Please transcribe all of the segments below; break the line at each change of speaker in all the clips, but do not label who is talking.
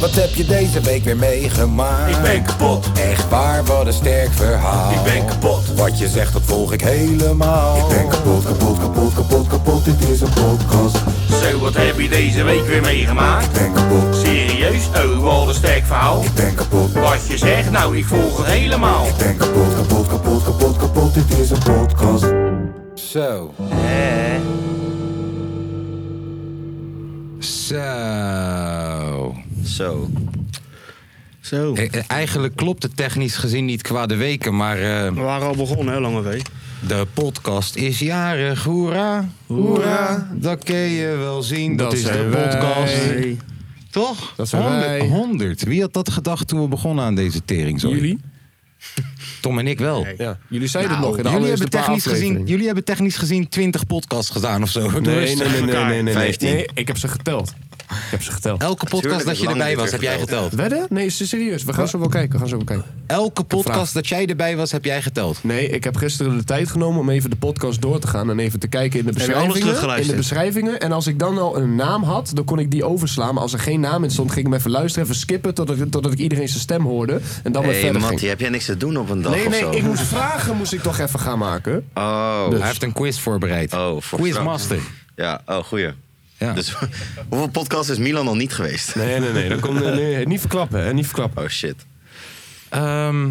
Wat heb je deze week weer meegemaakt?
Ik ben kapot.
Echt waar, wat een sterk verhaal.
Ik ben kapot.
Wat je zegt, dat volg ik helemaal.
Ik ben kapot, kapot, kapot, kapot, kapot, dit is een podcast.
Zo, wat heb je deze week weer meegemaakt?
Ik ben kapot,
Serieus? Oh, wat een sterk verhaal.
ik ben kapot.
Wat je zegt, nou, ik volg het helemaal.
Ik ben kapot, kapot, kapot, kapot, kapot, dit is een podcast.
Zo. Zo.
Zo. Zo.
Eh, eh, Eigenlijk klopt het technisch gezien niet qua de weken, maar eh,
We waren al begonnen, hè, lange week.
de podcast is jarig. Hoera, hoera, dat kun je wel zien. Dat, is de
zijn wij.
podcast.
Hey.
Toch?
Dat zijn
100,
wij.
100. Wie had dat gedacht toen we begonnen aan deze tering?
Jullie?
Tom en ik wel.
Ja. Jullie zeiden
Nou,
het nog in de
jullie,
allereerste
hebben
paar
technisch gezien,
afleveringen.
jullie hebben technisch gezien 20 podcasts gedaan of zo. Door
Nee,
eens-
nee, nee, nee, nee, nee,
Nee,
nee, 15.
nee, ik heb ze geteld. Ik heb ze geteld.
Elke podcast
Tuurlijk,
dat je
lang
erbij
niet
was,
meer
heb jij geteld.
Wedden? Nee, is het serieus. We gaan zo wel kijken. We gaan zo wel kijken.
Elke
vraag.
podcast dat jij erbij was, heb jij geteld.
Nee, ik heb gisteren de tijd genomen om even de podcast door te gaan en even te kijken in de
je alles
beschrijvingen. In de
teruggeluisterd?
beschrijvingen. En als ik dan al een naam had, dan kon ik die overslaan. Maar als er geen naam in stond, ging ik hem even luisteren, even skippen totdat, ik- totdat ik iedereen zijn stem hoorde. En dan weer
Hé, hey,
verder
Mattie,
ging.
heb jij niks te doen op een dag
Nee,
of
nee,
zo?
ik moest vragen, moest ik toch even gaan maken.
Oh,
Hij heeft een quiz voorbereid.
Oh, voor
Quizmaster.
ja. Oh, goeie.
Ja.
Dus hoeveel podcasts is Milan al niet geweest?
Nee, nee, nee. Dat komt, nee, nee, niet verklappen, hè. Niet verklappen.
Oh, shit.
Ehm,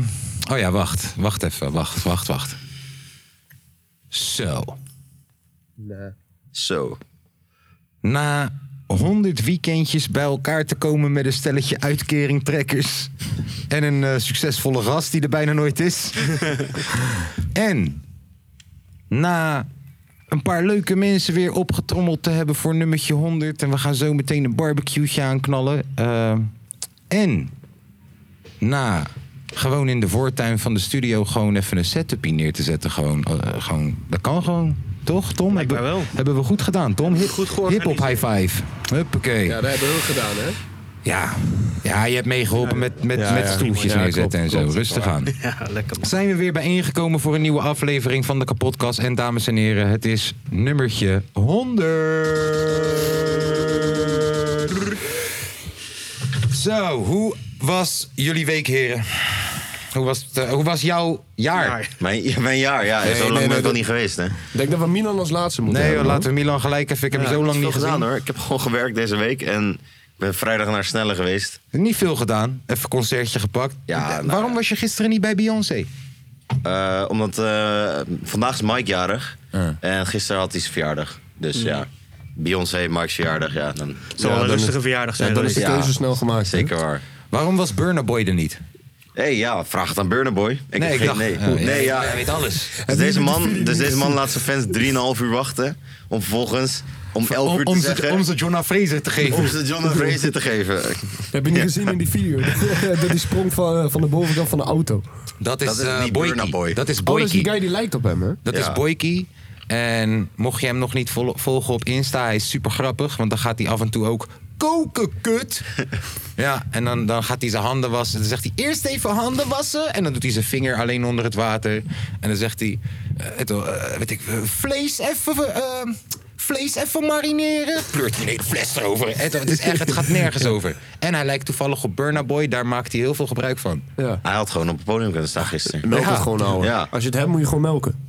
oh ja, wacht. Wacht even. Wacht, wacht, wacht. Zo.
Zo.
Na 100 weekendjes bij elkaar te komen met een stelletje uitkeringtrekkers. En een eh, succesvolle gast die er bijna nooit is. en na een paar leuke mensen weer opgetrommeld te hebben voor nummertje 100. En we gaan zo meteen een barbecue aanknallen. Eh, en na gewoon in de voortuin van de studio gewoon even een setup neer te zetten. Gewoon, eh, gewoon, dat kan gewoon. Toch, Tom? Hebben,
wel.
hebben we goed gedaan, Tom? Hip,
Goed
hip
georganiseerd.
hop high five. Huppakee.
Ja,
Ja,
dat hebben we ook gedaan, hè?
ja. je hebt meegeholpen met, met,
Ja,
met
ja.
stoeltjes
Ja,
neerzetten
klopt,
en zo.
klopt.
Rustig aan.
Ja, lekker.
Zijn we weer bijeengekomen voor een nieuwe aflevering van de Kapotkast. En dames en heren, het is nummertje 100. Zo, hoe was jullie week, heren? Hoe was, het, eh, hoe was jouw jaar?
Mijn, ja, mijn jaar, ja. zo lang
nee,
ben
nee,
ik al
dat-
niet geweest, hè?
Ik denk dat we Milan als laatste moeten
Nee,
hebben,
hoor,
man.
laten we Milan gelijk even. Ik heb hem zo lang niet
veel gedaan,
gezien.
hoor. Ik heb gewoon gewerkt deze week en ik ben vrijdag naar Snelle geweest.
Niet veel gedaan. Even een concertje gepakt.
Ja, nou
Waarom
ja.
was je gisteren niet bij Beyoncé?
Eh, omdat eh, vandaag is Mike jarig en gisteren had hij zijn verjaardag. Dus ja, Beyoncé, Mike's verjaardag, ja. Dan,
Het zal wel
Mm. dan
een rustige
is-
verjaardag
Ja,
zijn.
dan is de
Ja.
keuze snel gemaakt. hè?
zeker waar.
Waarom was Burna Boy er niet?
Hé, hey, ja, vraag het aan Burner Boy. Ik heb geen, nee.
Oh, jij-
nee, ja.
jij weet alles.
Dus deze, man, dus deze man laat zijn fans 3,5 uur wachten om vervolgens om 11 uur te zeggen...
ze Jonna Fraser te
om ze John en Fraser te geven.
Heb je niet gezien in die video? Dat die sprong van, eh, van de bovenkant van de auto.
Dat is,
Dat is
eh,
niet
Boykie.
Burna Boy.
Dat is
Oh, dat is
Boykie.
die guy die lijkt op hem, hè?
dat
Ja.
is Boykie. En mocht je hem nog niet vol- volgen op Insta, hij is super grappig. Want dan gaat hij af en toe ook koken, kut. ja, en dan, dan gaat hij zijn handen wassen. Dan zegt hij eerst even handen wassen. En dan doet hij zijn vinger alleen onder het water. En dan zegt hij, eh, het, eh, weet ik, eh, vlees even... eh, Vlees even marineren. Pleurt hij een hele fles erover. Het, het is echt, het gaat nergens over. En hij lijkt toevallig op Burna Boy. Daar maakt hij heel veel gebruik van.
Ja.
Hij had gewoon op het podium kunnen staan gisteren.
Melk
Ja.
het gewoon, ouwe.
Ja.
Als je het hebt, moet je gewoon melken.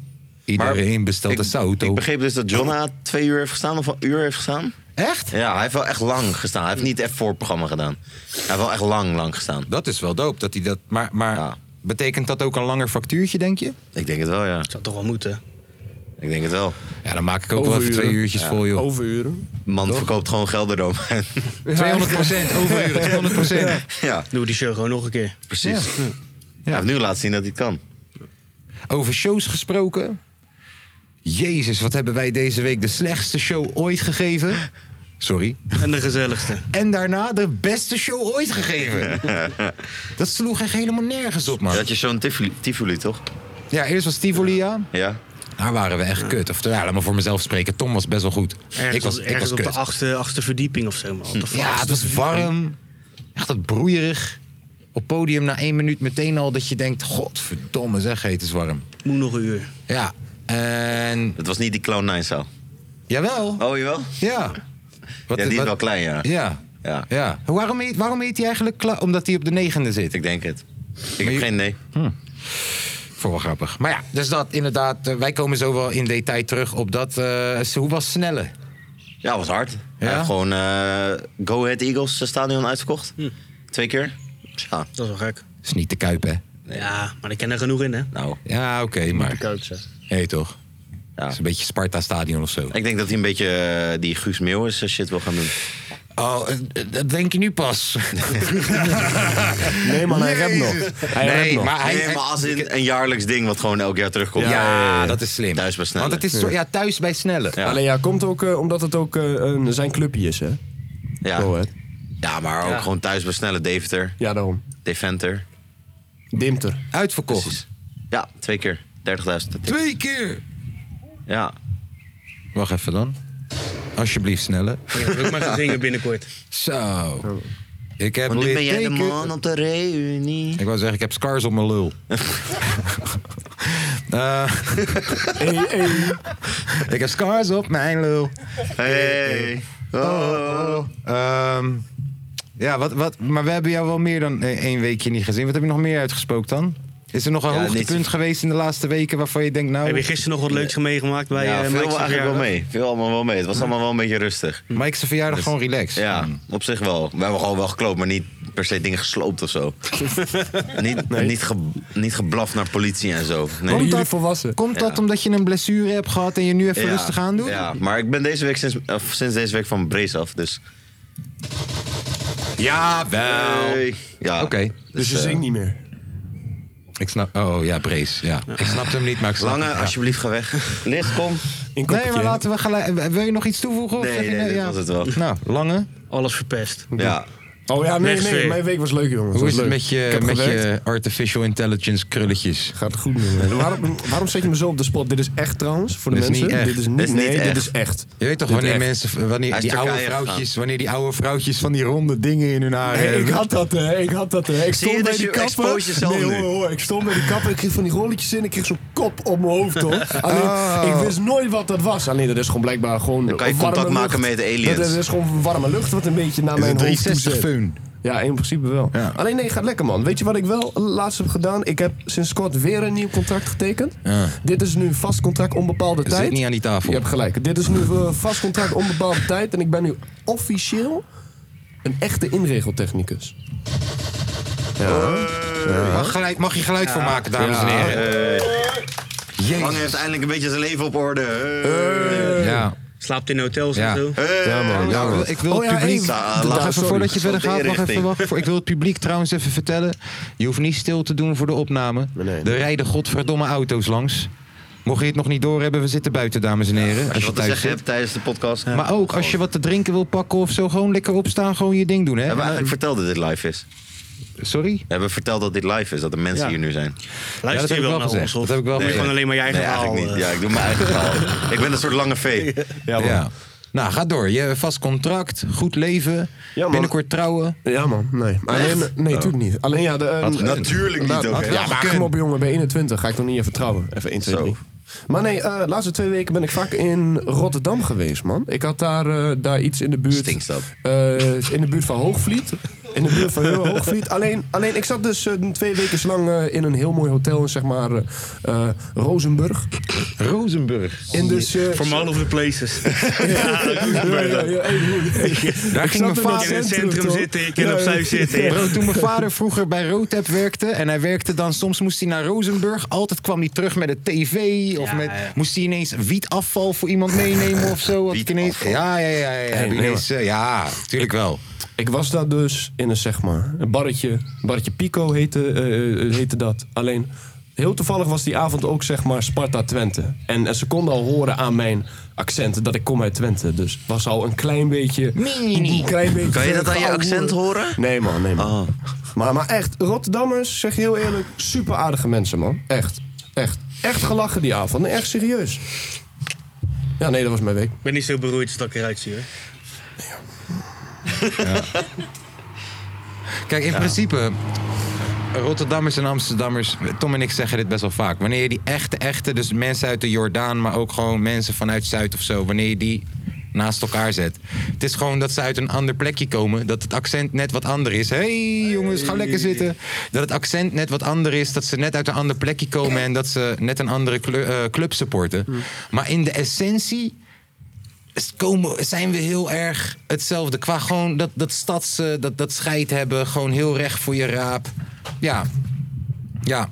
Iedereen bestelt een
ik, ik
sauto.
begreep dus dat Jonna twee uur heeft gestaan of een uur heeft gestaan.
Oh, Echt?
Ja, hij heeft wel echt lang gestaan. Hij heeft niet echt voorprogramma gedaan. Hij heeft wel echt lang, lang gestaan.
Dat is wel dope. Dat hij dat, maar maar
Ja.
betekent dat ook een langer factuurtje, denk je?
Ik denk het wel, ja.
zou toch wel moeten.
Ik denk het wel.
Ja, dan maak ik ook wel even
Overuren.
twee uurtjes vol, joh.
Overuren.
Man verkoopt gewoon Gelderdoom.
200 procent, overuren, 200
ja,
Doe die show gewoon nog een keer.
precies. Hij heeft nu laten zien dat hij het kan.
Over shows gesproken. Jezus, wat hebben wij deze week de slechtste show ooit gegeven. Sorry.
En de gezelligste.
En daarna de beste show ooit gegeven. Dat sloeg echt helemaal nergens op,
Je
man.
had je zo'n Tivoli, Tivoli, toch?
Ja, eerst was Tivoli, ja.
Ja.
Daar waren we echt kut. Of ja, laat maar voor mezelf spreken. Tom was best wel goed.
Ergens,
ik was, ik
ergens
was
op
kut.
de achtste, achtste verdieping of zo. Man. Op de
Ja, het
achtste
was
verdieping.
warm. Echt dat broeierig. Op podium na één minuut meteen al dat je denkt... Godverdomme zeg, heet het is warm.
Moet nog een uur.
Ja, en...
Het was niet die Clown 9 zaal.
Jawel.
Oh, jawel?
Ja. Wat,
Ja, die is
wat-
wel klein, ja.
Ja.
Ja,
Ja. Waarom heet, waarom heet hij eigenlijk Cla- Omdat hij op de negende zit.
ik denk het. Ik
je- Hm.
heb geen nee.
Voor wel grappig. Maar ja, dus dat inderdaad. eh, wij komen zo wel in detail terug op dat. eh, ze- hoe was Snelle?
Ja, was hard.
Ja?
Ja? gewoon eh, Go Ahead Eagles eh, stadion uitverkocht. Twee keer. Ja,
Dat is wel gek.
Is niet te kuip, hè?
Ja, maar ik ken er genoeg in, hè?
nou.
Ja, oké, maar. Hé, toch?
Ja.
is een beetje Sparta-stadion of zo.
Ik denk dat hij een beetje eh, die Guus Meeuwis eh, shit wil gaan doen.
Oh, eh, eh, dat denk je nu pas.
Nee, man, hij rept nog. Hij rept
nee,
nog.
maar hij.
nee, maar als in een jaarlijks ding wat gewoon elk jaar terugkomt.
ja, dat is slim.
Thuis bij Snelle.
Want het is zo- ja, thuis bij Snelle.
Ja.
Alleen ja, komt ook eh, omdat het ook eh, een, zijn clubje is, hè?
Ja,
Go Ahead.
ja maar ook gewoon thuis bij snelle Deventer,
Ja, daarom.
Deventer.
Dimter.
Uitverkocht.
Ja, twee keer. 30.000.
Twee keer.
Ja.
Wacht even dan. Alsjeblieft, Snelle.
Ik heb ook maar gaan zingen binnenkort.
Zo. Ik heb
Want nu
weer
ben jij de
teken-
man op de reunie.
Ik wou zeggen, ik heb scars op mijn lul. Eh, ik heb scars op mijn lul. Oh,
Hey.
Ehm, ja, wat, wat, maar we hebben jou wel meer dan eh, één weekje niet gezien. Wat heb je nog meer uitgespookt dan? Is er nog een
Ja,
hoogtepunt
niet-
geweest in de laatste weken waarvan je denkt,
Heb je
nou,
gisteren nog wat leuks meegemaakt bij
Ja,
eh,
veel
Mike's
eigenlijk wel
verjaardag?
mee. Veel allemaal wel mee. Het was allemaal wel een beetje rustig.
Hm.
Dus
Mike's verjaardag gewoon relaxed? Hm.
Ja, op zich wel. We hebben gewoon wel gekloopt, maar niet per se dingen gesloopt of zo. niet, niet, ge, niet geblaft naar politie en zo. Nee.
Worden jullie
dat-
volwassen?
Komt dat
Ja.
omdat je een blessure hebt gehad en je nu even
Ja,
rustig aan doet?
Ja, maar ik ben deze week sinds, of sinds deze week van Brace af, dus...
Jawel.
Hey. Ja. eh,
Oké,
Dus je zingt niet meer.
ik snap... Oh ja, Brace, ja. Ik snapte hem niet, maar ik snap
Lange,
hem, ja.
alsjeblieft, ga weg. Licht, kom.
In
Nee,
koppertje,
maar
hè?
laten we gelijk... Wil je nog iets toevoegen? of
Nee,
zeg je
nee,
Oh, nee?
dit
Ja.
was het wel.
Nou, Lange,
Alles verpest.
Ja.
Oh ja, nee,
Next
nee.
week.
Mijn week was leuk, jongens.
hoe
Was
is het
leuk.
met je,
Ik heb
met
gewerkt.
je artificial intelligence krulletjes?
Gaat goed, jongen. waarom, waarom zet je me zo op de spot? Dit is echt trouwens, voor de
Dit is
mensen.
niet echt.
Dit is niet,
Dit is niet
nee,
echt.
dit is echt.
Je weet toch
Dit
wanneer
echt.
mensen, wanneer
Hij is
die, oude
Turkije
vrouwtjes, wanneer die oude vrouwtjes van die ronde dingen in hun haar
Hey,
hebben?
ik had dat, hè. Ik had dat, hè. Ik
Zie
stond
je
bij
dat
die
je
kapper.
expose jezelf
nee,
nu?
hoor, hoor. Ik stond bij die kapper. Ik kreeg van die rolletjes in. Ik kreeg zo'n kop op mijn hoofd, hoor.
Ah.
Alleen,
Oh.
ik wist nooit wat dat was. Alleen, dat is gewoon blijkbaar
kan
gewoon
je
warme
contact
lucht.
maken met de aliens.
Dat, dat is gewoon warme lucht wat een beetje naar
Is
mijn
een
hoofd toe
360
zit.
fun.
Ja, in principe wel.
Ja.
Alleen nee, gaat lekker man. Weet je wat ik wel laatst heb gedaan? Ik heb sinds kort weer een nieuw contract getekend.
Ja.
Dit is nu een vast contract onbepaalde
Zit
tijd.
niet aan die tafel.
Je hebt gelijk. Dit is nu een vast contract onbepaalde tijd. En ik ben nu officieel een echte inregeltechnicus.
Mag, geluid, mag je geluid voor maken, dames en
Ja.
heren?
Eh, Lange heeft eindelijk een beetje zijn leven op orde. Eh.
Eh. Ja.
Slaapt in hotels
Ja.
en zo.
Ja, man.
Ja, wel, ik wil
Oh
het
ja,
publiek...
even-
Ah,
Wacht
laat-
even
sorry.
voordat je verder
Stond
gaat,
de
wacht even,
inrichting.
wacht voor. Ik wil het publiek trouwens even vertellen. Je hoeft niet stil te doen voor de opname. Er rijden godverdomme auto's langs. Mocht je het nog niet doorhebben, we zitten buiten, dames en heren. als
Als
je
wat te
thuis
zeggen
zit.
hebt tijdens de podcast.
Maar ook als je wat te drinken wil pakken of zo, gewoon lekker opstaan, gewoon je ding doen, hè?
We hebben eigenlijk verteld dat dit live is.
Sorry?
We hebben verteld dat dit live is, dat er mensen hier nu zijn.
Ja, dat
Luister
heb
je
ik
wel
wel
naar
gezegd.
ons?
Dat
of
heb ik wel
doe je
gezegd.
gewoon alleen maar je eigen
nee,
verhaal?
eigenlijk niet.
eh?
Ja, ik doe mijn eigen verhaal. Ik ben een soort lange vee.
Ja. Nou, ga door. Je hebt vast contract, goed leven,
man.
binnenkort trouwen. Oh.
Ja man, nee. Alleen, nee, natuurlijk niet. Alleen ja, de,
ehm,
eh,
Had gekund. Natuurlijk niet
nou,
ook,
had
hè?
wel
Ja, maar
gekund. kom op jongen, bij 21 ga ik nog niet even trouwen. Even 1, 2,
Zo.
3. Maar nee, eh, de laatste twee weken ben ik vaak in Rotterdam geweest, man. Ik had daar, eh, daar iets in de buurt.
Stinkt dat?
eh, in de buurt van Hoogvliet. In de buurt van heel Hoogvliet. Alleen, alleen ik zat dus eh, twee weken lang eh, in een heel mooi hotel in zeg maar eh, eh, Rozenburg.
Rozenburg.
In dus, eh,
From all over the places.
ja, ja, ja, hey, hey.
Daar ging mijn
Ik zat in dat
Je kan in
vader...
het
Centrum,
centrum
toch?
zitten, je kan
Ja,
opzij
ja.
zitten.
Bro, toen mijn vader vroeger bij Roodtap werkte en hij werkte dan, soms moest hij naar Rozenburg. Altijd kwam hij terug met een tv of
Ja,
met,
ja.
moest hij ineens wietafval voor iemand meenemen of zo. Had ik ineens, ja, ja, ja, ja, ja. Heb je ineens, eh, ja, tuurlijk wel.
Ik was daar dus in een zeg maar een barretje, barretje Pico heette, eh, eh, heette dat. Alleen heel toevallig was die avond ook zeg maar Sparta Twente. En, eh, ze konden al horen aan mijn accent dat ik kom uit Twente. Dus was al een klein beetje. Een klein beetje
Kan je dat aan je
gauw
accent horen? Oh.
Nee man, nee man. Maar, maar echt, Rotterdammers, zeg je heel eerlijk, super aardige mensen man. Echt, echt, echt gelachen die avond. Nee, echt serieus. Ja, nee, dat was mijn week.
Ik ben niet zo beroerd als dat ik eruit zie hoor.
Kijk, in principe, Rotterdammers en Amsterdammers, Tom en ik zeggen dit best wel vaak. Wanneer je die echte, echte, dus mensen uit de Jordaan, maar ook gewoon mensen vanuit Zuid of zo, wanneer je die naast elkaar zet. Het is gewoon dat ze uit een ander plekje komen. Dat het accent net wat ander is. Hé hey, jongens, ga lekker zitten. Dat het accent net wat ander is. Dat ze net uit een ander plekje komen. En dat ze net een andere clu- eh, club supporten. Maar in de essentie is- komen, zijn we heel erg hetzelfde. Qua gewoon dat, dat stads, eh, dat, dat scheid hebben. Gewoon heel recht voor je raap. Ja. Ja.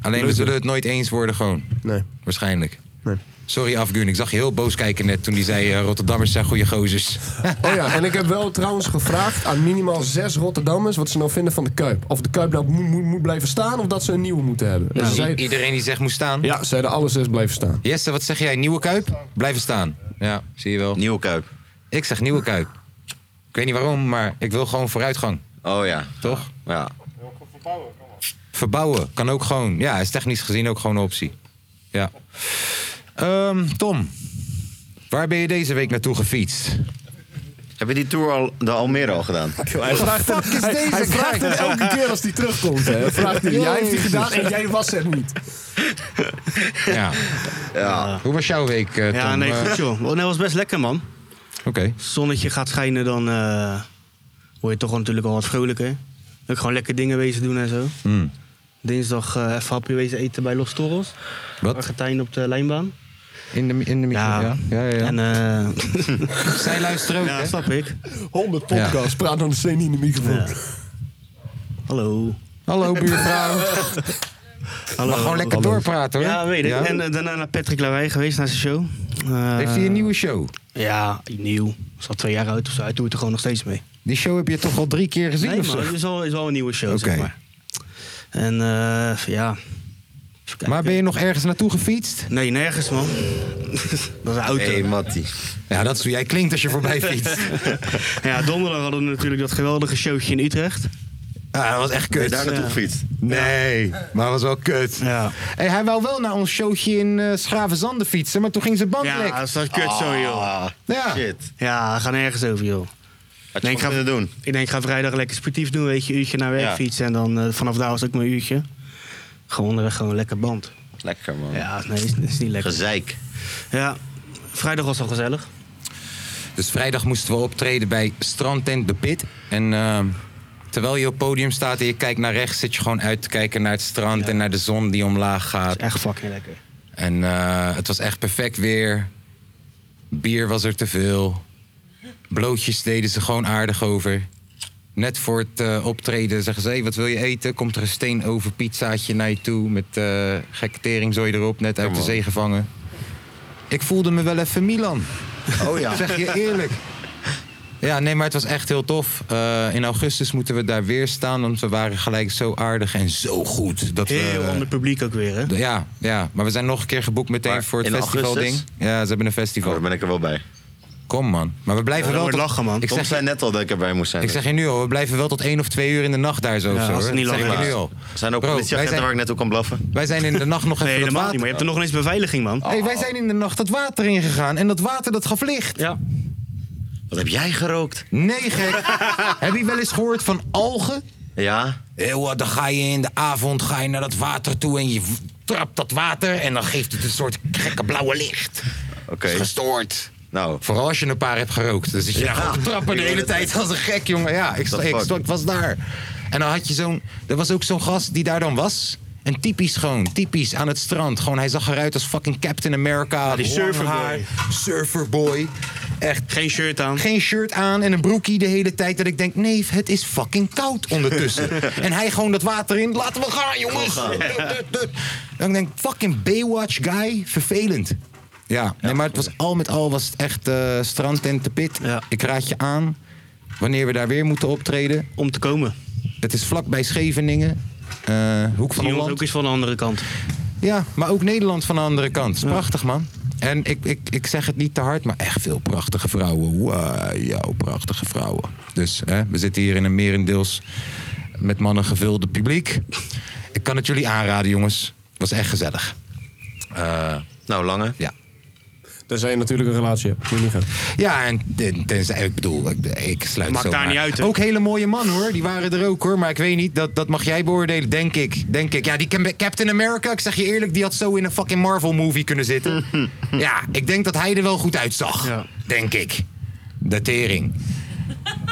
Alleen we zullen het nooit eens worden gewoon.
Nee.
Waarschijnlijk.
Nee.
Sorry Afgun, ik zag je heel boos kijken net toen hij zei... eh, Rotterdammers zijn goede gozers.
Oh ja, en ik heb wel trouwens gevraagd aan minimaal zes Rotterdammers wat ze nou vinden van de Kuip. Of de Kuip nou moet, moet, moet blijven staan of dat ze een nieuwe moeten hebben. Dus En ze
Nou, I-
zeiden-
Iedereen die zegt moest staan.
ja, ze zeiden alle zes blijven staan.
Jesse, wat zeg jij? Nieuwe Kuip? Blijven staan. Ja, zie je wel.
Nieuwe Kuip.
Ik zeg Nieuwe Kuip. Ik weet niet waarom, maar ik wil gewoon vooruitgang.
Oh ja.
Toch?
Ja.
Verbouwen kan ook gewoon. Ja, is technisch gezien ook gewoon een optie. Ja. Ehm, Tom, waar ben je deze week naartoe gefietst?
Heb je die tour al, de Almere al gedaan?
Hij vraagt, het, hij, hij vraagt het elke keer als hij terugkomt. Hè. Hij Vraagt hij, jij heeft die gedaan en jij was het niet.
Ja. Hoe was jouw week, eh, Tom?
Ja, nee,
Eh,
goed joh. Oh, nee, was best lekker man.
Oké.
Zonnetje gaat schijnen, dan eh, word je toch natuurlijk al wat vrolijker. Ook gewoon lekker dingen wezen doen en zo.
Hmm.
Dinsdag eh even hapje wezen eten bij Los Toros.
Wat?
Argentijn op de lijnbaan.
In de, in de micro, ja. Ja, ja, ja.
En eh,
Zij luisteren ook,
ja,
hè?
snap ik.
100 podcasts, praat dan de zee niet in de microfoon.
Ja. Hallo.
Hallo, buurvrouw.
Hallo.
Maar gewoon lekker doorpraten, hoor.
Ja, weet ik.
Ja?
En eh, daarna naar Patrick Larij geweest, naar zijn show. Eh,
Heeft hij een nieuwe show?
Ja, nieuw. Is al twee jaar oud of zo. Hij doet er gewoon nog steeds mee.
Die show heb je toch al drie keer gezien
Nee,
of zo?
maar het is al, is al een nieuwe show,
Oké.
zeg maar. En eh, ja... Even kijken.
Maar ben je nog ergens naartoe gefietst?
Nee, nergens, man. dat is een auto.
hey, Mattie.
Ja, dat is hoe jij klinkt als je voorbij fietst.
Ja, donderdag hadden we natuurlijk dat geweldige showtje in Utrecht.
Ah, dat was echt
Ben je
kut.
daar naartoe gefietst?
Nee, maar dat was wel kut.
Ja.
Hey, hij wou wel naar ons showtje in eh Schravenzanden fietsen, maar toen ging zijn band lek.
Ja, dat is dat kut zo, joh.
Ah,
Ja.
shit.
Ja, ga nergens over, joh.
Had je
Nee,
nee,
ik ga-
kunnen doen.
Ik denk, ik ga vrijdag lekker sportief doen, weet je. Uurtje naar werk
Ja.
fietsen en dan eh, vanaf daar was het ook mijn uurtje. Gewoon onderweg gewoon lekker band.
Lekker, man.
Ja, nee, is, is niet lekker.
Gezeik.
Ja, vrijdag was al gezellig.
Dus vrijdag moesten we optreden bij Strandtent De Pit. En ehm, terwijl je op het podium staat en je kijkt naar rechts... zit je gewoon uit te kijken naar het strand en naar de zon die omlaag gaat.
Is echt fucking lekker.
En eh, het was echt perfect weer. Bier was er te veel. Blootjes deden ze gewoon aardig over. Net voor het eh, optreden zeggen ze: hey, wat wil je eten? Komt er een steen over pizzaatje naar je toe met eh gekke teringzooi erop, net uit de zee gevangen. Ik voelde me wel even Milan.
Oh ja.
Zeg je eerlijk. Ja, nee, maar het was echt heel tof. Eh, in augustus moeten we daar weer staan, want we waren gelijk zo aardig en zo goed. Dat
Heel
we,
ander publiek ook weer, hè?
ja, ja, maar we zijn nog een keer geboekt meteen
Maar
voor het
in
festivalding.
augustus?
Ja, ze hebben een
Oh, daar
festival.
ben ik er wel bij.
Kom man. Maar we blijven
Ja,
wel
dat wordt lachen, man.
Ik
Tom
zeg,
zei net al dat ik erbij moest zijn.
ik zeg je nu al, we blijven wel tot één of twee uur in de nacht daar zo.
Ja,
of zo,
als
hoor.
het niet
Dat
langer
zeg ik je nu
is.
al.
Er zijn ook
Bro, wij
politieagenten
zijn,
waar ik net toe kan blaffen.
wij zijn in de nacht nog even
Nee,
dat
helemaal
water...
niet. Maar je hebt er nog eens beveiliging, man.
Hey, wij zijn in de nacht dat water ingegaan en dat water dat gaf licht.
Ja.
Wat heb jij gerookt?
Nee gek. Heb je wel eens gehoord van algen?
Ja.
Eeuw, dan ga je in de avond ga je naar dat water toe en je w- trapt dat water en dan geeft het een soort gekke blauwe licht.
Oké.
Dat is gestoord.
Nou,
Vooral als je een paar hebt gerookt. Dan zit Dus je daar gewoon te trappen de hele tijd als een gek, jongen. Ja, ik, sta-
The
ik,
fuck?
sta- ik was daar. En dan had je zo'n... Er was ook zo'n gast die daar dan was. En typisch gewoon, typisch aan het strand. Gewoon, hij zag eruit als fucking Captain America.
die
Lang
surferboy.
haar, Surferboy. Echt
Geen shirt aan.
geen shirt aan en een broekie de hele tijd. Dat ik denk, nee, het is fucking koud ondertussen. en hij gewoon dat water in. Laten we gaan, jongens. Dut, dut, dut. Dan denk ik, fucking Baywatch guy. Vervelend. Ja, nee, maar het was al met al was het echt eh strand en te pit.
Ja.
Ik raad je aan, wanneer we daar weer moeten optreden.
Om te komen.
Het is vlakbij Scheveningen. eh, hoek van
Die jongens
Holland.
ook eens van de andere kant.
Ja, maar ook Nederland van de andere kant. Is Prachtig, man. En ik, ik, ik zeg het niet te hard, maar echt veel prachtige vrouwen. Wauw, prachtige vrouwen. Dus hè, we zitten hier in een merendeels met mannen gevulde publiek. Ik kan het jullie aanraden, jongens. Het was echt gezellig.
nou lange.
Ja.
Tenzij je natuurlijk een relatie hebt. Moet je niet gaan.
Ja, en ten- tenzij, ik bedoel, ik, ik sluit
Maakt
zomaar-
daar niet uit, hè?
Ook hele mooie man hoor, die waren er ook hoor. Maar ik weet niet, dat, dat mag jij beoordelen, denk ik. Denk ik. Ja, die Cam- Captain America, ik zeg je eerlijk, die had zo in een fucking Marvel movie kunnen zitten. ja, ik denk dat hij er wel goed uitzag.
Ja.
Denk ik. De tering.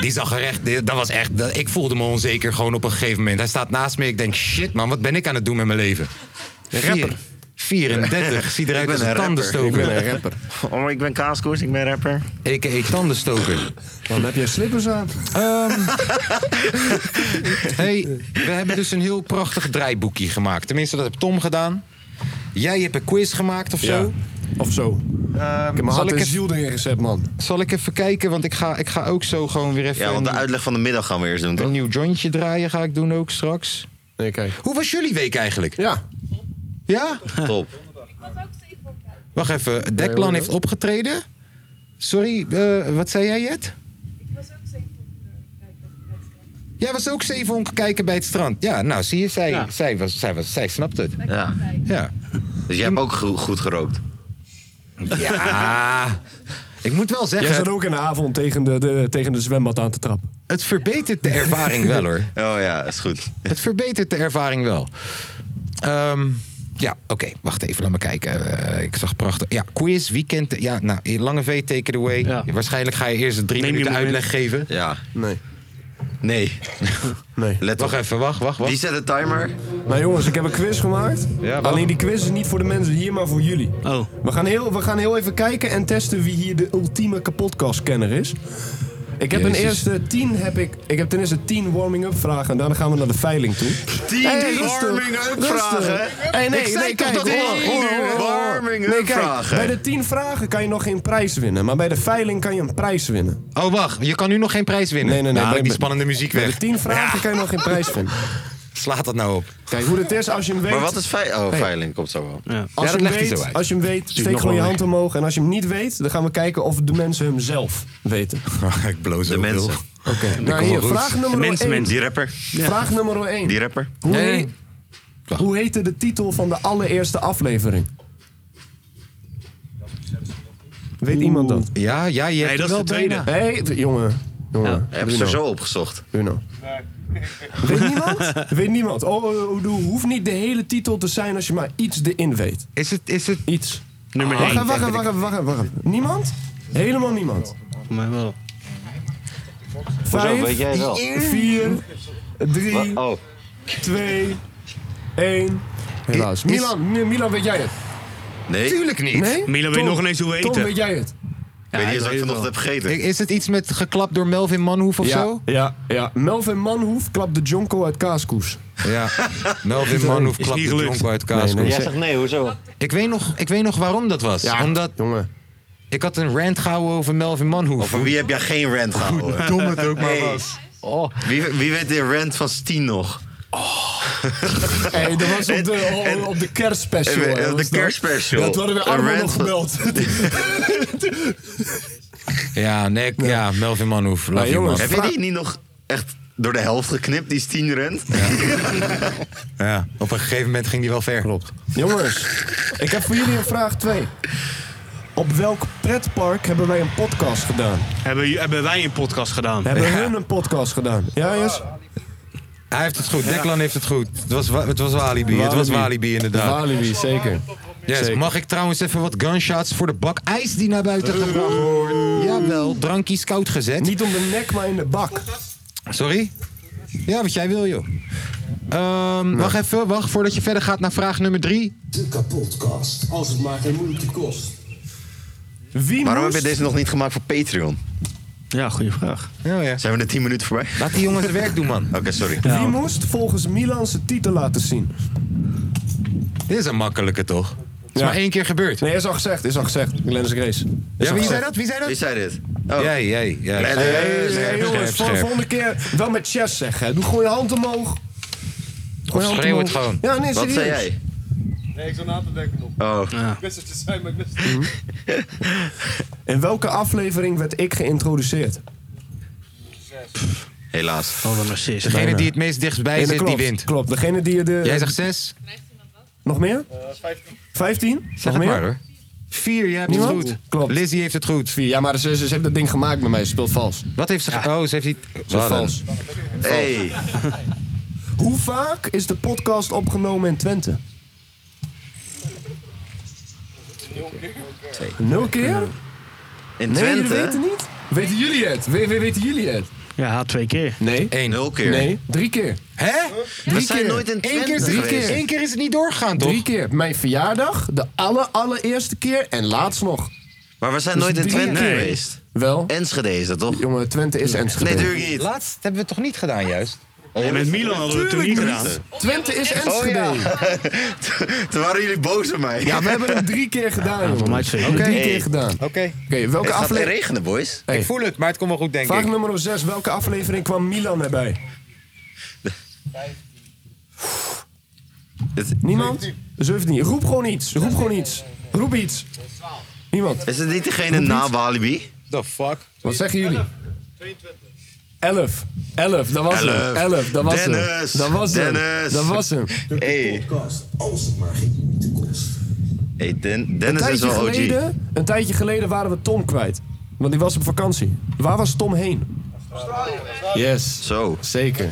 Die zag er echt, die- dat was echt, dat- ik voelde me onzeker gewoon op een gegeven moment. Hij staat naast me, ik denk shit man, wat ben ik aan het doen met mijn leven? Rapper. 34, ziet eruit
Ik ben
als
een rapper.
een tandenstoker.
Ik ben een rapper.
Oh, ik ben Kaaskoers, ik ben rapper.
A.k.a. tandenstoker. Ehm,
Dan heb jij slippers aan.
Hey, we hebben dus een heel prachtig draaiboekje gemaakt. Tenminste, dat heb Tom gedaan. Jij hebt een quiz gemaakt of zo.
Of
Ehm,
zo. ik heb mijn
zal
hart
ik
en
het-
ziel erin gezet, man.
Zal ik even kijken, want ik ga, ik ga ook zo gewoon weer even
Ja, want de
een,
uitleg van de middag gaan we eerst doen,
een
toch?
nieuw jointje draaien. Ga ik doen ook straks.
Nee, kijk.
Hoe was jullie week eigenlijk?
Ja.
Ja?
Top.
Wacht even, Dekplan heeft opgetreden. Sorry, eh, wat zei jij, Jet? Jij was ook zeven honken kijken bij het strand. Ja, nou zie je, zij, zij, was, zij, was, zij snapt het.
Ja.
Ja.
Dus jij hebt ook go- goed gerookt.
Ja. Ik moet wel
Jij
zeggen,
zat ook in de avond tegen de, de, tegen de zwembad aan te trappen.
het verbetert de ervaring wel hoor.
Oh ja, is goed.
Het verbetert de ervaring wel. Ehm, ja, oké. Wacht even, laat me kijken. Eh, ik zag prachtig. Ja, quiz, weekend. Ja, nou, Lange V, take it away.
Ja.
Waarschijnlijk ga je eerst een drie
Neem je
minuten
moment.
uitleg geven.
Ja.
Nee.
Nee.
Nee.
Let
Wacht
op.
even, wacht, wacht, wacht.
Wie zet de timer?
Nou jongens, ik heb een quiz gemaakt.
Ja, wacht.
Alleen die quiz is niet voor de mensen hier, maar voor jullie.
Oh.
We gaan heel, we gaan heel even kijken en testen wie hier de ultieme kapotkastkenner is. Ik heb een
Jezus.
eerste tien, heb ik, ik heb ten eerste tien warming-up vragen en daarna gaan we naar de veiling toe.
Tien
Hey, rustig,
warming-up
rustig.
vragen.
Hey, nee,
Ik zei
nee,
toch
kijk,
dat
hoor,
tien
hoor, hoor, hoor.
warming-up
Nee, kijk,
vragen.
Bij de tien vragen kan je nog geen prijs winnen, maar bij de veiling kan je een prijs winnen.
Oh, wacht. Je kan nu nog geen prijs winnen.
Nee, nee, nee,
Nou, haal
bij-
ik die
bij-
spannende muziek
Bij
weg.
de tien vragen kan je nog geen prijs winnen.
Slaat dat nou op.
Kijk, hoe het is als je hem weet.
Maar wat is veiling? Oh, veiling komt zo wel.
Als,
Ja,
je
dat
hem
legt hij
weet,
zo uit.
als je hem weet, steek gewoon je hand omhoog. En als je hem niet weet, dan gaan we kijken of de mensen hem zelf weten.
ik bloos
De mensen.
Oké, nou hier, vraag nummer 1.
Mensen, mensen.
Die rapper.
Vraag nummer 1.
Die rapper.
Hoe,
Nee.
heet- hoe heette de titel van de allereerste aflevering? Weet iemand dat?
Ja, ja, je hebt
Nee, dat is
wel
de tweede.
bijna.
Hé, hey, d- jongen. jongen.
Heb je er zo opgezocht?
Bruno. Weet niemand? Weet niemand. Oh, eh, hoe- hoe- hoeft niet de hele titel te zijn als je maar iets erin weet.
Is het, is het...
Iets.
Nummer
Wacht,
1.
even, wacht, even, wacht, even, wacht, even, wacht. even. Niemand? Helemaal niemand.
Voor mij wel.
Vijf,
jij wel?
vier, drie,
Oh,
twee, één. Helaas. Milan, Mi- Milan, weet jij het?
nee.
Tuurlijk niet.
Milo weet
Tom,
nog ineens hoe we
Tom,
eten.
weet jij het?
Ik weet niet eens of ik vanochtend heb
Ik-
gegeten.
Is het iets met geklapt door Melvin Manhoef of zo?
ja, ja. Melvin Manhoef klapt de Jonko uit Kaaskoes.
Ja, Melvin Manhoef klapt de
niet gelukt.
jonko uit kaas.
Nee, nee.
zegt nee, hoezo?
Ik, weet nog, ik weet nog waarom dat was. Omdat
Jongen.
ik had een rant gehouden over Melvin Manhoef.
Van wie heb jij geen rant gehouden?
dom het ook
Hey. Oh. Wie, wie weet de rant van Steen nog?
Oh. Hey, dat was op de, oh, op, op de kerstspecial.
En we- op
hè,
de
was dat?
kerstspecial.
Ja, toen hadden we
Een
allemaal
rant van-
nog gebeld.
Ja, nee, ik- ja, Melvin Manhoef. Love you,
jongens,
man.
Heb je die niet nog echt door de helft geknipt, die Steen rant?
Ja, op een gegeven moment ging die wel ver. Klopt.
Jongens, ik heb voor jullie een vraag 2. Op welk pretpark hebben wij een podcast gedaan?
Hebben, j- hebben wij een podcast gedaan?
Hebben hun een podcast gedaan? Ja, yes?
Hij heeft het goed. Declan heeft het goed. Het was,
Ah,
wa- het was Walibi. Het was Walibi, inderdaad.
Walibi, zeker.
Yes.
Zeker.
Mag ik trouwens even wat gunshots voor de bak ijs die naar buiten gebracht wordt? Jawel, drankjes koud gezet.
Niet om de nek, maar in de bak.
Sorry? Ja, wat jij wil, joh. Ehm, Wacht even, wacht voordat je verder gaat naar vraag nummer drie.
De kapotkast. Als het maar geen moeite kost.
Wie
Waarom heb
moest...
je deze nog niet gemaakt voor Patreon?
Ja, goede vraag.
Oh, ja.
Zijn we er 10 minuten voorbij? Oké,
Laat die jongen zijn werk doen, man.
sorry.
Wie moest volgens Milan zijn titel laten zien?
Dit is een makkelijke, toch? Het is
Ja.
maar één keer gebeurd.
Nee, is al gezegd, is al gezegd. Glennis Grace.
ja, wie zei dat? Wie zei dat?
Wie zei dit? Oh.
Jij, jij, jij.
Nee, nee, nee, nee, nee.
Hey,
scherp,
eh, jongens, voor de
scherp.
volgende keer wel met chess zeggen. hè. Doe gewoon je hand omhoog. Gooi je hand
schreeuw het
omhoog.
gewoon.
Ja, nee,
Wat
serieus.
zei jij?
Nee, ik zat na te denken op.
Oh,
Best te zijn, maar ik wist het
Mhm. In welke aflevering werd ik geïntroduceerd?
helaas.
Oh, wat een narcist.
Degene die het meest dichtstbij
Nee, dat
zit, die
klopt,
wint.
Klopt, degene die je de...
Jij zegt zes?
Nog meer?
niet. 15.
15?
Zeg
Nog
het
meer?
maar, hoor.
Vier, je hebt het
Niemand?
goed.
Klopt.
Lizzie heeft het goed.
Ja, maar ze, ze, ze heeft dat ding gemaakt met mij. Ze speelt vals. Ze
Wat heeft ze... ge- Oh, ze heeft die...
speelt
Wat een-
vals.
Hey.
Hoe vaak is de podcast opgenomen in Twente? Nul keer?
In
Nee, jullie
Twente?
weten niet? Weten jullie het? We, we- weten jullie het?
Ja, haat twee keer.
Nee.
Eén.
Nul keer.
Nee, drie keer.
Hè?
We
Drie
zijn
keer.
nooit in Twente
Eén keer, is- drie
geweest.
keer. Eén keer is het niet doorgegaan, toch?
Drie keer. Mijn verjaardag, de aller, allereerste keer en laatst nog. Dus
Maar we zijn nooit in
drie
Twente
keer.
geweest.
Wel,
Enschede is dat toch?
jongen, Twente is
Nee,
Enschede.
natuurlijk niet.
Laatst hebben we het toch niet gedaan, juist?
En met Milan hadden we het toen niet gedaan.
Twente is
Oh
Enschede.
ja. Toen waren jullie boos op mij.
Ja, we hebben het drie keer gedaan, jongen.
Voor mij twee. keer.
Drie
Hey.
keer gedaan. Oké,
Oké.
welke
Het gaat weer
aflevering...
regenen, boys.
Hey.
Ik voel het, maar het komt wel goed, denk
Vraag
ik.
nummer 6. Welke aflevering kwam Milan erbij?
Het-
Niemand? 17. Roep gewoon iets. Roep gewoon iets. Roep iets. Niemand.
Is het niet degene na Walibi?
The fuck?
Wat zeggen jullie? 11. 11. Dat was hem.
Elf.
11. Dat was
Dennis.
hem. Dat was hem.
Dennis.
Dat was hem.
Hey.
Podcast, als het maar geen moeite kost.
Hey, Den-
Een
Dennis is
tijdje,
wel OG.
geleden, een tijdje geleden waren we Tom kwijt. Want die was op vakantie. Waar was Tom heen? Yes.
Zo,
Zeker.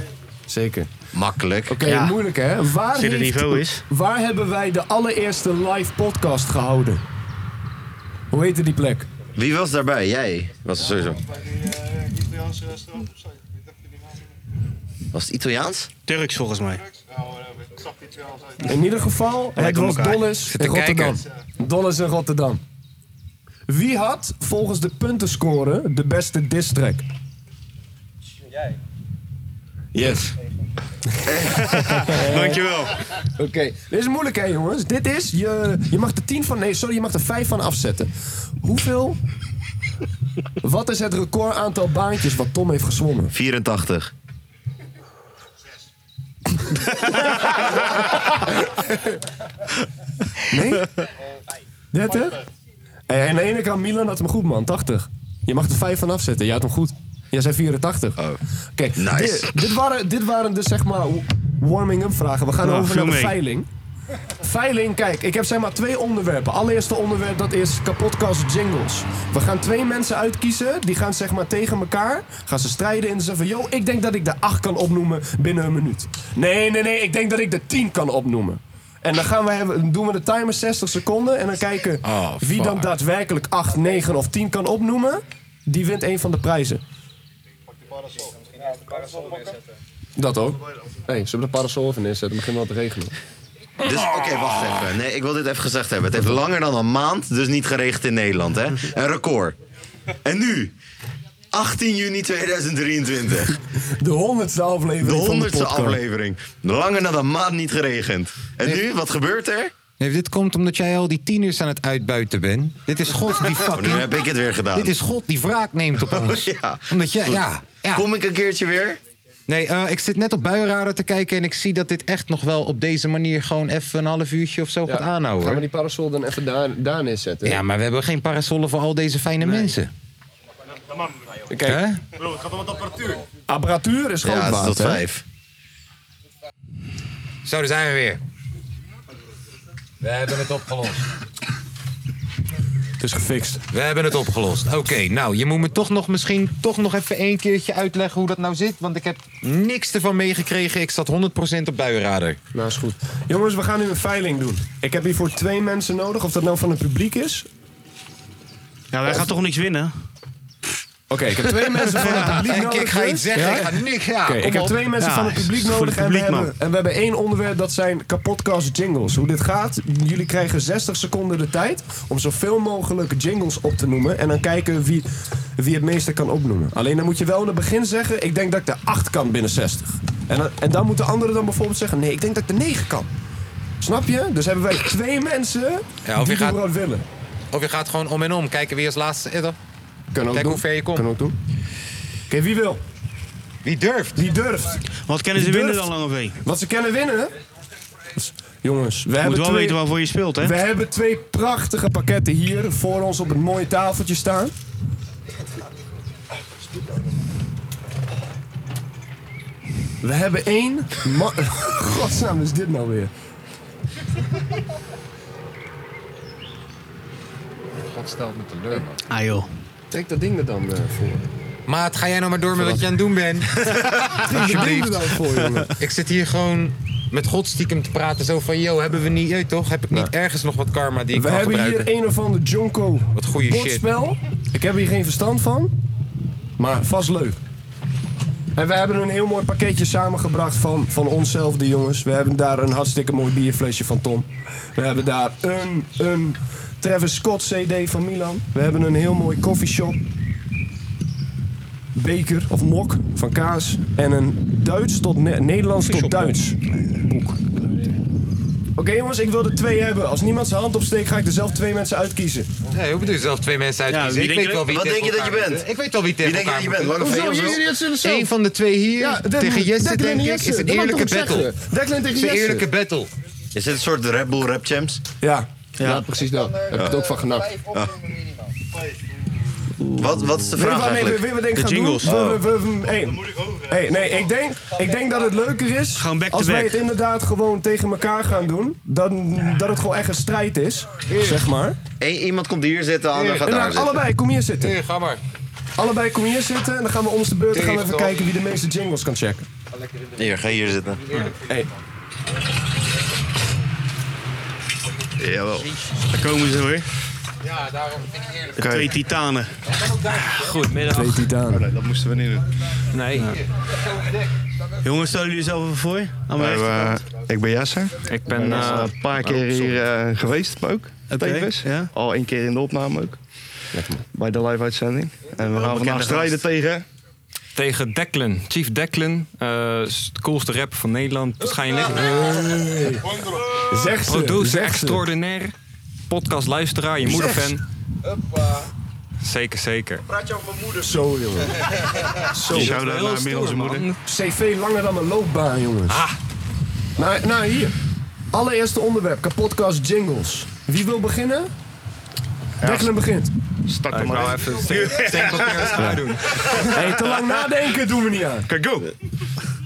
Zeker.
makkelijk.
Oké,
Ja.
moeilijk hè? Waar,
Als dit het
heeft-
niveau is.
waar hebben wij de allereerste live podcast gehouden? Hoe heette die plek?
Wie was daarbij? Jij was er sowieso.
Bij die eh, Italiaanse restaurant of zo. Ik dacht die naam.
Was het Italiaans?
Turks volgens mij.
Nou, eh, ik zag die Italiaans uit.
In ieder geval, het
Lekker
was
elkaar.
Dolles
te
in Rotterdam. Dolles in Rotterdam. Wie had volgens de puntenscore de beste diss track? Jij. Yes.
Dankjewel.
Oké. Dit is moeilijk hè jongens. Dit is, je, je mag er 10 van, nee sorry, je mag er 5 van afzetten. Hoeveel, wat is het record aantal baantjes wat Tom heeft gezwommen?
84.
Nee? 30? Hey, aan de ene kant, Milan had hem goed, man. 80. Je mag er 5 van afzetten. Jij had hem goed. Jij zei 84. Oké,
Nice.
dit, dit, waren, dit waren dus zeg maar warming-up vragen. We gaan
Nou,
over
viel
naar de
mee.
veiling. Veiling, kijk, ik heb zeg maar twee onderwerpen. Allereerste onderwerp, dat is kapotkast jingles. We gaan twee mensen uitkiezen, die gaan zeg maar tegen elkaar, gaan ze strijden en ze zeggen van... ...yo, ik denk dat ik de acht kan opnoemen binnen een minuut. Nee, nee, nee, ik denk dat ik de tien kan opnoemen. En dan gaan we hebben, doen we de timer 60 seconden en dan kijken
Ah,
Oh,
wie dan
fuck.
daadwerkelijk 8, 9 of 10 kan opnoemen. Die wint een van de prijzen. Dat ook. Nee, zullen we de parasol even neerzetten? Het begint wel te regenen.
Dus
Oh.
oké, wacht even. Nee, ik wil dit even gezegd hebben. Het heeft langer dan een maand dus niet geregend in Nederland, hè? Een record. En nu? 18 juni 2023.
De honderdste aflevering
De
van de
honderdste
podcast.
aflevering. Langer dan een maand niet geregend. En nu, wat gebeurt er?
Nee, dit komt omdat jij al die tieners aan het uitbuiten bent. Dit is God die
Oh, nu
fucking...
heb ik het weer gedaan.
Dit is God die wraak neemt op ons.
Ja.
Omdat jij... Oh, Ja, ja.
Kom ik een keertje weer?
Nee, eh, ik zit net op buienradar te kijken en ik zie dat dit echt nog wel op deze manier gewoon even een half uurtje of zo gaat aanhouden.
Gaan we
hoor.
die parasol dan even daar, daar neerzetten?
Ja, maar we hebben geen parasollen voor al deze fijne mensen.
Kijk,
Hè?
apparatuur is gewoon
Ja, het is
waard,
tot
hè?
vijf.
Zo, daar zijn we weer. We hebben het opgelost.
Het is gefixt.
We hebben het opgelost. Oké, nou, je moet me toch nog misschien toch nog even één keertje uitleggen hoe dat nou zit. Want ik heb niks ervan meegekregen. Ik zat 100% op buienradar.
Nou, is goed. Jongens, we gaan nu een veiling doen. Ik heb hiervoor twee mensen nodig, of dat nou van het publiek is.
Ja, wij gaan toch niks winnen.
Oké, ik heb twee mensen van het publiek
Ik,
nodig.
ik ga iets
dus.
zeggen,
Ja?
ik ga niks. Ja,
Oké,
kom
ik heb
op.
twee mensen
Ja,
van het
is
publiek
voor het
nodig en,
publiek,
we
man.
hebben, en we hebben één onderwerp, dat zijn kapotcast jingles. Hoe dit gaat, jullie krijgen 60 seconden de tijd om zoveel mogelijk jingles op te noemen. En dan kijken wie, wie het meeste kan opnoemen. Alleen dan moet je wel in het begin zeggen, ik denk dat ik de 8 kan binnen 60. En dan, en dan moet de andere dan bijvoorbeeld zeggen, nee, ik denk dat ik de 9 kan. Snap je? Dus hebben wij twee mensen
of
die
je gaat-
überhaupt willen.
Of je gaat gewoon om en om. Kijken wie als laatste... eh,
Kunnen
Kijk hoe ver je komt.
Kunnen ook doen. Oké, wie wil?
Wie durft?
Wie durft?
Wat kennen ze
Je
winnen
durft.
dan, Lange V?
Wat ze kunnen winnen? Jongens, we
Moet
hebben
wel
twee...
weten waarvoor je speelt, hè?
We hebben twee prachtige pakketten hier voor ons op het mooie tafeltje staan. We hebben één. ma- Godsnaam is dit nou weer?
dat stelt me teleur, man.
Ah joh.
Trek dat ding er dan eh, voor.
Maat, ga jij nou maar door met wat je aan het doen bent.
Doe
Alsjeblieft.
er dan voor, jongen.
Ik zit hier gewoon met God stiekem te praten. Zo van, yo, hebben we niet, je weet toch? Heb ik niet ergens nog wat karma die ik
We
kan
hebben
gebruiken?
hier een of ander Jonko
Wat goede shit.
bordspel. Ik heb hier geen verstand van, maar vast leuk. En we hebben een heel mooi pakketje samengebracht van, van onszelf, de jongens. We hebben daar een hartstikke mooi bierflesje van Tom. We hebben daar een, een Travis Scott CD van Milan. We hebben een heel mooi coffeeshop. Beker of mok van kaas. En een Duits tot Ne- Nederlands tot Duits boek. Oké jongens, ik wil er twee hebben. Als niemand zijn hand opsteekt, ga ik er zelf twee mensen uitkiezen.
Nee, hoe bedoel je zelf twee mensen
Ja,
uitkiezen? ik
wie denk
weet
je-
wel wie
wat
tegen
denk je dat je
elkaar
bent?
moet. Ik weet wel wie tegen
Wie denk je dat je
elkaar
bent?
moet.
Lange V of zo?
Eén van de twee hier, tegen Jesse, denk ik, is een eerlijke battle.
Declan tegen
Het is een
Jesse.
eerlijke battle.
Is dit een soort Red Bull Rap Champs? Ah.
Ja.
Ja, precies dat. Daar heb ik het ook van genakt.
Wat, wat is de
Weet je
vraag
waarmee we,
eigenlijk?
weet je wat ik ga doen?
jingles. Oh.
We, we, we- hey. Hey, nee, ik denk, ik denk dat het leuker is
Gewoon back to
als wij
back.
het inderdaad gewoon tegen elkaar gaan doen. Dan, dat het gewoon echt een strijd is, zeg maar.
Eén- iemand komt hier zitten, de ander gaat
En
daar
dan
zitten.
allebei, kom hier zitten.
Hier, ga maar.
Allebei, kom hier zitten. En dan gaan we ons de beurt gaan we even
Tegen.
kijken wie de meeste jingles kan checken.
Hier, ga hier zitten.
Hey.
Jawel.
Daar komen ze hoor.
Ja, daarom vind ik eerlijk.
De twee titanen.
Goedemiddag.
Twee titanen.
Dat moesten we niet doen.
Nee,
Jongens, stellen jullie jezelf even voor? Aan mijn rechterkant.
Nou, eh, ik ben Jesse.
ik ben eh,
een paar keer hier eh, geweest ook. tevens.
ja.
Al één keer in de opname ook. Bij de live uitzending. En we gaan vandaag
bekende
strijden
gast.
tegen.
tegen Declan. Chief Declan. eh, is de coolste rapper van Nederland waarschijnlijk.
Zeg ze,
Producer
zeg ze.
extraordinair. Podcast luisteraar, je moeder fan. Zeker, zeker.
Zo, jongen. Zo.
Heel stoer, man.
CV langer dan mijn loopbaan, jongens.
Ah.
Nou, nou hier. Allereerste onderwerp, kapotkast jingles. Wie wil beginnen? Declan begint.
Start
Ik
hem maar.
wou even steen- steenpapier en schaar doen.
hey, te lang nadenken doen we niet aan.
Kijk, go!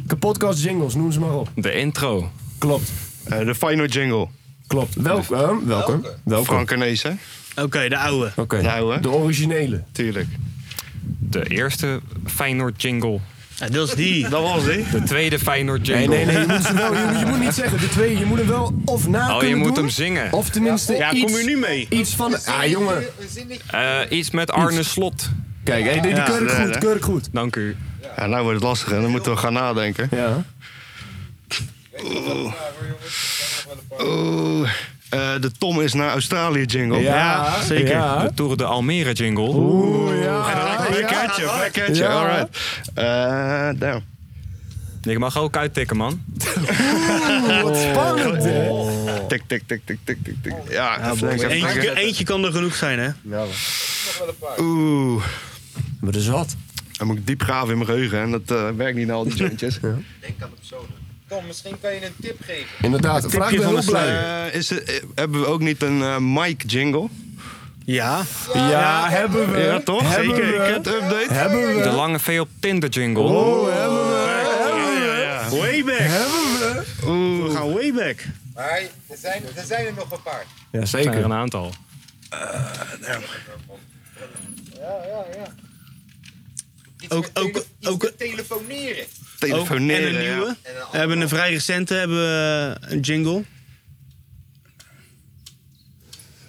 Kapotkast jingles, noem ze maar op.
De intro.
Klopt,
Eh, de final jingle.
klopt. Welkom, welkom, welkom.
Frank Arnees, hè?
Oké, de oude.
Oké,
Nou, hè?
de originele.
Tuurlijk.
De eerste Feyenoord jingle.
Ja, dat is die.
Dat was die.
De tweede Feyenoord
Nee,
jingle.
nee, nee, je moet, ze wel, je, moet- je moet niet zeggen, de twee, je moet hem wel of na
Oh, je
kunnen
moet
doen,
hem zingen.
Of tenminste
Ja,
iets,
kom je nu mee?
iets van... Ah, jongen.
Eh, iets met Arne Slot.
Kijk, hey, die, die keur ik
Ja,
goed,
hè?
keur ik goed.
Dank u.
Ja, nou wordt het lastig en dan moeten we gaan nadenken.
Ja.
Oeh. Eh, de Tom is naar Australië jingle.
Ja,
zeker.
Ja.
De Tour de Almere jingle.
Oeh, ja.
Lekker je, lekker je.
Ja.
Alright. Eh, nou.
Ik mag ook uittikken, man.
Wat spannend, hè?
Tik, tik, tik, tik, tik, tik, tik. Ja, even links, even
Eentje,
kijken.
eentje kan er genoeg zijn, hè?
Oeh.
Maar dat is wat.
Dan moet ik diep graven in mijn geheugen en dat eh, werkt niet naar al die jointjes.
Tom, misschien kan je een tip geven.
Inderdaad, vraag
tipje
ben heel
van de
blij.
Eh, is het, eh, hebben we ook niet een eh, mic jingle?
Ja.
Ja, hebben we.
Ja, toch?
Hebben
Zeker.
we.
Cat update.
Hebben we.
De Lange V op Tinder jingle.
Oh, hebben we.
Way back.
Hebben we.
We gaan way back.
Maar er zijn, er zijn er nog een paar.
Ja,
Zijn er een aantal.
Eh,
Ook, ook, ook,
telefoneren.
ook en
Telefoneren.
een
ja.
nieuwe. We hebben een vrij recente hebben we eh, een jingle.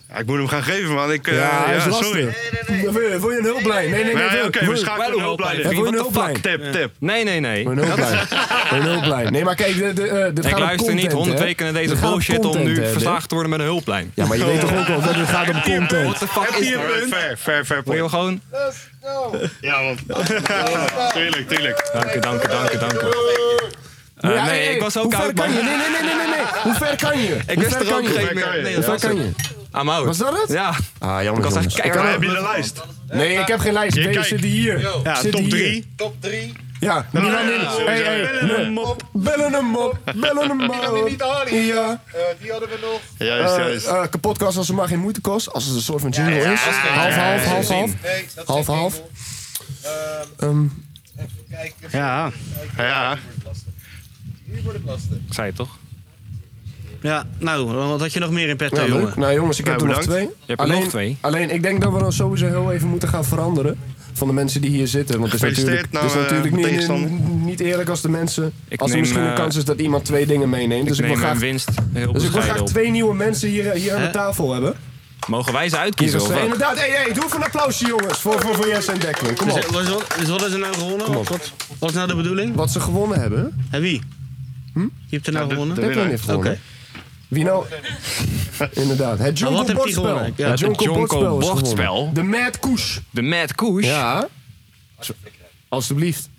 Ja, ik moet hem gaan geven, man. Ik, eh, ja,
Ja, dat is lastig.
sorry.
Dan Wil je, wil je een hulplijn? Nee, nee, nee.
Nee,
wil-
oké,
wil-
we schakelen een hulplijn. in.
Ja, wil je een
What the
hulplijn?
Tip, tip.
Nee, nee, nee.
Wil je Een hulplijn. Wil je Een hulplijn. Nee, maar kijk, de, de, eh, dit gaat
Ik
om
luister niet
content,
honderd
hè?
weken naar
Dit
deze
gaat om
bullshit om
content,
nu
hè, Dick?
verslagen te worden met een hulplijn.
Ja, maar je weet toch ook wel dat het gaat om
What
content.
the fuck is dat?
Fair, fair, fair
Wil je
point.
hem gewoon?
Ja, man.
Oh.
tuurlijk, tuurlijk.
Dank u, dank u, dank u, dank u. Eh,
Ja,
nee,
hey,
ik was ook
hoe ver
uit,
kan
man.
je? Nee, nee, nee, nee, nee, nee. Hoe ver kan je?
Ik
Hoe
wist
ver
er
kan
ook
je?
geen
Hoe ver
meer.
kan je?
Nee,
Hoe
dat
ver
was
kan
het.
je?
I'm out.
Was dat het?
Ja.
Ah,
Ik
jammer.
was echt
jongens. Ik kan
keihard.
Heb je de lijst?
Nee, ik heb geen lijst.
Hier,
Deze
kijk.
zit hier.
Ja,
Zit
top
hier.
3.
Ja, Milan in. Hey, hey, nee. Bellen hem op. Bellen hem op. Ja.
Eh, Ja,
Eh,
juist, juist.
eh, kapotkast als het maar geen moeite kost. Als het een soort van jingle is. Half, half, half, half. Half, half.
Eh,
Ehm,
Ja.
Ja,
Ik zei het toch?
Ja, nou, wat had je nog meer in petto,
Ja, leuk.
jongen?
Nou jongens, ik heb er nog
bedankt.
twee. alleen, Alleen, ik denk dat we dan sowieso heel even moeten gaan veranderen van de mensen die hier zitten. Want het is natuurlijk,
Gefeliciteerd, nou,
het is
eh,
natuurlijk niet,
tegenstander.
niet- niet eerlijk als de mensen...
Ik
als er
neem,
misschien een
eh,
kans is dat iemand twee dingen meeneemt.
ik
Dus ik wil
neem
graag,
mijn winst heel
dus ik wil
bescheiden
graag
op.
twee nieuwe mensen hier, hier aan de
Hè?
tafel hebben.
Mogen wij ze
Hier
uitkiezen?
is
Of
ze.
wat?
inderdaad, hey, hey, doe even een applausje jongens voor, voor, voor Jesse en Declan. Kom
dus,
op.
dus wat, dus wat is er nou gewonnen? Wat, wat, wat is nou de bedoeling?
Wat ze gewonnen hebben?
En wie? Wie heeft er nou gewonnen?
Declan heeft gewonnen.
Oké.
Wie nou?
Nou,
Inderdaad, het
Maar wat
Jonko
heeft hij
Bordspel.
gewonnen? Ja,
het Jonko
Bordspel is
Bordspel.
gewonnen. De Mad Koes.
De Mad Koes?
Ja. Alsjeblieft.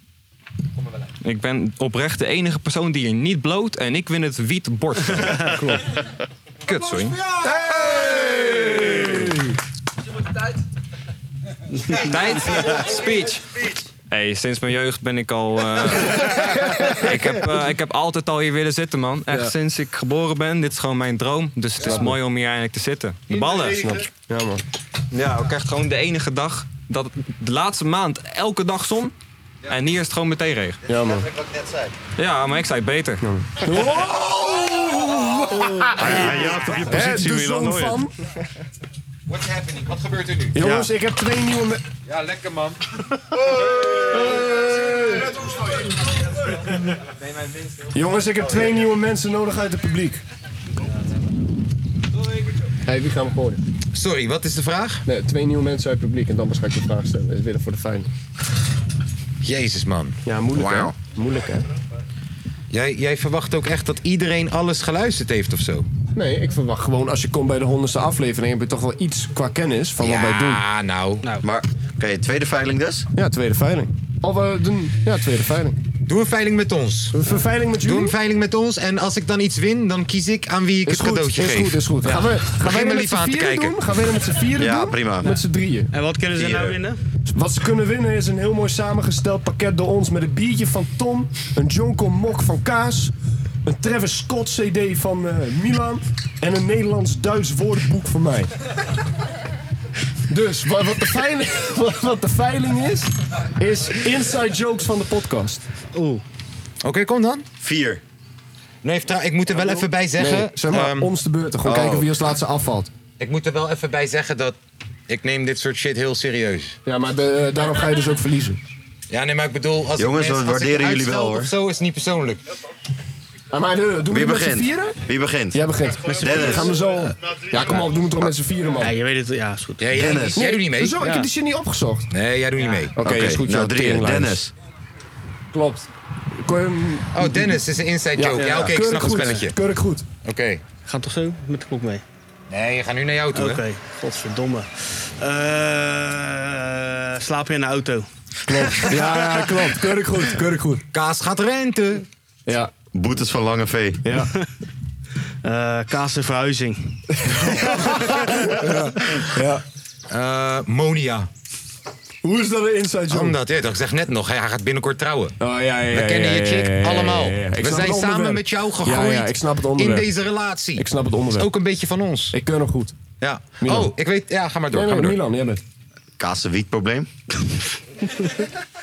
Ik ben oprecht de enige persoon die hier niet bloot en ik win het wiet bord. Klopt. Kut, sorry. Tijd? Speech. Hey, sinds mijn jeugd ben ik al. eh, ik, heb, eh, ik heb altijd al hier willen zitten, man. Echt
Ja.
sinds ik geboren ben. Dit is gewoon mijn droom. Dus het is mooi om hier eindelijk te zitten. De ballen.
Ja, man.
Ja, ik krijg gewoon de enige dag. Dat, de laatste maand elke dag zon. En hier is het gewoon meteen regen.
Ja, man.
Wat ik net zei.
Ja, maar ik zei het beter.
Hij- hij jaagt op je positie,
de
Milan,
zoon
hoor je.
van...
What's happening? Wat gebeurt er nu?
Jongens, ik heb twee nieuwe... me- Eh,
Ja, lekker man.
Jongens, ik heb twee nieuwe mensen nodig uit het publiek. hey, wie gaan we gooien?
Sorry, wat is de vraag?
Nee, twee nieuwe mensen uit het publiek en dan pas ga ik de vraag stellen. Dat is weer voor de fijn.
Jezus, man.
Ja, moeilijk
Wauw.
hè? Moeilijk hè?
Jij, jij verwacht ook echt dat iedereen alles geluisterd heeft of zo?
Nee, ik verwacht gewoon als je komt bij de honderdste aflevering heb je toch wel iets qua kennis van wat wij doen.
Ja, nou.
Maar, oké, tweede veiling dus?
Ja, tweede veiling. Of eh, doen, ja, tweede veiling.
Doe een veiling met ons.
Een veiling met jullie?
Doe een veiling met ons en als ik dan iets win, dan kies ik aan wie ik
Is
het
goed,
cadeautje
is
geef.
goed, is goed. Gaan we, gaan wij
Begin
er
maar
met
lief
z'n
aan te
vieren
kijken.
doen? Gaan wij er met z'n vieren
Ja,
doen?
prima.
Met z'n drieën.
En wat kunnen ze nou winnen?
Wat ze kunnen winnen is een heel mooi samengesteld pakket door ons met een biertje van Tom, een Jonko Mok van Kaas, een Travis Scott CD van eh, Milan en een Nederlands-Duits woordenboek van mij. Dus wa- wat de, veiling, wa- wat de veiling is, is inside jokes van de podcast. Oeh.
Oké, kom dan.
Vier.
Nee, trouw- ik moet er wel even bij zeggen.
Nee, zeg maar,
ehm,
ons de beurt. Gewoon
oh.
kijken wie als laatste afvalt.
Ik moet er wel even bij zeggen dat ik neem dit soort shit heel serieus.
Ja, maar de- daarom ga je dus ook verliezen.
Ja, nee, maar ik bedoel... Als
Jongens,
ik mensen-
we
als ik
waarderen jullie
uitstel
wel, hoor.
Of zo is het niet persoonlijk.
Ja, maar eh, doen we
Wie
het met z'n
begint?
vieren?
Wie begint?
Jij begint. Met z'n vieren gaan we zo. Ja, kom op, doen we het toch met z'n vieren, man.
Ja, je weet het. Ja, is goed.
jij Dennis. niet. Jij doet niet mee.
Hoezo? Ik heb die shit niet opgezocht.
Nee, jij doet niet mee. Oké,
is goed,
nou,
joh,
drie.
teringlijst.
Dennis.
Klopt. Kon je hem-
Oh, Dennis is een inside joke. Ja, oké, ik
Keurig
snap het
goed.
spelletje.
Keurig goed.
Oké.
Gaan toch zo met de klok mee?
Nee, je gaat nu naar jou toe,
Oké,
hè?
godverdomme. Eh, slaap je in de auto?
Klopt. Ja, ja, klopt. Keurig goed. Keurig goed.
Kaas gaat rente.
Ja.
Boetes van Lange V.
Ja.
Eh kaas en verhuizing.
ja.
Eh, Monia.
Hoe is dat een inside joke?
Omdat, ja, ik zeg net nog, hè, hij gaat binnenkort trouwen.
Oh, ja, ja,
We
ja,
kennen
ja,
je
ja,
chick
ja, ja, ja,
allemaal.
ja, ja, ja. Ik
We
snap
zijn
het
samen
onderwerp.
met jou
Ja,
gegroeid.
ja, ik snap het onderwerp.
In deze relatie.
Ik snap het onderwerp.
Dat is ook een beetje van ons.
Ik keur nog goed.
Ja.
Milan.
Oh, ik weet. Ja, ga maar door.
Nee,
ga
nee,
maar door.
Milan, jij bent.
Kaas wietprobleem.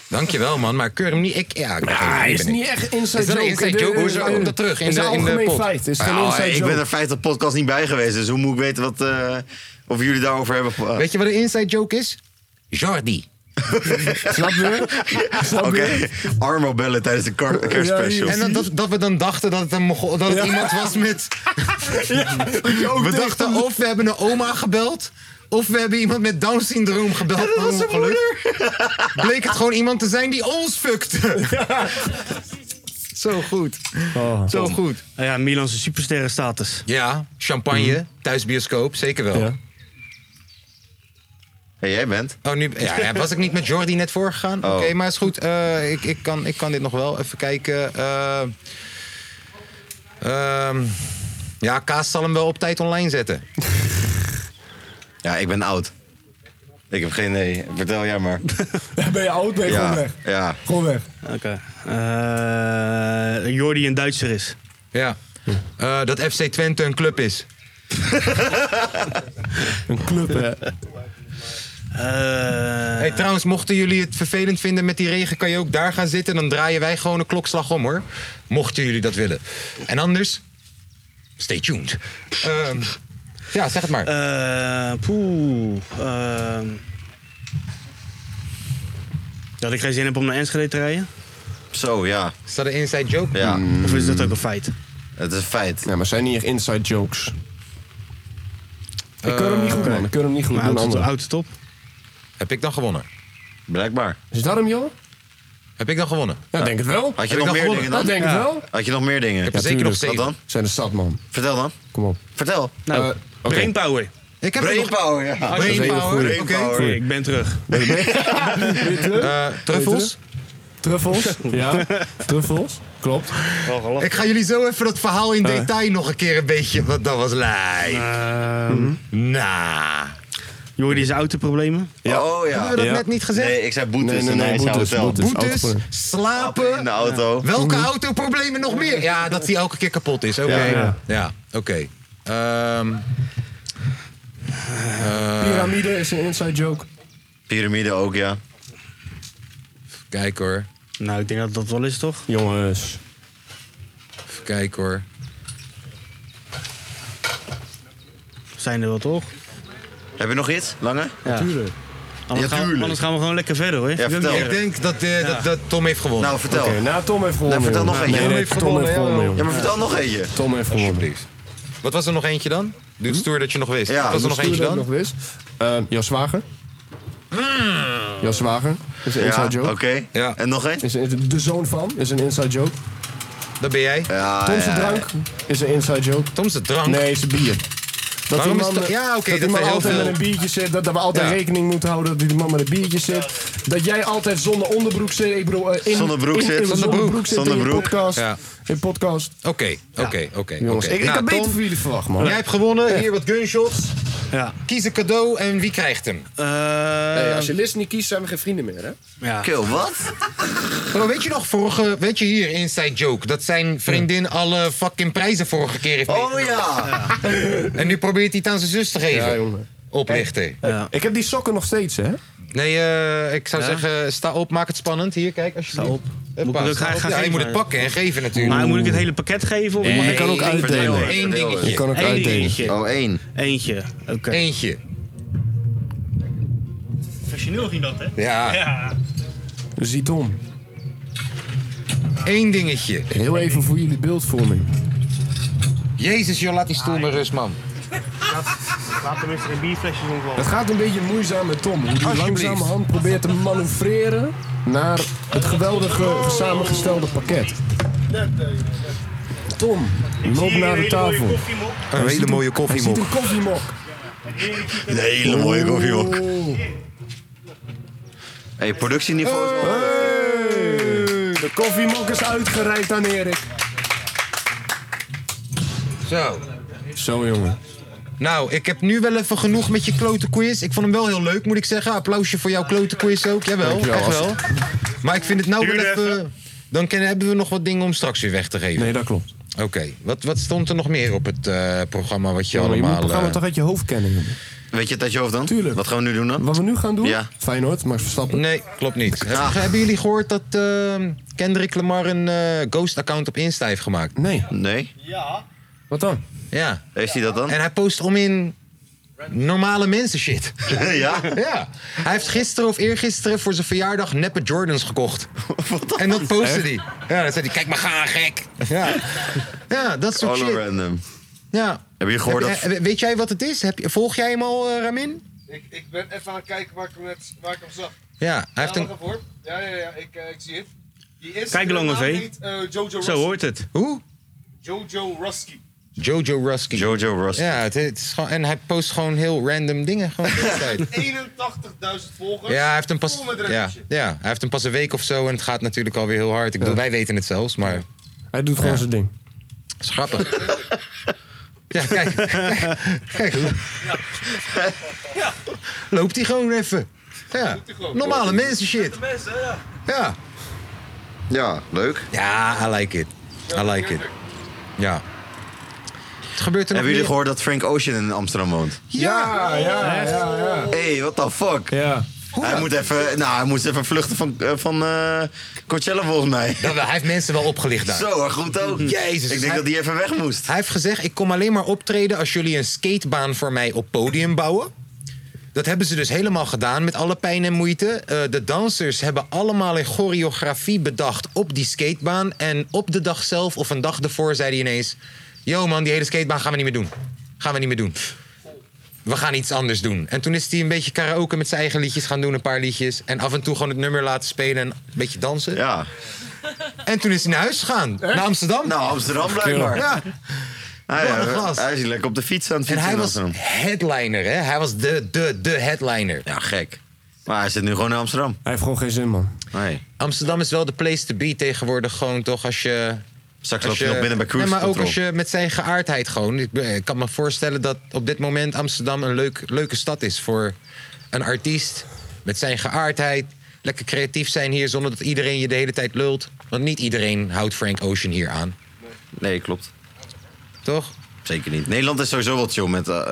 Dankjewel, man, maar keur hem niet. Ik, ja, ik
Ah, is niet echt inside
Is dat een
joke.
inside
De-
joke? Hoezo
de-
komt dat terug in
is
de,
een
in de
algemeen
pot?
feit. Is geen
Nou,
inside
ik
joke.
ben er 50 podcast niet bij geweest, dus hoe moet ik weten wat, eh, of jullie daarover hebben? eh,
Weet je wat een inside joke is? Jordi.
Snap je? Snap
Oké,
je?
Armo bellen tijdens de kar- kerstspecial.
En dat, dat, dat we dan dachten dat het, een Mongo- dat het iemand was met... we dachten of we hebben een oma gebeld... of we hebben iemand met Down-syndroom gebeld. per ongeluk. Bleek het gewoon iemand te zijn die ons fuckte. Zo goed.
Oh.
Zo goed.
Nou ja, Milan's supersterrenstatus.
Ja, champagne, thuisbioscoop, zeker wel.
Ja.
Hey, jij bent.
Oh, nu, ja, ja, was ik niet met Jordi net voorgegaan?
Oh.
Oké, maar is goed. Eh, ik, ik, kan, ik kan dit nog wel even kijken. Eh, ehm, ja, Kaas zal hem wel op tijd online zetten.
Ja, ik ben oud. Ik heb geen idee. Vertel jij maar.
Ben je oud? Ben je gewoon
ja,
weg?
ja.
Gewoon weg.
Oké. Eh Jordi een Duitser is.
Ja. Eh, dat FC Twente een club is.
Een club, hè?
Eh.
Hey, trouwens, mochten jullie het vervelend vinden met die regen, kan je ook daar gaan zitten. Dan draaien wij gewoon een klokslag om hoor. Mochten jullie dat willen. En anders, Stay tuned. Ehm, ja, zeg het maar.
Eh, poeh. ehm. dat ik geen zin heb om naar Enschede te rijden? Mm.
Zo, ja.
Is dat een inside joke?
Ja.
Of is dat ook een feit?
Het is een feit.
Ja, maar zijn niet echt inside jokes. Ik kan
Eh,
hem niet goed, man. Ik kan hem niet goed
Maar
doen.
houdt het-
andere.
houdt het op.
Heb ik dan gewonnen?
Blijkbaar.
Is dat hem, joh?
Heb ik dan gewonnen?
Ja, denk het wel.
Had je
Heb ik
nog
dan
meer
gewonnen?
dingen dan?
Dat denk ik
Ja.
wel.
Had je nog meer dingen?
Ja, tuurlijk.
Wat dan?
Zijn de stad, man.
Vertel dan.
Kom op.
Vertel.
Nou,
Brainpower.
Ik heb
Brainpower, ja.
dat is een hele goeie.
Brainpower.
Oké, ik ben terug. Eh,
Eh, truffels?
Truffels? Ja, truffels. Klopt.
Ik ga jullie zo even dat verhaal in
Eh.
detail nog een keer een beetje, want dat was Nou. live.
Ehm
nah.
Jordi is autoproblemen.
Ja. Oh ja.
Hebben we dat net niet gezegd?
Nee, ik zei boetes
Nee, nee,
en
nee,
hij zei
boetes,
hotel.
boetes,
Boetes, slapen.
In de auto.
Welke autoproblemen nog meer? Ja, dat die elke keer kapot is. Oké.
Ja.
Ja,
Ja.
oké. Ehm eh,
Pyramide is een inside joke.
Pyramide ook, ja.
Kijk hoor.
Nou, ik denk dat dat wel is, toch?
Jongens.
Even kijken hoor.
Zijn er wel, toch?
Heb je nog iets? Lange?
Natuurlijk. Anders,
Ja,
gaan we,
tuurlijk.
anders gaan we gewoon lekker verder, hoor.
Ja, vertel.
Ik denk dat, eh,
Ja.
dat, dat Tom heeft gewonnen.
Nou, vertel. Oké,
nou, Tom heeft gewonnen,
vertel nog
joh.
eentje.
Nee, nee, Tom heeft gewonnen, joh.
Ja, maar vertel nog eentje.
Tom heeft gewonnen.
Alsjeblieft. Wat was er nog eentje dan? Doe het stoer dat je nog wist.
Ja,
Wat was er
Doe
nog
stoer
eentje
dat ik
dan?
nog wist. Eh, jouw zwager. Jouw zwager is een
Ja,
inside joke.
oké.
Ja.
En nog één?
Is een- de zoon van is een inside joke.
Dat ben jij.
Ja,
Tom's drank is een inside joke.
Tom's drank?
Nee, zijn bier. Dat
Waarom
die
is
man,
dat- ja, oké,
dat
dat
die man
zijn heel
altijd
veel.
met een biertje zit. Dat, dat we altijd
Ja.
rekening moeten houden dat die man met een biertje zit. Dat jij altijd zonder onderbroek zit. Ik bedoel, eh, in,
Zonder broek
in-
zit.
in-
Zonder
Zonder
broek.
broek zit
Zonder
in je
broek.
podcast.
Ja.
In podcast.
Oké, oké, oké.
Jongens,
oké.
ik, ik
Nou,
had beter
Tom,
voor jullie verwacht, man.
Jij hebt gewonnen. Hier wat gunshots.
Ja.
Kies een cadeau en wie krijgt hem?
Nee, als je list niet kiest, zijn we geen vrienden meer, hè?
Ja.
Ehm. Kill, wat?
Bro, weet je nog vorige, weet je hier, Inside Joke, dat zijn vriendin alle fucking prijzen vorige keer heeft
Oh
meegenomen?
ja.
En nu probeert hij het aan zijn zus te geven.
Ja, jongen.
Oplichter.
eh, Ik heb die sokken nog steeds, hè?
Nee, eh, ik zou
Ja?
zeggen, sta op, maak het spannend. Hier, kijk, als je
Sta op.
Huppa,
Moet ik het ook
sta
gaan-
op.
gaan
Ja, je
geven?
moet het pakken en geven natuurlijk.
Maar moet ik het hele pakket geven? Of mag
Nee,
ik er ook
één
verdelen.
uitdelen?
Eén dingetje.
Je kan ook
Eén
uitdelen.
dingetje.
Oh, één.
Eentje. Oké.
Eentje.
Professioneel ging dat, hè?
Nou, Ja.
Ziet om.
Eén dingetje.
Heel even voor jullie beeldvorming.
Jezus, joh, laat die stoel maar rust, man.
Laat tenminste geen bierflesjes
Het
omvallen.
gaat een beetje moeizaam met Tom. Die
Alsjeblieft.
langzamerhand probeert te manoeuvreren naar het geweldige samengestelde pakket. Tom, loop naar de tafel.
Een hele mooie
Hij ziet
koffiemok.
een koffiemok. Oh,
Een hele mooie koffie ook. hey, productieniveau is wel-
Eh,
Hey, de koffiemok is uitgereikt aan Erik.
Zo.
Zo jongen.
Nou, ik heb nu wel even genoeg met je klote quiz. Ik vond hem wel heel leuk, moet ik zeggen. Applausje voor jouw klote quiz ook. Jawel,
Dankjewel,
echt wel.
Astrid.
Maar ik vind het nou wel
Duurde
even... Dan kunnen, hebben we nog wat dingen om straks weer weg te geven.
Nee, dat klopt.
Oké, wat, wat stond er nog meer op het eh, programma wat je
Ja, maar Oh, je moet
allemaal...
het programma
eh,
toch uit je hoofd kennen. jongen.
Weet je het uit je hoofd dan?
Tuurlijk.
Wat gaan we nu doen dan?
Wat we nu gaan doen?
Ja.
Feyenoord, Max Verstappen.
Nee, klopt niet. Hebben- Hebben jullie gehoord dat eh, Kendrick Lamar een eh, ghost-account op Insta heeft gemaakt?
Nee,
Nee.
wat dan?
Ja.
Heeft hij dat dan?
En hij post om in normale mensen shit.
ja.
Ja. Hij heeft gisteren of eergisteren voor zijn verjaardag neppe Jordans gekocht. En dat postte hij. Ja, dan zei hij, kijk maar ga gek. Ja, ja dat soort
Alle
shit.
random.
Ja.
Heb je gehoord
Heb je-
dat...
eh, Weet jij wat het is? Heb je, volg jij hem al, eh, Ramin?
Ik, ik ben even aan het kijken waar ik hem, net, waar ik hem zag.
Ja, hij heeft
ja,
een...
wacht even hoor. Ja, ja, ja, ik, eh, ik zie het. Die is
Kijk, Lange V.
heet, eh, Jojo Rusky.
Zo hoort het.
Hoe?
Jojo Rusky.
Jojo Ruskin.
Jojo Rust.
Ja, het, het is gewoon, en hij post gewoon heel random dingen. Gewoon de hele tijd.
81.000 volgers.
Ja, hij heeft hem pas,
Vol met
ja,
random shit.
ja, hij heeft hem pas een week of zo en het gaat natuurlijk alweer heel hard. Ik bedoel, wij weten het zelfs, maar het
Hij doet gewoon zijn ding.
is grappig. ja, kijk. kijk. Loopt hij gewoon even. Ja, normale mensen shit. Ja.
Ja, leuk.
Ja, I like it. I like it. Ja. Het gebeurt er nog
Hebben jullie
meer?
gehoord dat Frank Ocean in Amsterdam woont?
Ja.
ja, ja. ja, ja.
Hey, what the fuck?
Ja.
Hij moet, even, nou, hij moest even vluchten van, eh, van eh, Coachella volgens mij.
hij heeft mensen wel opgelicht daar.
Zo, goed ook.
Jezus.
Ik denk dat hij even weg moest.
Hij heeft gezegd, ik kom alleen maar optreden als jullie een skatebaan voor mij op podium bouwen. Dat hebben ze dus helemaal gedaan met alle pijn en moeite. Eh, de dansers hebben allemaal een choreografie bedacht op die skatebaan. En op de dag zelf of een dag ervoor zei hij ineens... Yo man, die hele skatebaan gaan we niet meer doen. Gaan we niet meer doen. We gaan iets anders doen. En toen is hij een beetje karaoke met zijn eigen liedjes gaan doen. Een paar liedjes. En af en toe gewoon het nummer laten spelen en een beetje dansen.
Ja.
En toen is hij naar huis gegaan. Naar Amsterdam.
Nou, Amsterdam blijkbaar.
Ja.
Ah, ja,
Wat een gast.
hij is hier lekker op de fiets aan het
En
fietsen. in
hij was
Amsterdam.
headliner, hè? Hij was de, de, de headliner.
Ja, gek. Maar hij zit nu gewoon in Amsterdam. Hij
heeft gewoon geen zin, man.
Nee.
Amsterdam is wel de place to be tegenwoordig, gewoon toch als je.
Straks
als
loopt hij nog binnen bij Cruise
Nee, maar ook
Control.
als je met zijn geaardheid gewoon. Ik, ben- ik kan me voorstellen dat op dit moment Amsterdam een leuk, leuke stad is voor een artiest. Met zijn geaardheid. Lekker creatief zijn hier zonder dat iedereen je de hele tijd lult. Want niet iedereen houdt Frank Ocean hier aan.
Nee, klopt.
Toch?
Zeker niet. Nederland is sowieso wat chill met... eh,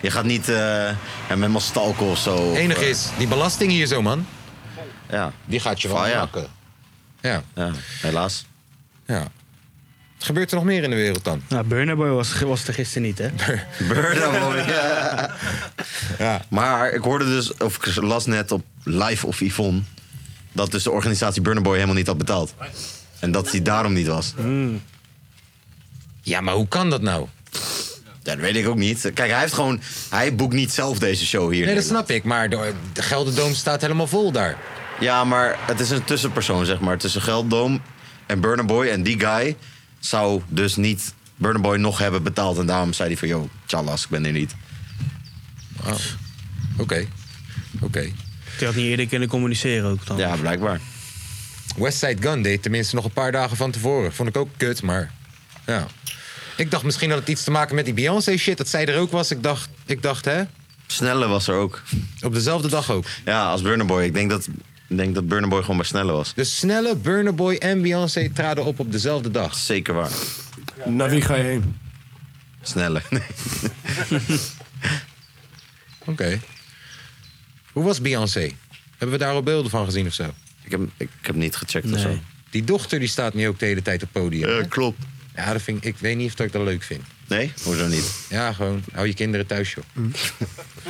je gaat niet eh, ja, met mastalken of zo. of,
Enig
eh,
is, die belasting hier zo, man.
Ja.
Die gaat je wel
Ah, ja.
aanpakken. Ja.
ja. Helaas.
Ja. Wat gebeurt er nog meer in de wereld dan?
Nou, Burner Boy was, was er gisteren niet, hè?
Burda boy. Maar ik hoorde dus, of ik las net op Live of Yvonne... dat dus de organisatie Burna Boy helemaal niet had betaald. En dat hij daarom niet was.
Hmm. Ja, maar hoe kan dat nou?
dat weet ik ook niet. Kijk, hij heeft gewoon... Hij boekt niet zelf deze show hier. in
Nee, dat snap ik. Maar de, de Gelderdoom staat helemaal vol daar.
Ja, maar het is een tussenpersoon, zeg maar. Tussen Gelddoom en Burner Boy. En die guy zou dus niet Burner Boy nog hebben betaald. En daarom zei hij van, yo, tjallas, ik ben er niet.
Oké. Oh, Oké.
Die had niet eerder kunnen communiceren ook dan.
Ja, blijkbaar.
Westside Gun deed tenminste nog een paar dagen van tevoren. Vond ik ook kut, maar ja. Ik dacht misschien had het iets te maken met die Beyoncé shit. Dat zij er ook was. Ik dacht, ik dacht hè?
Snelle was er ook.
Op dezelfde dag ook?
Ja, als Burner Boy. Ik denk dat, ik denk dat Burner Boy gewoon bij Snelle was.
Dus Snelle, Burner Boy en Beyoncé traden op op dezelfde dag.
Zeker waar.
Naar wie ga je heen?
Snelle.
Oké. Hoe was Beyoncé? Hebben we daar al beelden van gezien of zo?
Ik heb, ik heb niet gecheckt
of zo. Die dochter die staat nu ook de hele tijd op het podium. Ja,
klopt.
Ja, dat vind ik, ik weet niet of dat ik dat leuk vind.
Nee? Hoezo niet?
Ja, gewoon. Hou je kinderen thuis, joh.
Mm.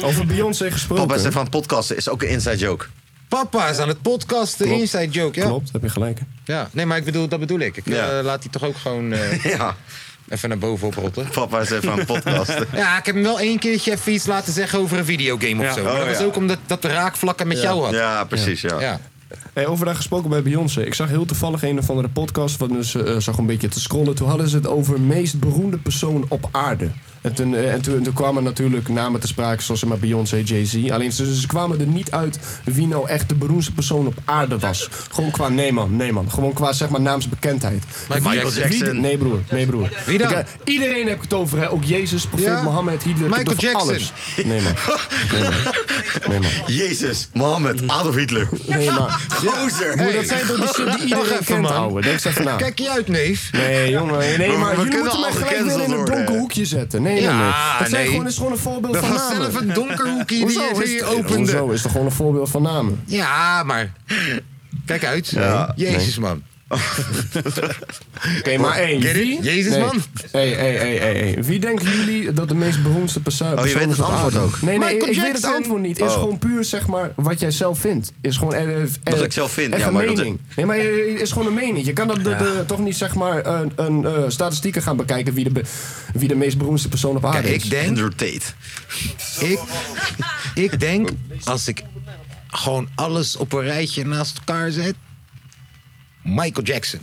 Over Beyoncé gesproken.
Papa is even aan het podcasten. Is ook een inside joke.
Papa is aan het podcasten,
Klopt.
inside joke, ja.
Klopt, heb je gelijk.
Ja, nee, maar ik bedoel, dat bedoel ik. ik
Ja.
eh, laat die toch ook gewoon eh, even naar boven oprotten.
Papa is even aan het podcasten.
eh, Ja, ik heb hem wel één keertje even iets laten zeggen over een videogame of
Ja.
zo. Maar
Oh,
dat was
ja.
ook omdat dat de raakvlakken met
Ja.
jou had.
Ja, precies, ja.
ja.
Hey, overdag gesproken bij Beyoncé. Ik zag heel toevallig een of andere podcast. Wat dus, eh, zag een beetje te scrollen. Toen hadden ze het over meest beroemde persoon op aarde. En toen, eh, en toen, toen kwamen natuurlijk namen te sprake zoals zeg maar Beyoncé, Jay-Z. Alleen ze, ze kwamen er niet uit wie nou echt de beroemdste persoon op aarde was. Gewoon qua nee man, nee man. Gewoon qua zeg maar naamsbekendheid.
Michael
Wie-
Jackson.
wie de- nee broer, nee broer.
Wie dan?
Ik, eh, iedereen heb ik het over. Hè. Ook Jezus, profeet
Ja.
Mohammed, Hitler.
Michael
ik heb het over
Jackson.
Alles. Nee man. Nee man. Nee man. Mm.
Jezus, Mohammed, Adolf Hitler.
Nee maar.
Gozer.
Broer, dat zijn toch die shit die iedereen kent, ouwe. Denk eens even na.
Kijk je uit, neef.
Nee, jongen. Nee, nee,
We-
maar
we
jullie
kunnen
moeten mij
al
gelijk weer in
gecanceld
een
worden.
donker hoekje zetten. Nee, nee,
Ja,
nee. Dat zijn
nee.
gewoon, is gewoon een voorbeeld
Dat
van
was
namen.
zelf een donker hoekje die
Hoezo?
je- die
Is
je
het-
opende.
Hoezo? Is toch gewoon een voorbeeld van namen?
Ja, maar... Kijk uit. Jezus, man.
Oké, maar één.
Get it?
Wie?
Jezus,
Nee.
man.
Hé, hé, hé, hé, hé. Wie denken jullie dat de meest beroemdste perso- persoon
Oh,
is?
je weet het
op aarde?
antwoord ook.
Nee, nee,
Michael
ik weet het
Jackson.
antwoord niet. Is
Oh.
gewoon puur, zeg maar, wat jij zelf vindt. Is gewoon... eh, eh,
Wat
eh,
ik zelf vind,
echt
ja,
een
maar dat-
mening. Nee, maar het is gewoon een mening. Je kan dat de- de- toch niet, zeg maar, een, een eh, statistieken gaan bekijken wie de, be- wie de meest beroemdste persoon op aarde
Kijk,
is.
ik denk...
Andrew Tate.
Ik, ik denk, als ik gewoon alles op een rijtje naast elkaar zet... Michael Jackson.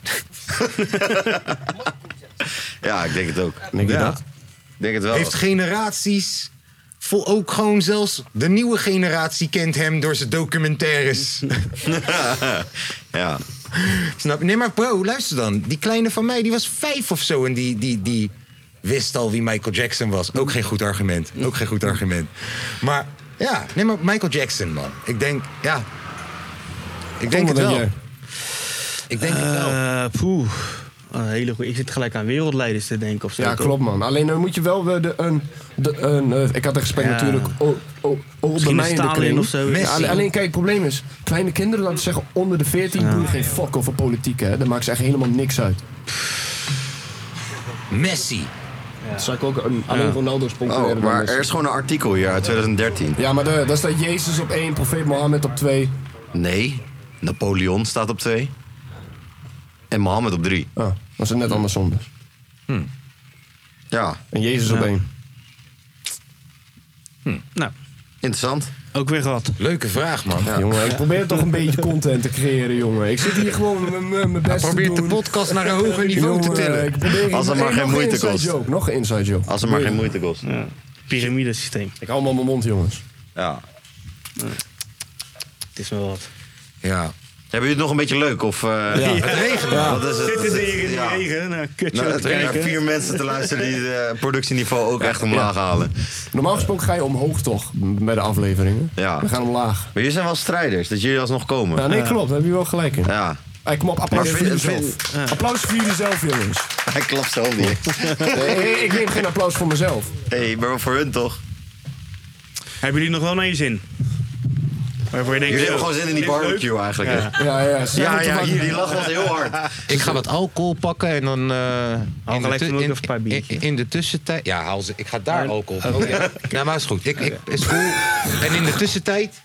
Ja, ik denk het ook.
Denk
je
ja.
dat?
Ik denk het wel.
Heeft generaties... Vol ook gewoon zelfs de nieuwe generatie kent hem door zijn documentaires.
ja.
Snap je? Nee, maar bro, luister dan. Die kleine van mij, die was vijf of zo. En die, die, die wist al wie Michael Jackson was. Ook geen goed argument. Ook geen goed argument. Maar ja, nee, maar Michael Jackson, man. Ik denk, ja. Ik denk
wat
het wel.
denk jij?
Ik denk het wel.
Eh, Poeh. een hele goeie. Ik zit gelijk aan wereldleiders te denken of zo.
Ja,
toch?
klopt man. Alleen dan moet je wel weer de, een, de, een eh, ik had een gesprek
Ja.
natuurlijk o- o- onder
Misschien
mij
een
in de
Stalin
kring.
of zo.
Ja,
Messi.
Alleen, alleen, kijk, het probleem is, kleine kinderen laten zeggen onder de 14 doen geen fuck over politiek hè. Daar maakt ze echt helemaal niks uit.
Messi.
Dat zou ik ook een alleen Ronaldo sponsoreren.
Oh,
dan
maar
Messi.
er is gewoon een artikel hier uit 2013.
Ja, maar de, daar staat Jezus op 1, profeet Mohammed op 2.
Nee, Napoleon staat op 2. En Mohammed op 3.
Oh, was het net andersom dus.
Hmm.
Ja.
En Jezus
Ja.
op 1.
Nou.
Interessant.
Ook weer gehad.
Leuke vraag, man.
Jongen, ik probeer toch een beetje content te creëren, jongen. Ik zit hier gewoon m- m- mijn best te
probeert
doen.
Nou, de podcast naar een hoger niveau te
Jongen,
tillen.
ik probeer-
Als het maar
Hey,
geen
nog
moeite
een inside
kost.
Joke, nog een inside joke.
Als het maar geen moeite kost.
Pyramidesysteem.
Ik hou hem aan mijn mond, jongens.
Ja.
Het is wel wat.
Ja.
Hebben jullie het nog een beetje leuk? Of, eh,
Het regent. Ja.
Wat is het?
Zitten ze hier in die
Ja.
regen
eh,
naar kutje
Nou,
te
er zijn
kijken.
vier mensen te luisteren die het productieniveau ook echt omlaag halen.
Normaal gesproken ga je omhoog toch, m- bij de afleveringen.
Ja.
We gaan omlaag.
Maar jullie zijn wel strijders, dat jullie alsnog komen.
Ja, nee, klopt. Daar heb je wel gelijk in.
Ja.
Hey, kom op, applaus
Maar
voor
vind-
jezelf. Applaus voor jullie zelf, jongens.
Hij klapt zelf niet.
Nee, ik neem geen applaus voor mezelf.
Hé, hey, maar voor hun toch?
Hebben jullie nog wel naar je zin? Waarvoor je denkt,
Jullie
zo,
eh,
hebben gewoon zin in die
dit is leuk.
barbecue eigenlijk.
Ja.
hè?
Ja,
Ja,
ja.
ja, hier, die lach was heel hard.
Ik ga wat alcohol pakken en dan... eh in, de
gelijk
tu-
hem ook
in,
even een paar
in,
biertjes.
in de tussentijd... Ja, haal ze. Ik ga daar alcohol pakken. Ja. Nou, maar is goed. Ik, ik, is cool. En in de tussentijd...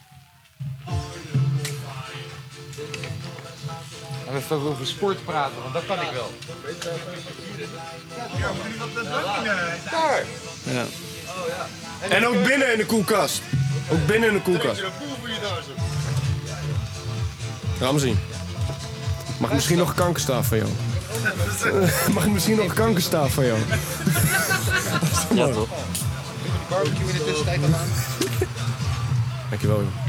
Gaan we even over sport praten, want dat kan ik wel.
Daar!
Ja.
En ook binnen in de koelkast. Ook binnen in de koelkast.
Een boel voor je daar zo.
Laat me zien. Mag ik misschien nog een kankerstaaf van jou? Mag ik misschien nog een kankerstaaf van jou? Ja, toch?
Barbecue in de tussentijd al aan.
Dankjewel, joh.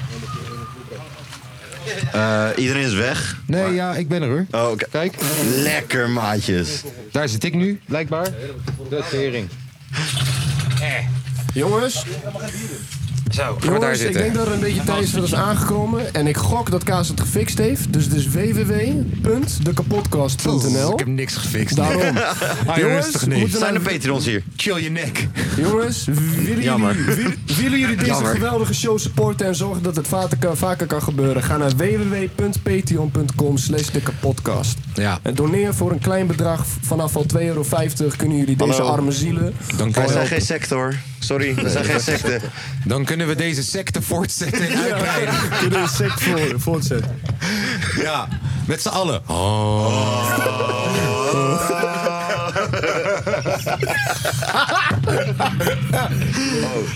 Eh, iedereen is weg.
Nee, ja, ik ben er hoor.
Oh, oké.
Kijk.
Lekker, maatjes.
Daar zit ik nu, blijkbaar. De tering.
Eh.
Jongens,
Zo, gaan we daar
jongens ik
zitten.
denk dat er een beetje tijd is dat is aangekomen. En ik gok dat Kaas het gefixt heeft. Dus het is www.dekapodcast.nl.
Ik heb niks gefixt. Ah,
Daarom.
rustig, nee.
Ah, moeten
Zijn
nou-
de Patreons hier?
Chill je nek.
Jongens, willen
Jammer.
jullie, wil- willen jullie deze
Jammer.
geweldige show supporten en zorgen dat het vaker kan, vaker kan gebeuren? Ga naar www.patreon.com slash podcast.
Ja.
En doneer voor een klein bedrag vanaf al 2,50 euro kunnen jullie deze
Hallo.
arme zielen.
Dan
Wij
kunnen,
zijn
we,
geen secte hoor. Sorry, we zijn geen secte.
dan kunnen we deze secte voortzetten en uitbreiden.
Kunnen een sec voor, voortzetten.
Ja, met z'n allen. Oh. Oh.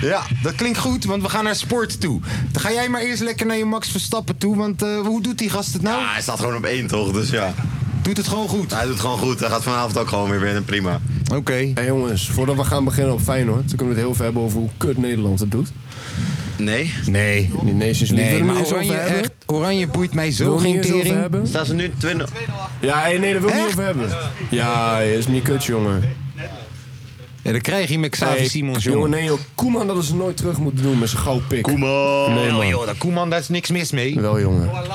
Ja, dat klinkt goed, want we gaan naar sport toe. Dan ga jij maar eerst lekker naar je Max Verstappen toe, want eh, hoe doet die gast het nou?
Ah, hij staat gewoon op één toch, dus ja.
Doet het gewoon goed.
Hij doet het gewoon goed. Hij gaat vanavond ook gewoon weer winnen, prima.
Oké.
Hey jongens, voordat we gaan beginnen op Feyenoord, dan kunnen we het heel veel hebben over hoe kut Nederland het doet.
Nee.
Nee.
Die Nations League.
Nee,
Willen we
maar
het eens
oranje,
over hebben?
echt, oranje boeit mij zo
Willen we
geen
het eens over
tering.
hebben?
Staan ze nu 20...
Ja, hey, nee, daar wil ik niet over hebben. Ja, is niet kut, jongen.
Ja, dan krijg je met Xavi
Hey,
Simons, jongen.
nee, joh. Koeman dat ze nooit terug moeten doen met zijn gouden pik.
Koeman.
Nee, man.
Oh, joh, dat Koeman, daar is niks mis mee.
Wel, jongen.
Noah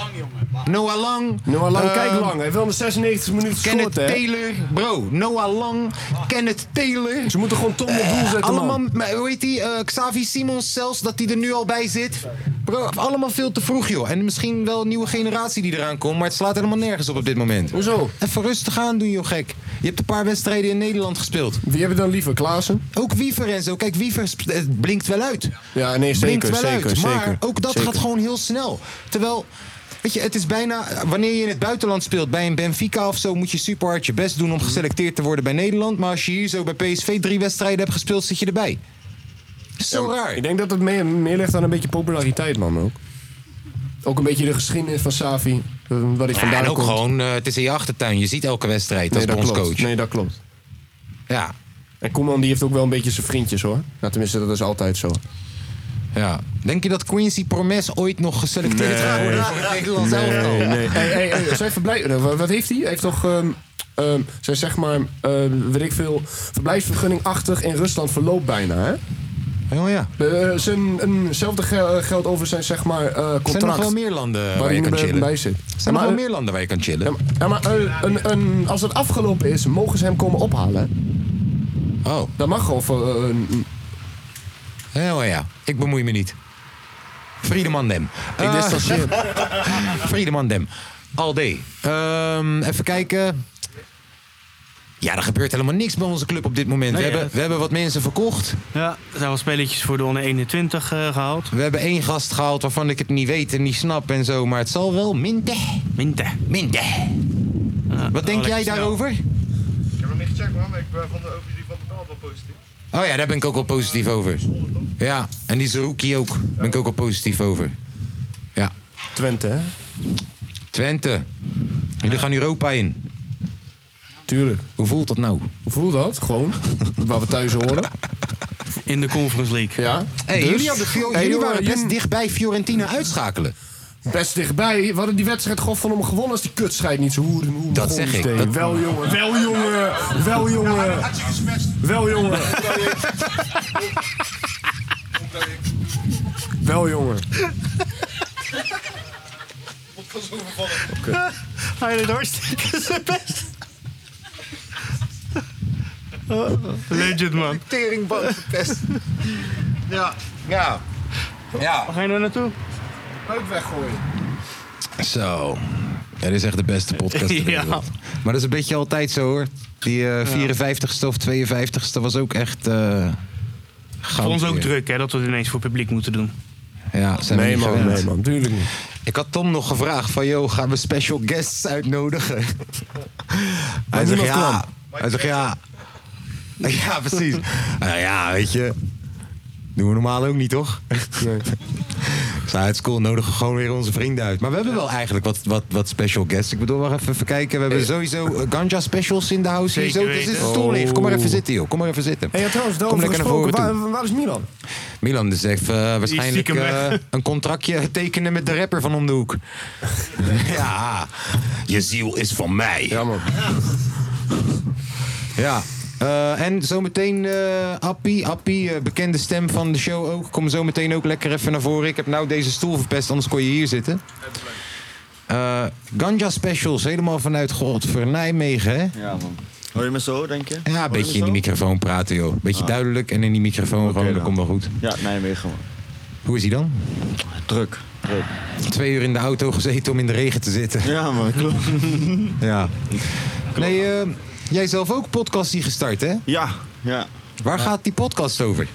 Lang.
Noah Lang,
eh,
kijk lang. Hij heeft wel een 96 minuten
Kenneth
gescoord, hè.
Taylor. Bro, Noah Lang. Kenneth Taylor.
Ze moeten gewoon Tom op doel zetten,
Allemaal,
man.
maar hoe heet die? eh, Xavi Simons zelfs, dat die er nu al bij zit. Bro, allemaal veel te vroeg, joh. En misschien wel een nieuwe generatie die eraan komt, maar het slaat helemaal nergens op op dit moment.
Hoezo?
Even rustig aan doen, joh, gek. Je hebt een paar wedstrijden in Nederland gespeeld.
Wie hebben we dan liever? Klaassen?
Ook Wiever en zo. Kijk, Wiever sp- het blinkt wel uit.
Ja, nee,
Blinkt
zeker,
wel
zeker,
uit. Maar
zeker.
ook dat
Zeker.
gaat gewoon heel snel. Terwijl, weet je, het is bijna... Wanneer je in het buitenland speelt, bij een Benfica of zo... moet je super hard je best doen om geselecteerd te worden bij Nederland. Maar als je hier zo bij PSV drie wedstrijden hebt gespeeld, zit je erbij. Zo raar.
Ik denk dat het meer, meer ligt aan een beetje populariteit, man, ook. Ook een beetje de geschiedenis van Savi, eh, waar hij
Ja,
vandaan
en ook
komt.
gewoon, eh, het is in je achtertuin. Je ziet elke wedstrijd
nee,
als
dat klopt.
bondscoach.
Nee, dat klopt.
Ja,
En Koeman die heeft ook wel een beetje zijn vriendjes, hoor. Nou, tenminste, dat is altijd zo.
ja. Denk je dat Quincy Promes ooit nog geselecteerd gaat worden voor het Nederlands elftal?
Hey, hey, hey, zijn verblijf, eh, wa- wat heeft hij? Hij heeft toch, ehm, ehm, zijn ehm, zeg maar, eh, weet ik veel, verblijfsvergunning achtig in Rusland verloopt bijna, hè?
Oh ja.
zijn, en hetzelfde ge- geldt over zijn zeg maar, eh, contract.
Zijn er nog wel meer landen eh, waar,
hij
je kan
bij-
chillen?
bij zit.
Zijn er
Maar,
nog wel
eh,
meer landen waar je kan chillen?
Ja, maar een, een, een, als het afgelopen is, mogen ze hem komen ophalen.
Oh.
Dat mag gewoon voor... eh, een-
Oh ja, ik bemoei me niet. Friedeman Dem.
Ik wist dat shit.
Friedeman Dem. Alde. Ehm, even kijken. Ja, er gebeurt helemaal niks bij onze club op dit moment.
Nee,
we,
ja,
hebben,
dat-
we hebben wat mensen verkocht.
Ja, er zijn wel spelletjes voor de onder 21 eh, gehaald.
We hebben één gast gehaald waarvan ik het niet weet en niet snap en zo. Maar het zal wel. Minte.
Minte.
Minte. wat denk jij daarover?
Ik heb hem niet gecheckt, man, maar ik ben van de overzie van de wel positief.
Oh ja, daar ben ik ook wel positief over. Ja, en die Zerouki ook. Daar ben ik ook wel positief over. Ja.
Twente, hè?
Twente. Jullie gaan Europa in.
Tuurlijk.
Hoe voelt dat nou?
Hoe voelt dat? Gewoon. Waar we thuis horen.
In de Conference League.
Ja.
Hey,
Dus?
jullie, hadden Fio-
Hey,
jullie
jongen,
waren best
jullie-
dichtbij Fiorentina uitschakelen.
Best dichtbij. We hadden die wedstrijd gewoon van hem gewonnen als die kutscheid niet zo hoeren. hoeren
Dat
begon
zeg ik.
meteen.
Dat-
Wel jongen, wel jongen, wel jongen. Wel jongen. Wel jongen.
Oké. Hij deed hartstikke zijn best. Legend, man.
Teringband verpest.
Ja.
Ja. Ja.
Waar ga je nou naartoe?
Leuk weggooien.
Zo. Ja, dit is echt de beste podcast ter
Ja.
wereld. Maar dat is een beetje altijd zo hoor. Die eh, 54ste of 52ste was ook echt... eh goud
Voor ons ook
weer.
druk, hè, dat we het ineens voor publiek moeten doen.
Ja, zijn
Nee,
we niet
man,
gewend.
nee, man,
tuurlijk niet.
Ik had Tom nog gevraagd van, joh, gaan we special guests uitnodigen? Hij zegt
niemand
ja. Hij zegt ja. Ja, precies. Nou ja, weet je. Doen we normaal ook niet, toch? Nee. Uit school nodigen we gewoon weer onze vrienden uit. Maar we hebben wel eigenlijk wat, wat, wat special guests. Ik bedoel, wacht even, even kijken. We hebben sowieso eh, ganja specials in de house. Hier zo,
Zeker
er zit een
weten.
stoel neer. Kom maar even
Oh.
zitten, joh. Kom maar even zitten.
Hey, ja, trouwens,
Kom
daarover
lekker naar
gesproken.
voren toe.
Waar, waar is Milan?
Milan dus even eh, waarschijnlijk
stiekem
eh,
weg.
een contractje tekenen met de rapper van om de hoek. ja, je ziel is van mij. Ja,
man.
Ja. eh, en zometeen eh Appie, Appie eh, bekende stem van de show ook. Kom zometeen ook lekker even naar voren. Ik heb nou deze stoel verpest, anders kon je hier zitten. Eh, Ganja Specials, helemaal vanuit Godver Nijmegen, hè?
Ja, man. Hoor je me zo, denk je? Ah.
Ja, een beetje in die microfoon praten, joh. Beetje duidelijk en in die microfoon gewoon, dat komt wel goed.
Ja, Nijmegen, man.
Hoe is hij dan? Druk, druk. Twee uur in de auto gezeten om in de regen te zitten.
Ja, man, klopt.
ja. Nee, eh, jij zelf ook podcast die gestart, hè?
Ja, ja.
Waar gaat die podcast over?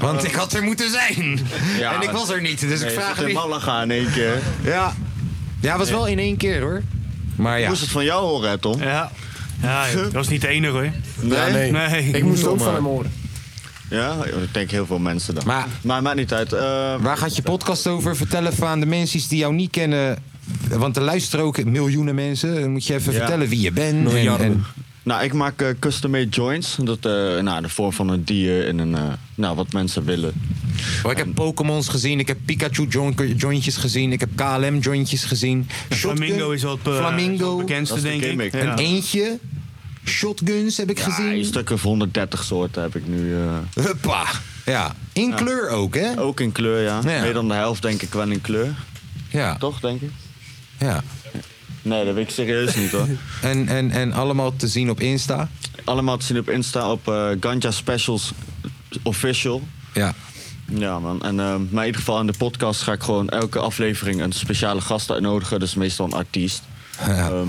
Want
Eh,
ik had er moeten zijn.
Ja.
en ik was er niet, dus ik
Nee, je
vraag
zat
het
in
niet.
Malaga in één keer.
Ja. Ja, was wel in één keer hoor. Maar ja.
Ik moest het van jou horen, hè, Tom?
Ja. Ja, joh, dat was niet de enige hoor.
horen.
Ja, ik denk heel veel mensen dan.
Maar,
maar maakt niet uit.
Waar gaat je podcast over? Vertel even aan de mensen die jou niet kennen. Want er luisteren ook miljoenen mensen. Dan moet je even
Ja.
vertellen wie je bent. en- en-
Nou, ik maak eh, custom-made joints. Dat, eh nou, de vorm van een dier en een, eh, nou, wat mensen willen.
Maar ik heb Pokémons gezien, ik heb Pikachu join- jointjes gezien, ik heb KLM jointjes gezien.
Flamingo is wel het, eh,
Flamingo.
het bekendste, Dat is de denk ik. gimmick,
Een
ja.
eentje. Shotguns heb ik
Ja, een
gezien.
stuk of 130 soorten heb ik nu. eh.
Huppa. Ja, in kleur ook, hè?
Ook in kleur, ja.
Ja.
Meer dan de helft denk ik wel in kleur.
Ja.
Toch, denk ik?
Ja.
Nee, dat weet ik serieus niet, hoor.
En, en, en allemaal te zien op Insta.
Allemaal te zien op Insta op eh Ganja Specials Official.
Ja.
Ja, man. En, eh, maar in ieder geval in de podcast ga ik gewoon elke aflevering een speciale gast uitnodigen. Dus meestal een artiest. Ehm,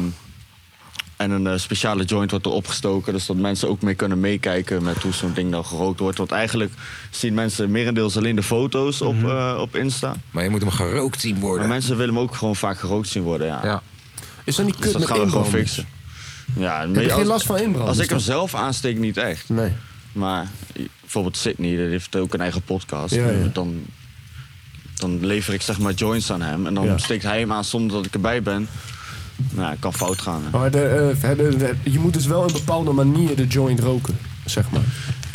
en een eh, speciale joint wordt er opgestoken. Dus dat mensen ook mee kunnen meekijken met hoe zo'n ding nou gerookt wordt. Want eigenlijk zien mensen merendeels alleen de foto's op,
Mhm.
eh, op Insta.
Maar je moet hem gerookt zien worden.
Maar mensen willen hem ook gewoon vaak gerookt zien worden, ja.
Is dat niet
Dus
kut
dat
met
gaan we gewoon
inbranden?
fixen. Ja,
je geen
als-
last van inbranden?
Als ik hem
Is
zelf aansteek, niet echt.
Nee.
Maar i- bijvoorbeeld Sydney, die heeft ook een eigen podcast.
Ja, ja.
Dan, dan lever ik zeg maar joints aan hem. En dan
Ja.
steekt hij hem aan zonder dat ik erbij ben. Nou, het kan fout
Oh.
gaan. hè.
Maar de, eh, de- de- je moet dus wel een bepaalde manier de joint roken, zeg maar.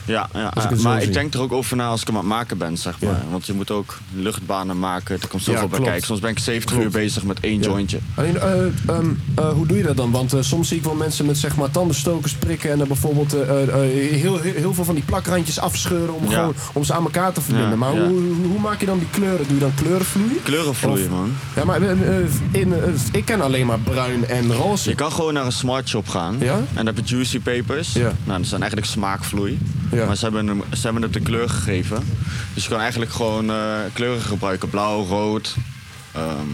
Ja, ja
Als ik het zo
maar
zie.
ik denk er ook over na als ik hem aan het maken ben, zeg maar. Want je moet ook luchtbanen maken, er komt zoveel
Ja,
bij
klopt.
kijken. Soms ben ik 70
Klopt.
uur bezig met één
Ja.
jointje.
Alleen, eh, ehm, eh, hoe doe je dat dan? Want eh, soms zie ik wel mensen met zeg maar, tandenstokers prikken en dan bijvoorbeeld eh, eh, eh, heel, heel, heel veel van die plakrandjes afscheuren om,
Ja.
gewoon, om ze aan elkaar te verbinden.
Ja,
maar
ja.
Hoe, hoe, hoe maak je dan die kleuren? Doe je dan kleurenvloei?
Kleurenvloeien,
Of-
man.
Ja, maar eh, eh, in, eh, ik ken alleen maar bruin en roze.
Je kan gewoon naar een smart shop gaan. En dan heb je juicy papers. Nou, dat zijn eigenlijk smaakvloei. Maar ze hebben, hem- ze hebben het de kleur gegeven. Dus je kan eigenlijk gewoon eh, kleuren gebruiken. Blauw, rood, ehm,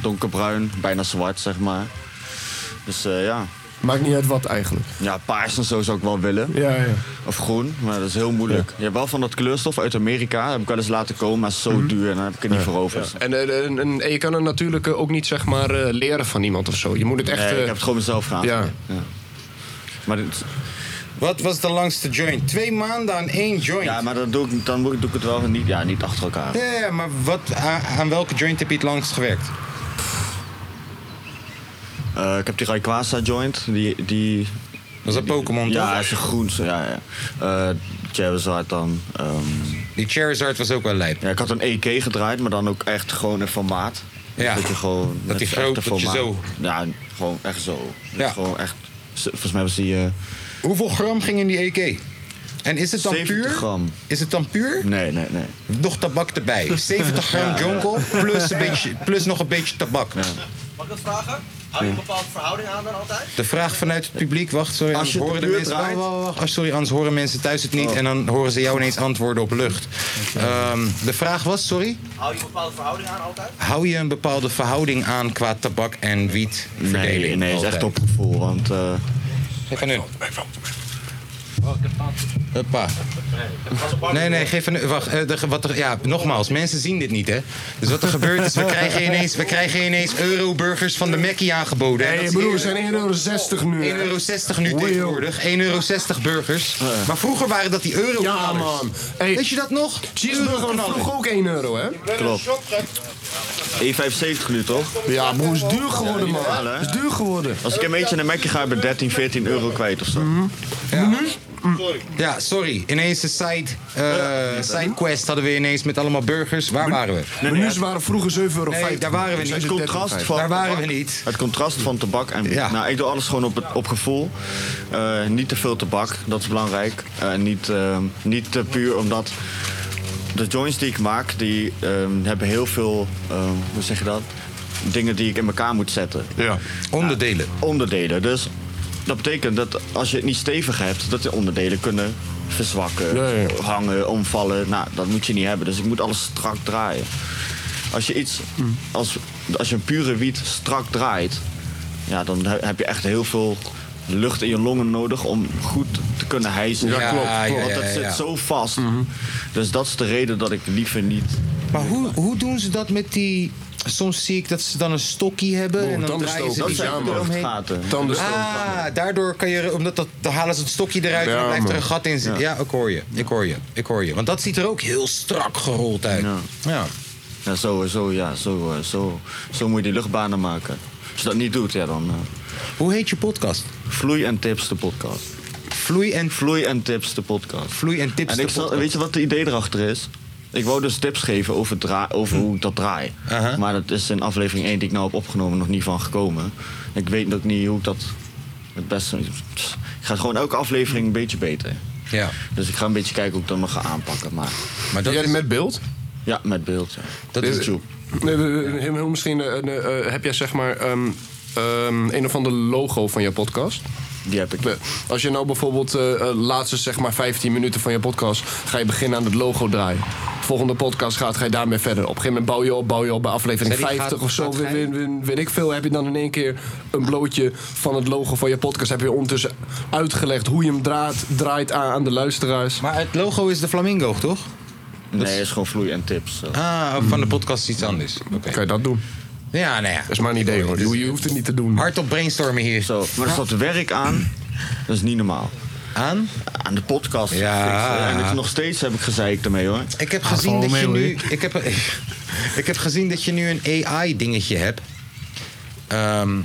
donkerbruin, bijna zwart, zeg maar. Dus eh, ja.
Maakt niet uit wat eigenlijk.
Ja, paars en zo zou ik wel willen.
Ja, ja.
Of groen, maar dat is heel moeilijk. Je hebt wel van dat kleurstof uit Amerika, dat heb ik wel eens laten komen, maar zo
Mhm.
duur en dan heb ik het niet voor over.
En, eh, en, en- en je kan er natuurlijk eh, ook niet zeg maar, eh, leren van iemand of zo. Je moet het echt.
Nee,
eh,
ik heb het gewoon mezelf gedaan.
Ja.
Maar
Wat was de langste joint? Twee maanden aan één joint.
Ja, maar dan doe ik, dan doe ik het wel niet, ja, niet achter elkaar.
Ja, ja, maar wat, aan, aan welke joint heb je het langst gewerkt?
Eh, ik heb die Rayquaza joint. Die, die,
dat is een Pokémon,
Ja,
toch?
hij is een groen. zo- Ja, ja. Eh, Charizard dan. ehm.
die Charizard was ook wel lijp.
Ja, ik had een EK gedraaid, maar dan ook echt gewoon een formaat.
Ja,
Dat je gewoon...
dat die
is
groot, dat je zo-
Ja, gewoon echt zo.
Ja.
Ja. Gewoon echt... Volgens mij was die... eh,
Hoeveel gram ging in die EK? En is het dan
70
puur?
gram.
Is het dan puur?
Nee, nee, nee.
Nog tabak erbij. 70 gram
Ja, ja.
jonkel plus, een beetje, plus nog een beetje tabak.
Mag ik dat vragen? Hou je een bepaalde verhouding aan dan altijd?
De vraag vanuit het publiek, wacht, sorry,
Als
anders
je de
horen de
buurt
mensen.
draait-
wacht, wacht, wacht, wacht, sorry, anders horen mensen thuis het
Oh.
niet en dan horen ze jou ineens antwoorden op lucht. Ehm, de vraag was, sorry,
Hou je een bepaalde verhouding aan altijd?
hou je een bepaalde verhouding aan qua tabak en wietverdeling?
Nee, nee, het is echt op gevoel, want... eh
Geef aan hun. Huppa. Nee, nee, geef een. Wacht, eh, de- wat er, ja, nogmaals, mensen zien dit niet, hè? Dus wat er gebeurt is, we krijgen ineens, we krijgen ineens euroburgers van de Mackie aangeboden.
Hey, broer, we zijn 1,60 euro nu.
1,60 euro nu tegenwoordig. 1,60 euro burgers. Maar vroeger waren dat die euro
Ja, man.
Weet je dat nog?
Cheeseburger was vroeger ook 1 euro, hè?
Klopt. 1,75 E nu toch?
Ja, broer, is duur geworden, man. Is duur geworden. Mhm.
Als ik een beetje naar Mackie ga, ben ik 13, 14 euro kwijt of zo.
Ja. Mhm. Ja, sorry. Ineens een side, eh side quest hadden we ineens met allemaal burgers. Waar waren we?
Menus waren vroeger 7,50 euro.
Nee, daar waren we niet.
Het contrast van
Daar waren we
tabak-
niet.
Het contrast van tabak en wiet.
Ja.
Nou, ik doe alles gewoon op, het, op gevoel. Eh, niet te veel tabak, dat is belangrijk. Eh, niet, ehm, niet te puur omdat de joints die ik maak, die ehm, hebben heel veel, ehm, hoe zeg je dat? Dingen die ik in elkaar moet zetten. Nou,
Ja. Onderdelen.
onderdelen. Dus dat betekent dat als je het niet stevig hebt, dat de onderdelen kunnen verzwakken, hangen, omvallen. Nou, dat moet je niet hebben. Dus ik moet alles strak draaien. Als je iets, als, als je een pure wiet strak draait, ja, dan he- heb je echt heel veel lucht in je longen nodig om goed te kunnen hijsen.
Ja, Ja, klopt, klopt. ja,
Want dat
ja, ja.
zit zo vast. Dus dat is de reden dat ik liever niet
Maar hoe, hoe doen ze dat met die... Soms zie ik dat ze dan een stokkie hebben en dan draaien ze
Dat
die
zijn
stokkie
de
eromheen.
gaten.
Ah, daardoor kan je, omdat dat, dan halen ze het stokje eruit en
Ja,
dan blijft er
man.
een gat in zitten. Ja. ik hoor je, ik hoor je, ik hoor je. Want dat ziet er ook heel strak gerold uit. Ja. Ja.
Ja, zo, zo, ja, zo, eh, zo, zo moet je die luchtbanen maken. Als je dat niet doet, ja, dan... eh,
Hoe heet je podcast?
Vloei en Tips, de podcast.
Vloei en...
Vloei en Tips, de podcast.
Vloei en Tips,
en
de
ik zal-
podcast.
Weet je wat het idee erachter is? Ik wou dus tips geven over, draa- over hoe ik dat draai. Maar dat is in aflevering 1 die ik nou heb opgenomen nog niet van gekomen. Ik weet ook niet hoe ik dat het beste... Pss, Ik ga gewoon elke aflevering een beetje beter.
Ja.
Dus ik ga een beetje kijken hoe ik dat me ga aanpakken. Maar,
maar
Doe jij dit met beeld?
Ja, met beeld. ja. YouTube.
Nee, we- we- heel misschien eh, eh, eh, heb jij zeg maar ehm, ehm, een of ander logo van je podcast.
Die heb ik.
Als je nou bijvoorbeeld eh, eh, laatste zeg maar 15 minuten van je podcast ga je beginnen aan het logo draaien. Volgende podcast gaat, ga je daarmee verder. Op een gegeven moment bouw je op, bouw je op bij aflevering
Zeg, die
50
gaat-
of zo.
gaat
Weet, weet, weet- weet ik veel. Heb je dan in één keer een blootje van het logo van je podcast. Heb je ondertussen uitgelegd hoe je hem draait, draait aan, aan de luisteraars.
Maar het logo is de flamingo, toch?
Nee, is gewoon vloei en tips. zo.
Ah, ook van de podcast is iets anders. Oké.
Kan je dat doen?
Ja, nou ja.
Dat is maar een idee hoor. Je hoeft het niet te doen.
Hard op brainstormen hier.
Zo, maar er staat werk aan. Dat is niet normaal.
Aan?
Aan de podcast.
Ja.
En ik, nog steeds heb ik gezeik ermee hoor.
Ik
Ah,
heb gezien dat je nu. Ik heb, ik heb gezien dat je nu een AI-dingetje hebt. Ehm,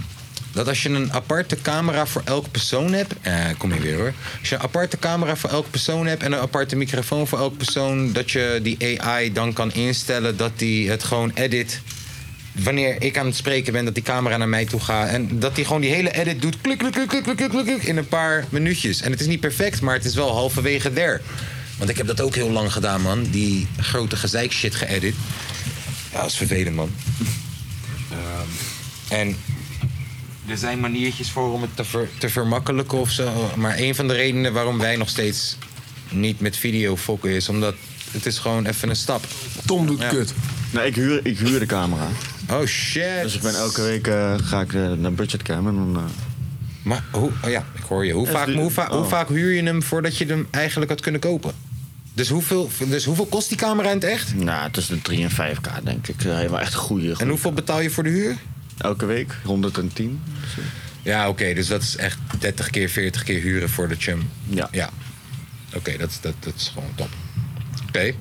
Dat als je een aparte camera voor elke persoon hebt. Eh, kom hier weer hoor. Als je een aparte camera voor elke persoon hebt en een aparte microfoon voor elke persoon. Dat je die AI dan kan instellen dat die het gewoon edit. Wanneer ik aan het spreken ben, dat die camera naar mij toe gaat. En dat die gewoon die hele edit doet. Klik, klik, klik, klik, klik, klik, klik, klik, in een paar minuutjes. En het is niet perfect, maar het is wel halverwege der. Want ik heb dat ook heel lang gedaan, man. Die grote gezeik shit geëdit. Ja, dat is vervelend, man. Ehm, en er zijn maniertjes voor om het te, ver- te vermakkelijken of zo. Maar een van de redenen waarom wij nog steeds niet met video fokken is... omdat het is gewoon even een stap.
Tom doet
kut. Nee, Nou, ik huur, ik huur de camera.
Oh shit.
Dus ik ben elke week eh, ga ik eh, naar budgetcam en dan. eh,
Maar hoe, oh ja, ik hoor je. Hoe vaak,
dus
hoe, va-
oh.
hoe vaak huur je hem voordat je hem eigenlijk had kunnen kopen? Dus hoeveel, dus hoeveel kost die camera in het echt?
Nou, tussen de 3 en 5k denk ik. Eh, Helemaal echt goede. En
hoeveel betaal je voor de huur?
Elke week 110.
Ja, oké, dus dat is echt 30 keer, 40 keer huren voor de chum. Ja. ja. Oké, dat, dat, dat is gewoon top. Oké.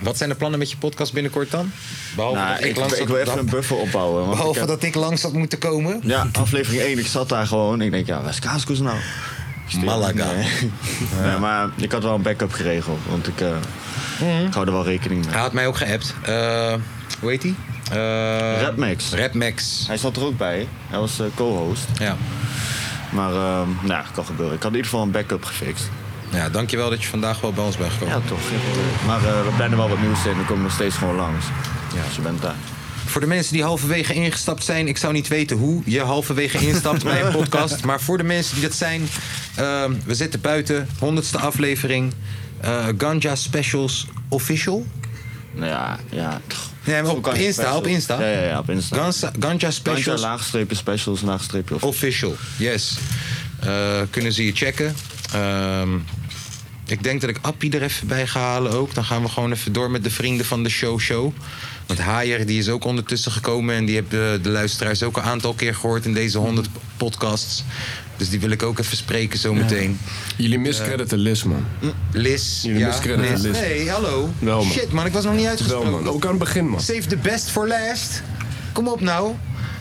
Wat zijn de plannen met je podcast binnenkort dan? Behalve
Nou,
dat ik,
ik,
langs
ik
had-
wil even
dat-
een buffer opbouwen. want
Behalve
ik heb-
dat ik langs had moeten komen.
Ja, aflevering 1, ik zat daar gewoon. Ik denk, ja, waar is Kaaskoes nou?
Malaga.
Nee. Nee, maar ik had wel een backup geregeld, want ik, eh,
Mhm.
ik hou er wel rekening mee.
Hij had mij ook geappt. Eh, hoe heet hij? Eh,
Rapmax.
Rapmax.
Hij zat er ook bij. Hij was eh, co-host.
Ja.
Maar, ehm nou, kan gebeuren. Ik had in ieder geval een backup gefixt.
Ja, dankjewel dat je vandaag wel bij ons bent gekomen.
Ja, toch. geen probleem. Maar eh, we plannen wel wat nieuws in. We komen nog steeds gewoon langs. Ja. Dus je bent daar.
Voor de mensen die halverwege ingestapt zijn, ik zou niet weten hoe je halverwege instapt bij een podcast. Maar voor de mensen die dat zijn, ehm, we zitten buiten, honderdste aflevering. eh, Ganja Specials Official.
Nou ja, ja.
Nee, maar op
Kan je
Insta,
special-
op Insta.
Ja, ja, ja, op Insta.
Ganja, Ganja Specials.
Ganja laagstreepje specials, laagstreepje official.
Official, yes. Eh, kunnen ze je checken. Ehm, ik denk dat ik Appie er even bij ga halen ook. Dan gaan we gewoon even door met de vrienden van de show show. Want Haier die is ook ondertussen gekomen... en die hebben eh, de luisteraars ook een aantal keer gehoord in deze 100
Mm.
podcasts. Dus die wil ik ook even spreken zo meteen.
Jullie miscrediten Liz, man.
Lis,
Jullie
ja,
miscrediten
Lis.
Liz.
Hey, hallo.
Wel, man.
Shit man, ik was nog niet uitgesproken.
Wel, man. Ook aan het begin, man.
Save the best for last. Kom op nou.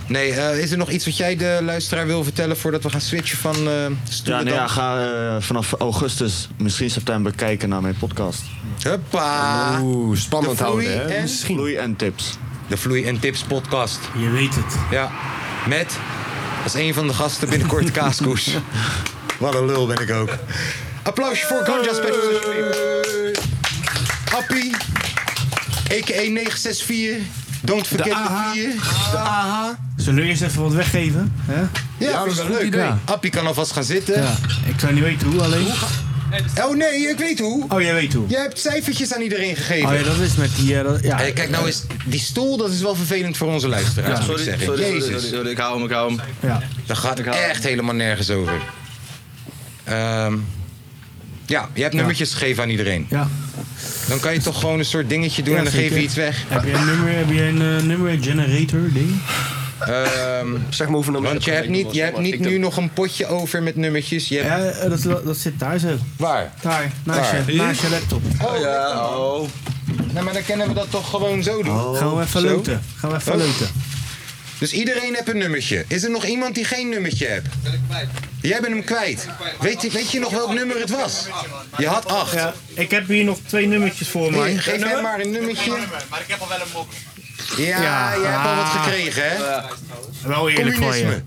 Nee, eh, is er nog iets wat jij de luisteraar wil vertellen voordat we gaan switchen van eh
Ja,
stoelen
nee, ja,
dan?
ga eh, vanaf augustus, misschien september, kijken naar mijn podcast.
Huppa.
Oeh,
spannend De vloei houden, hè? en- Misschien.
Vloei en tips.
De Vloei en Tips podcast.
Je weet het.
Ja, met als een van de gasten binnenkort Kaaskoes. Wat een lul ben ik ook. Applausje voor Ganja Specials. Appie, a.k.a. 964. Don't forget the 4. De AH.
Zullen we eerst even wat weggeven? Hè?
Ja, dat is wel leuk.
idee.
Appie kan alvast gaan zitten.
Ja, ik zou niet weten hoe alleen.
Oh nee, ik weet hoe.
Oh, jij weet hoe.
Jij hebt cijfertjes aan iedereen gegeven.
Oh ja, dat is met die... eh, dat- ja.
Hey, kijk nou eens, die stoel dat is wel vervelend voor onze luisteraars, moet ik
sorry,
zeggen.
sorry, sorry,
Jezus.
sorry, sorry, ik hou hem, ik hou hem.
Ja.
Ehm, Daar gaat echt helemaal nergens over. Ehm, ja, je hebt nummertjes gegeven aan iedereen.
Ja.
Dan kan je toch gewoon een soort dingetje doen
Ja,
en dan
zeker.
geef je iets weg.
Heb je een nummer, heb je een eh, nummer generator ding?
zeg maar hoeveel Ehm, Want je hebt niet, je hebt niet nu nog een potje over met nummertjes. Je hebt...
Ja, eh, dat, dat zit daar zo.
Waar?
Daar, naast,
Waar?
Je, naast je laptop.
Oh, ja, oh. Nou, maar dan kunnen we dat toch gewoon zo doen.
Oh. Gaan we even
Zo?
leuten. Gaan we even
Oh.
leuten.
Dus iedereen heeft een nummertje. Is er nog iemand die geen nummertje hebt? Jij bent hem kwijt. Weet, je- weet je nog welk nummer het was? Je had acht.
Ja, ik heb hier nog twee nummertjes voor mij.
Nee, geef hem maar een nummertje.
Maar ik heb al wel een mok.
Ja,
Ja.
jij hebt al
Ah.
wat gekregen, hè?
Wel eerlijk van je.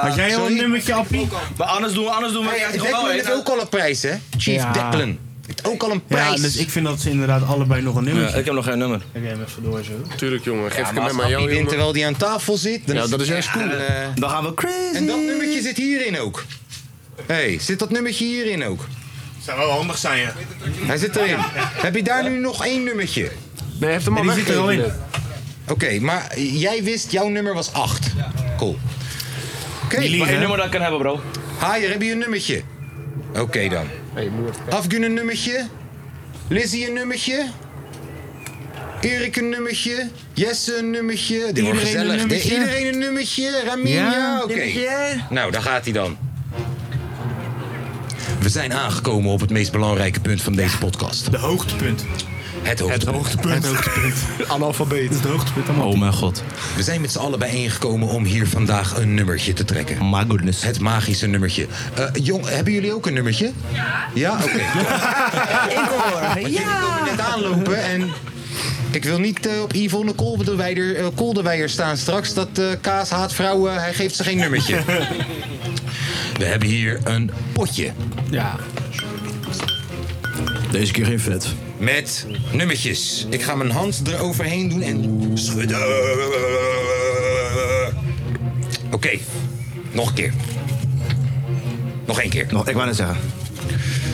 Had jij al een nummertje, Appie?
Maar anders doen we, anders doen we.
Hey,
Ja, toch
Declan
wel,
heeft
hè?
ook al een prijs, hè? Chief
Ja.
Declan. Heeft ook al een
Ja,
prijs.
dus ik vind dat ze inderdaad allebei nog een nummertje.
Ja, ik heb nog geen nummer.
Heb jij hem even door zo?
Tuurlijk, jongen. Geef
Ja, maar
ik hem
als
maar
Appie
jou,
wint
jongen.
terwijl die aan tafel zit... Dan
Ja,
is
dat is
het-
juist cool.
eh,
Dan gaan we crazy.
en dat nummertje zit hierin ook. Hé, hey, zit dat nummertje hierin ook?
Zou wel handig zijn, ja.
Hij zit erin. Heb je daar nu nog één nummertje? Oké,
Nee, heeft hem al
Nee, die zit er al
weggegeven.
maar jij wist, jouw nummer was 8. Cool. Oké,
Wat is
maar-
je nummer dat ik kan hebben, bro?
Haier, heb je een nummertje? Oké dan. Afgun een nummertje. Lizzie een nummertje. Erik een nummertje. Jesse een nummertje. Dit wordt
Iedereen een
gezellig.
nummertje.
Iedereen een nummertje. Ramin,
Ja,
ja, oké.
nummertje.
Nou, daar gaat hij dan. We zijn aangekomen op het meest belangrijke punt van deze podcast.
De hoogtepunt.
Het hoogtepunt.
Het
Analfabeet. Het hoogtepunt. Oh mijn god. We zijn met z'n allen bijeengekomen om hier vandaag een nummertje te trekken. My goodness. Het magische nummertje. Eh, jong, hebben jullie ook een nummertje? Ja. Ja? Oké.
Ja!
net aanlopen en... Ik wil niet eh, op Yvonne Koldewijder, eh, Koldewijer staan straks. Dat eh, Kaas haat vrouwen, hij geeft ze geen nummertje. We hebben hier een potje. Ja. Deze keer geen vet. Met nummertjes. Ik ga mijn hand eroverheen doen en schudden. Oké, nog een keer. Nog één keer. ik wou net zeggen.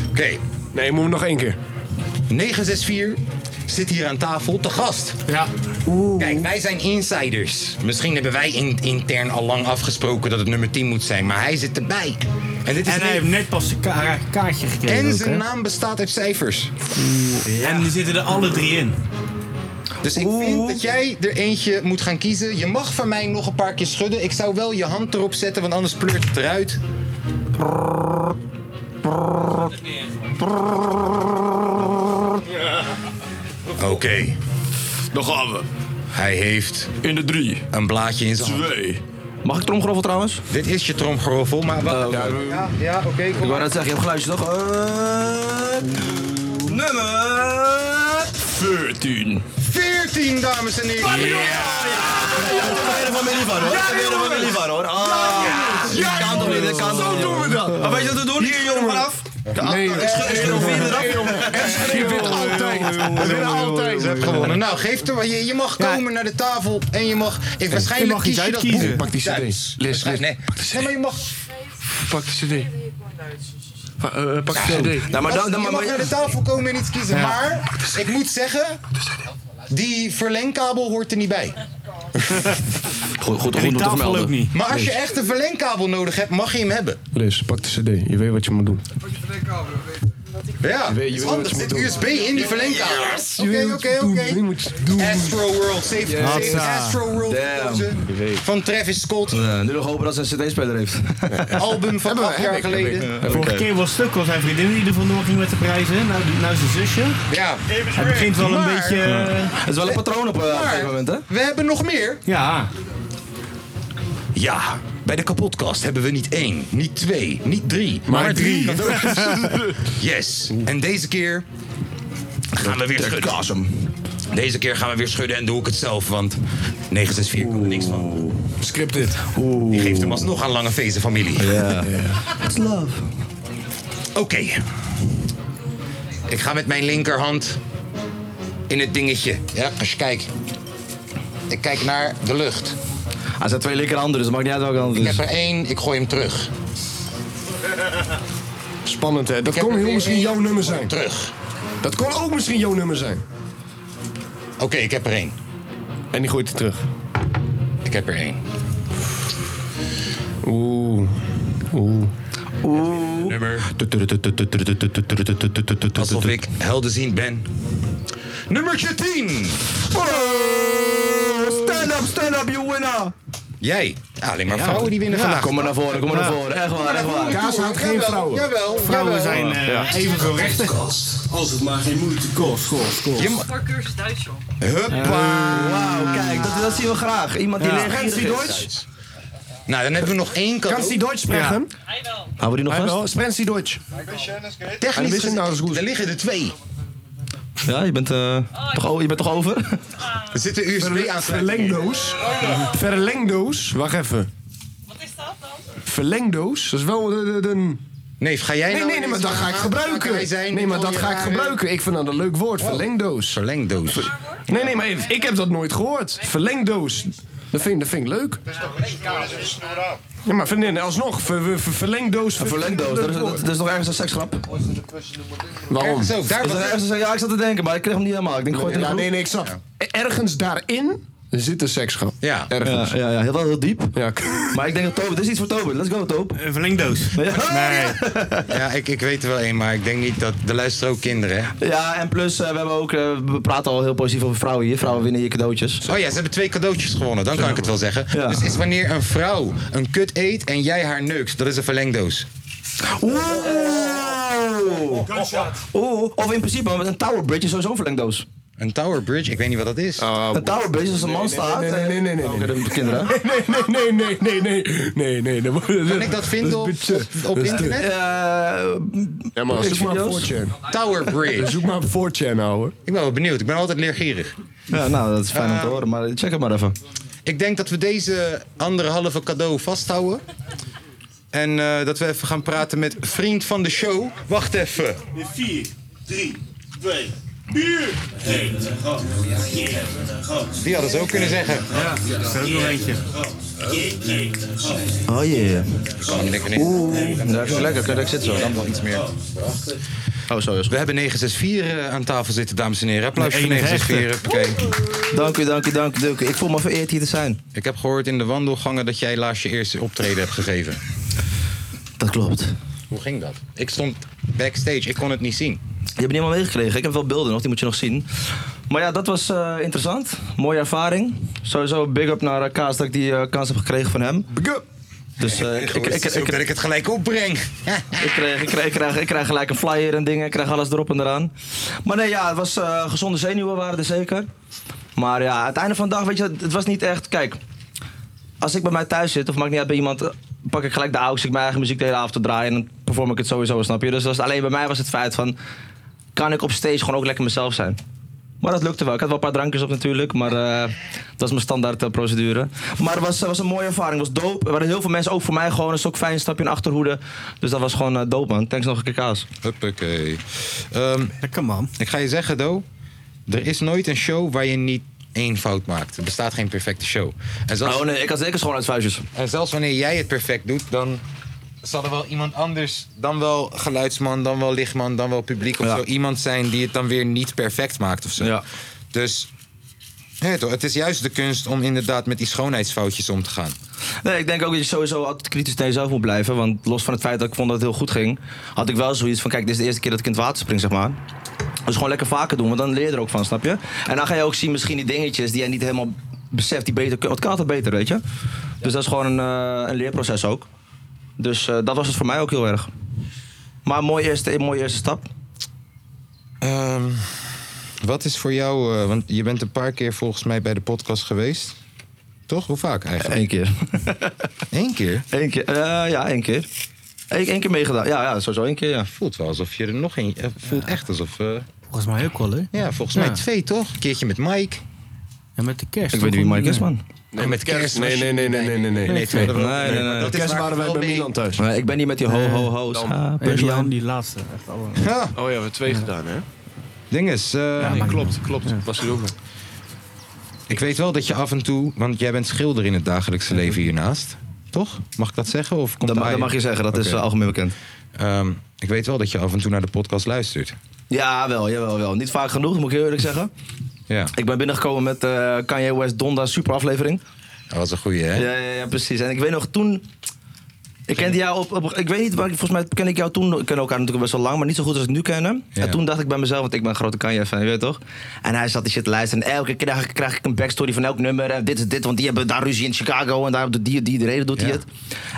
Oké. Nee, moet nog één keer. 964 zit hier aan tafel te gast. Ja. Kijk, wij zijn insiders. Misschien hebben wij in, intern al lang afgesproken dat het nummer 10 moet zijn, maar hij zit erbij. En, dit is
En hij
niet-
heeft net pas een ka- kaartje gekregen.
En
ook,
zijn
hè?
naam bestaat uit cijfers.
En die zitten er alle drie in.
Dus ik vind dat jij er eentje moet gaan kiezen. Je mag van mij nog een paar keer schudden. Ik zou wel je hand erop zetten, want anders pleurt het eruit. Oké.
Dan gaan we.
Hij heeft...
In de drie.
Een blaadje in zijn hand.
Twee.
Mag ik tromgeroffel trouwens? Dit is je tromgeroffel, maar... wat? ja, ja oké. kom
Ik
maar.
wou net zeggen, je hebt geluidje toch? nummer 14.
14, dames en heren. Ja,
ja,
van mijn lief hoor. Ja, weer van mijn lief hoor. Ah, ja, kan toch niet, dat kan toch niet. Zo doen we dat. Maar weet je wat we doen? Hier, jongen, vanaf. Nee, ik schud nog vier eraf, jongen.
Je wint altijd. Je wint altijd. Je hebt gewonnen. Nou, geef het maar. Je, je mag komen naar de tafel en je mag... Ik, waarschijnlijk
je mag
kies
iets
je dat
uitkiezen.
boek.
Pak die CD.
Ja,
Lees,
waarschijnlijk-
lees.
Nee, Nee, maar je mag...
Pak de CD.
eh,
pak
Zo.
de
Nou,
CD.
Als- je mag naar de tafel komen en iets kiezen.
Ja.
Maar ik moet zeggen, die verlengkabel hoort er niet bij.
Goed, goed,
En
goed
die
om te
tafel
vermelden.
ook niet. Maar als je echt een verlengkabel nodig hebt, mag je hem hebben.
Lees, pak de CD. Je weet wat je moet doen.
Ja,
Je weet- je
is
weet
anders.
wat je
Dit
moet
USB in die verlengkabel. Oké, oké, oké. Astro World, save, save Astro World. verkozen. Van Travis Scott.
nu nog hopen dat ze een CD-speler heeft.
Album van
Hebben we,
acht
heb
jaar
ik, heb ik.
geleden.
Heb ik.
Eh, Vorige keer was stuk, was zijn vriendin die er vandoor ging met de prijzen. Nou, nou zijn zusje.
Ja.
Hij begint wel een
Maar-
beetje...
Het is wel een patroon op, eh, op een gegeven moment, hè? We hebben nog meer.
Ja.
Ja, bij de kapotkast hebben we niet één, niet twee, niet drie, maar, drie. yes, en deze keer gaan we weer schudden. Deze keer gaan we weer schudden en doe ik het zelf, want 964 komt er niks van. Scripted. Die geeft hem alsnog aan lange feesten familie.
It's love.
Oké. Ik ga met mijn linkerhand in het dingetje. Ja, als je kijkt. Ik kijk naar de lucht.
Hij zijn twee linkerhanden, dus het maakt niet uit welke hand
Ik
het is.
heb er één, ik gooi hem terug.
Spannend, hè? Dat kon heel misschien jouw nummer zijn.
Terug.
Dat kon ook misschien jouw nummer zijn.
Oké, ik heb er één.
En die gooit hij terug.
Ik heb er één.
Oeh. Oeh.
Oeh. Nummer. Alsof ik helderziend ben. Nummertje 10.
Stand up, stand up, you winner!
Jij. Ja, alleen maar vrouwen die winnen vandaag.
Kom maar naar voren, kom maar naar voren. Echt waar, echt waar.
Kaas houdt geen vrouwen. Jawel,
Vrouwen
jawel.
zijn eh,
Ja.
evenveel rechten. Als het maar geen moeite kost. kost, kost.
Je
Cursus Duits, joh.
Eh,
Huppa.
Oh,
Wauw, kijk, dat, dat zien we graag. Iemand die
Ja.
leeg
Kent die Duits? Nou, dan hebben we nog één cadeau.
Kan die Duits spreken?
Houden we die nog
Hij wel.
vast?
Spreken die Duits?
Technisch
Hij wist het nou eens
gezien, er liggen er twee.
Ja, je bent, eh, toch, o- je bent toch over?
Er zit een USB aan.
Verlengdoos. Verlengdoos. Wacht even. Wat is dat dan? Verlengdoos. Dat is wel de... de, de-
Nee, ga jij
nee,
nou
nee, nee, maar
iets
dat ga ik
aan-
gebruiken.
Wij zijn
nee, maar dat ga ik
rare-
gebruiken. Ik vind dat een leuk woord. Verlengdoos.
Oh. Verlengdoos.
nee, nee, maar even, ik heb dat nooit gehoord. Verlengdoos. Dat vind, dat vind ik leuk. Ja, maar vriendin, alsnog. Ver, ver, ver- verlengdoos. Een
verlengdoos, dat is- dat- dat is nog ergens een seksgrap?
Waarom?
Kijk, zo, daar was- ja, ik zat te denken, maar ik kreeg hem niet helemaal. Ik denk, gooi het in
Ja,
de
nee,
groep.
nee, ik snap. Ergens daarin zit een seksschap.
Ja.
Ergens.
Ja, ja, ja, heel, wel heel diep.
Ja.
Maar ik denk dat Tobe, dit is iets voor Tobe. Let's go, Tobe.
Een verlengdoos.
Nee.
Ja, ik, ik weet er wel één, maar ik denk niet dat... Er luisteren ook kinderen, hè?
Ja, en plus, eh, we, hebben ook, eh, we praten al heel positief over vrouwen hier. Vrouwen winnen hier cadeautjes.
Oh ja, ze hebben twee cadeautjes gewonnen, dan kan ik het wel zeggen. Dus is wanneer een vrouw een kut eet en jij haar neukt, dat is een verlengdoos.
Oeh! Oeh, of in principe met een tower bridge is sowieso een verlengdoos.
Een tower bridge? Ik weet niet wat dat is.
Een tower bridge is een manstaart.
Nee, nee, nee, nee, nee. nee,
nee. Kinderen.
Nee, nee, nee, nee, nee. Nee, nee. Kan
ik dat vinden op- op
Dus-
internet?
Eh,
Ja, maar zoek maar op 4chan.
Tower Bridge.
Zoek maar op 4chan, ouwe.
Ik ben wel Oh, benieuwd. Ik ben altijd leergierig.
Ja, nou, dat is fijn om te
Eh,
horen, maar check het maar even.
Ik denk dat we deze anderhalve cadeau vasthouden. En eh, dat we even gaan praten met vriend van de show. Wacht even.
4, 3, 2, 4.
Die hadden ze ook kunnen zeggen.
Ja, er is ook nog eentje.
Oh jee.
Oeh,
dat is lekker. Kijk, ik zit zo.
Dan wel iets meer. Oh, zo is We hebben 964 eh, aan tafel zitten, dames en heren. Applaus
De
voor
enige
964.
echte. Dank u, dank u, dank u, dank u. Ik voel me vereerd hier te zijn.
Ik heb gehoord in de wandelgangen dat jij laatst je eerste optreden hebt gegeven.
Dat klopt.
Hoe ging dat? Ik stond backstage, ik kon het niet zien.
Je hebt het niet helemaal meegekregen. Ik heb wel beelden nog, die moet je nog zien. Maar ja, dat was eh, interessant. Mooie ervaring. Sowieso big up naar eh, Kaas dat ik die eh, kans heb gekregen van hem. Big up! Dus eh, ik, ik, ik, ik,
dat ik het gelijk opbreng.
ik, kreeg, ik, kreeg, ik, kreeg, ik kreeg gelijk een flyer en dingen. Ik kreeg alles erop en eraan. Maar nee, ja, het was eh, gezonde zenuwen waren er zeker. Maar ja, aan het einde van de dag, weet je, het was niet echt... Kijk, als ik bij mij thuis zit, of maakt niet uit bij iemand... eh, pak ik gelijk de aux, ik mijn eigen muziek de hele avond te draaien... en dan perform ik het sowieso, snap je? Dus dat was, alleen bij mij was het feit van... kan ik op stage gewoon ook lekker mezelf zijn? Maar dat lukte wel. Ik had wel een paar drankjes op natuurlijk, maar eh, dat is mijn standaard eh, procedure. Maar het was, eh, was een mooie ervaring, het was dope. Er waren heel veel mensen, ook voor mij gewoon, een stok fijn, stapje in achterhoede. Dus dat was gewoon eh, dope man. Thanks nog een keer kaas.
Huppakee. Lekker man. Ik ga je zeggen, Do. Er is nooit een show waar je niet één fout maakt. Er bestaat geen perfecte show. En zelfs,
Oh nee, ik had zeker schoon uit vuistjes.
en zelfs wanneer jij het perfect doet, dan zal er wel iemand anders... dan wel geluidsman, dan wel lichtman, dan wel publiek of zo... iemand zijn die het dan weer niet perfect maakt of zo. Dus... hè, toch, het is juist de kunst om inderdaad met die schoonheidsfoutjes om te gaan.
Nee, ik denk ook dat je sowieso altijd kritisch naar jezelf moet blijven. Want los van het feit dat ik vond dat het heel goed ging, had ik wel zoiets van: kijk, dit is de eerste keer dat ik in het water spring, zeg maar. Dus gewoon lekker vaker doen, want dan leer je er ook van, snap je? En dan ga je ook zien misschien die dingetjes die jij niet helemaal beseft, die beter kunnen. Want het kan altijd beter, weet je? Dus dat is gewoon een, eh, een leerproces ook. Dus eh, dat was het voor mij ook heel erg. Maar een mooie eerste, een mooie eerste stap.
Ehm, wat is voor jou, eh, want je bent een paar keer volgens mij bij de podcast geweest. Toch? Hoe vaak eigenlijk?
Eén keer.
Eén keer?
Eén keer, eh, ja, één keer. Eén één keer meegedaan. Ja, ja, sowieso één keer, ja.
Voelt wel alsof je er nog één... eh, voelt echt alsof... eh,
Volgens mij ook wel, hè?
ja, volgens
Ja.
mij twee toch? Een keertje met Mike.
En met de kerst.
Ik weet niet wie Mike is, man.
Nee, met kerst.
Nee, nee, nee, nee, nee, nee. Nee,
Nee,
nee,
nee,
nee.
nee,
nee.
nee.
Kerst waren wij bij Milan thuis.
Nee, ik ben niet met die ho ho ho's. Ah,
Jan,
Jan.
die laatste. Echt allemaal.
Ja.
Oh ja, we hebben twee gedaan, hè?
Dinges. eh,
nee, klopt, klopt. Was er ook nog.
Ik weet wel dat je af en toe, want jij bent schilder in het dagelijkse leven hiernaast. Toch? Mag ik dat zeggen? Of komt
Dat, ma-
hij-
dat mag je zeggen, dat is
Oké.
eh, algemeen bekend.
Ehm, ik weet wel dat je af en toe naar de podcast luistert.
Ja, wel, jawel, wel. Niet vaak genoeg, moet ik heel eerlijk zeggen.
Ja.
Ik ben binnengekomen met eh, Kanye West Donda super aflevering.
Dat was een goeie, hè?
Ja, ja, ja, precies. En ik weet nog toen. Ik kende jou op, op- Ik weet niet, maar volgens mij ken ik jou toen. Ik ken elkaar natuurlijk best wel lang, maar niet zo goed als ik nu ken hem.
Ja.
En toen dacht ik bij mezelf, want ik ben een grote Kanye-fan, je weet toch? En hij zat die shit te luisteren. En elke keer krijg, ik- krijg ik een backstory van elk nummer. En dit is dit, want die hebben daar ruzie in Chicago. En daar doet die, die, de reden doet hij het.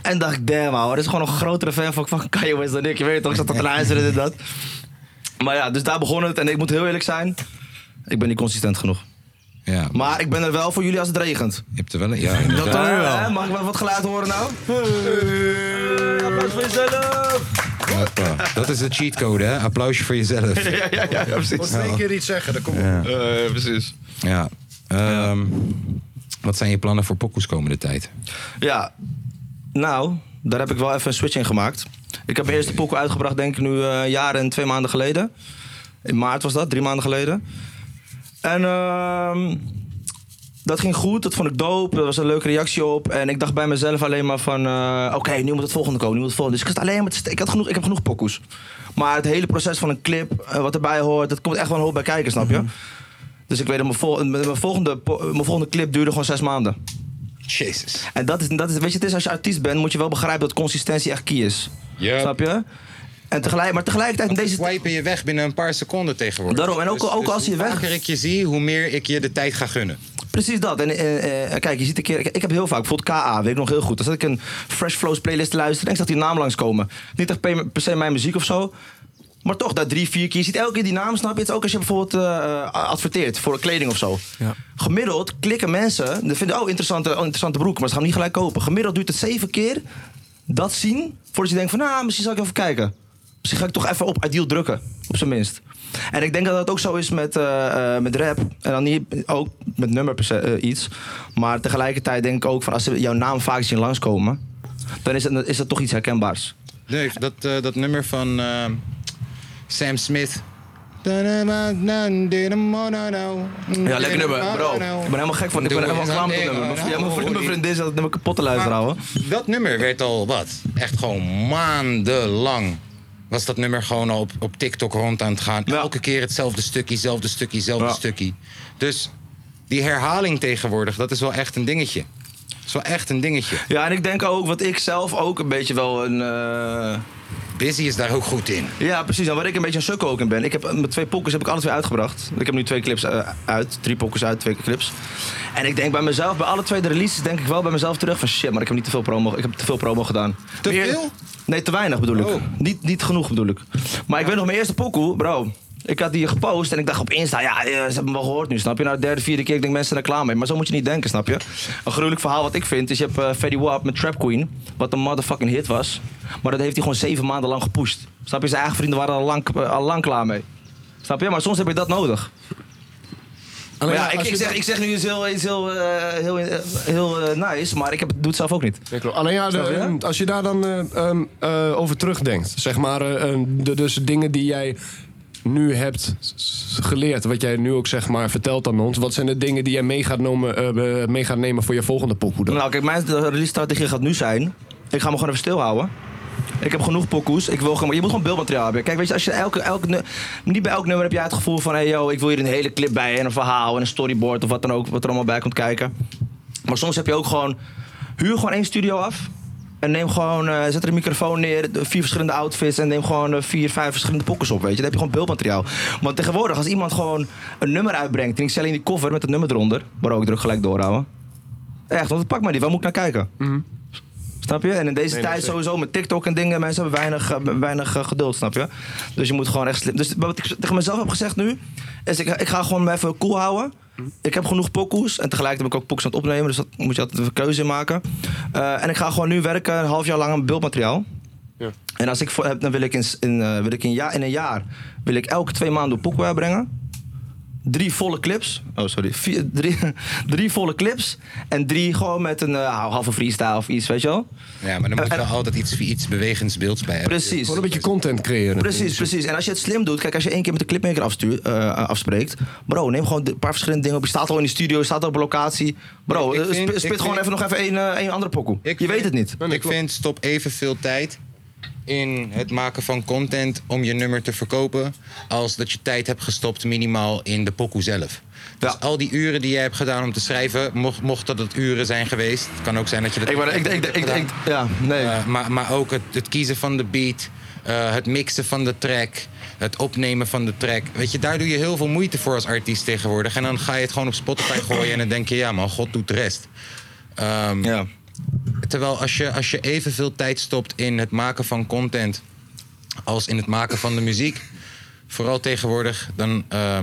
En dacht ik, damn, ouwe, dat is gewoon een grotere fan van, van Kanye West dan ik. Je weet toch, ik zat dat te luisteren en dit, dat. Maar ja, dus daar begon het. En ik moet heel eerlijk zijn, ik ben niet consistent genoeg.
Ja.
Maar ik ben er wel voor jullie als het regent.
Je hebt er wel een... Ja, inderdaad.
Ja, hè? Mag ik wel wat geluid horen nou? Applaus voor jezelf!
Hoppa. Dat is de cheatcode, hè? Applausje voor jezelf.
Ja, ja, ja, precies.
Ja.
keer iets zeggen, dan komt
Eh,
Ja.
precies.
Ja. Ehm, Wat zijn je plannen voor pokoes komende tijd?
Ja, nou, daar heb ik wel even een switch in gemaakt. Ik heb mijn eerste pokoe uitgebracht, denk ik nu eh, een jaar en twee maanden geleden. In maart was dat, drie maanden geleden. En ehm, dat ging goed, dat vond ik dope, er was een leuke reactie op. En ik dacht bij mezelf alleen maar van, eh, oké, nu moet het volgende komen, nu moet het volgende. Dus ik, zat alleen maar te st- ik, had genoeg, ik heb genoeg pokoes. Maar het hele proces van een clip, eh, wat erbij hoort, dat komt echt wel een hoop bij kijken, snap
Mhm.
je? Dus ik weet dat mijn, vol- mijn, volgende, po- mijn volgende clip duurde gewoon zes maanden.
Jezus.
En dat is, dat is, weet je, het is als je artiest bent, moet je wel begrijpen dat consistentie echt key is. Snap je? En tegelijk, maar tegelijkertijd in deze.
Wipen je weg binnen een paar seconden tegenwoordig.
Daarom, en ook,
Dus-
ook
dus
als je
hoe
weg.
vaker ik je zie, hoe meer ik je de tijd ga gunnen.
Precies dat. En eh, eh, kijk, je ziet een keer. Ik, ik heb heel vaak, bijvoorbeeld KA, weet ik nog heel goed. Dan zat ik een Fresh Flows playlist te luisteren en ik zag die naam langskomen. Niet echt pe- per se mijn muziek of zo. Maar toch, daar drie, vier keer. Je ziet elke keer die naam, snap je? Het is ook als je bijvoorbeeld eh, adverteert voor kleding of zo. Gemiddeld klikken mensen, die vinden, oh, interessante, oh, interessante broek, maar ze gaan hem niet gelijk kopen. Gemiddeld duurt het zeven keer dat zien, voordat je denkt van, nou, misschien zal ik even kijken. Misschien ga ik toch even op ideal drukken, op zijn minst. En ik denk dat dat ook zo is met, eh, eh, met rap. En dan niet ook met nummer per se, eh, iets. Maar tegelijkertijd denk ik ook van als ze jouw naam vaak zien langskomen, dan is dat, is dat toch iets herkenbaars.
Nee, dat, eh, dat nummer van eh, Sam Smith. Ja,
Ja, lekker nummer, bro.
Ah, nou.
Ik ben helemaal gek van. Ik ben helemaal klaar met dat nummer. Mijn- ja, mijn vriend- mijn vriendin zat het nummer kapot te luisteren, hoor.
Dat nummer werd al wat? Echt gewoon maandenlang. Was dat nummer gewoon al op, op TikTok rond aan het gaan. Elke keer hetzelfde stukje, hetzelfde stukje, hetzelfde stukje. Dus die herhaling tegenwoordig, dat is wel echt een dingetje. Dat is wel echt een dingetje.
Ja, en ik denk ook, wat ik zelf ook een beetje wel een... eh,
Busy is daar ook goed in.
Ja, precies. En waar ik een beetje een sukkel ook in ben. Ik heb, mijn twee pokkers heb ik alle twee uitgebracht. Ik heb nu twee clips eh, uit. Drie pokkers uit, twee clips. En ik denk bij mezelf, bij alle twee de releases, denk ik wel bij mezelf terug van shit, maar ik heb niet te veel promo, ik heb te veel promo gedaan. Te veel? Nee, te weinig bedoel
Oh.
ik. Niet, niet genoeg bedoel ik. Maar ik weet nog mijn eerste pokoe, bro. Ik had die gepost en ik dacht op Insta, ja, eh, ze hebben me wel gehoord nu, snap je? Nou, de derde, vierde keer, ik denk mensen zijn er klaar mee. Maar zo moet je niet denken, snap je? Een gruwelijk verhaal wat ik vind is, je hebt eh Fetty Wap met Trap Queen, wat een motherfucking hit was. Maar dat heeft hij gewoon zeven maanden lang gepusht. Snap je? Zijn eigen vrienden waren al lang, eh, al lang klaar mee. Snap je? Maar soms heb je dat nodig. Maar
Alleen
ja,
ja,
ik,
als
ik,
je-
zeg, ik zeg nu iets heel, iets heel, eh, heel, eh, heel eh, nice, maar ik heb, doe het zelf ook niet.
Alleen ja, de-
Snap je?
ehm, als je daar dan eh, ehm, eh, over terugdenkt, zeg maar, eh, ehm, de, dus dingen die jij nu hebt s- geleerd, wat jij nu ook zeg maar vertelt aan ons, wat zijn de dingen die jij mee gaat, nomen, eh, eh, mee gaat nemen voor je volgende pokoe dan?
Nou, kijk, mijn release-strategie gaat nu zijn: ik ga me gewoon even stilhouden. Ik heb genoeg pokoes. Ik wil gewoon, je moet gewoon beeldmateriaal hebben. Kijk, weet je, als je elke, elke, nu- niet bij elk nummer heb jij het gevoel van: hey yo, ik wil hier een hele clip bij en een verhaal en een storyboard of wat dan ook, wat er allemaal bij komt kijken. Maar soms heb je ook gewoon, huur gewoon één studio af. En neem gewoon, eh, zet er een microfoon neer, de vier verschillende outfits en neem gewoon eh, vier, vijf verschillende pokkers op, weet je. Dan heb je gewoon beeldmateriaal. Want tegenwoordig, als iemand gewoon een nummer uitbrengt en ik stel in die cover met het nummer eronder, waar ook druk gelijk doorhouden. Echt, want pak maar die, waar moet ik naar kijken? Snap je? En in deze
Nee, dat
tijd
zeker.
sowieso met TikTok en dingen, mensen hebben weinig, eh, weinig eh, geduld, snap je? Dus je moet gewoon echt slim. Dus wat ik tegen mezelf heb gezegd nu, is ik, ik ga gewoon me even cool houden. Ik heb genoeg pokoes en tegelijk heb ik ook pokoes aan het opnemen, dus dat moet je altijd een keuze in maken. Eh, en ik ga gewoon nu werken een half jaar lang aan beeldmateriaal. En als ik voor heb, dan wil ik, in, s- in, eh, wil ik in, ja, in een jaar wil ik elke twee maanden een pokoe uitbrengen drie volle clips. Oh, sorry. Vier, drie, drie volle clips. En drie gewoon met een eh, halve freestyle of iets, weet je wel?
Ja, maar dan moet je wel altijd iets, iets bewegends beelds bij hebben.
Precies. Gewoon
een beetje content creëren.
Precies, precies. En als je het slim doet, kijk, als je één keer met de clipmaker afstuurt, eh, afspreekt, bro, neem gewoon een paar verschillende dingen op. Je staat al in de studio, je staat al op locatie. Bro,
Ik
eh,
vind-
sp-
ik
spit gewoon
vind-
even nog even één eh, één andere pokoe. Je weet het niet.
Ik vind stop evenveel tijd in het maken van content om je nummer te verkopen. als dat je tijd hebt gestopt minimaal in de pokoe zelf. Dus al die uren die je hebt gedaan om te schrijven, mocht, mocht dat het uren zijn geweest. Het kan ook zijn dat je dat.
Ik wou- ik- ik- ik- ik- ja, nee.
Eh, maar, maar ook het, het kiezen van de beat, eh, het mixen van de track. Het opnemen van de track. Weet je, daar doe je heel veel moeite voor als artiest tegenwoordig. En dan ga je het gewoon op Spotify gooien en dan denk je, ja man, God doet de rest. Ehm, Terwijl als je, als je evenveel tijd stopt in het maken van content als in het maken van de muziek, vooral tegenwoordig, dan eh,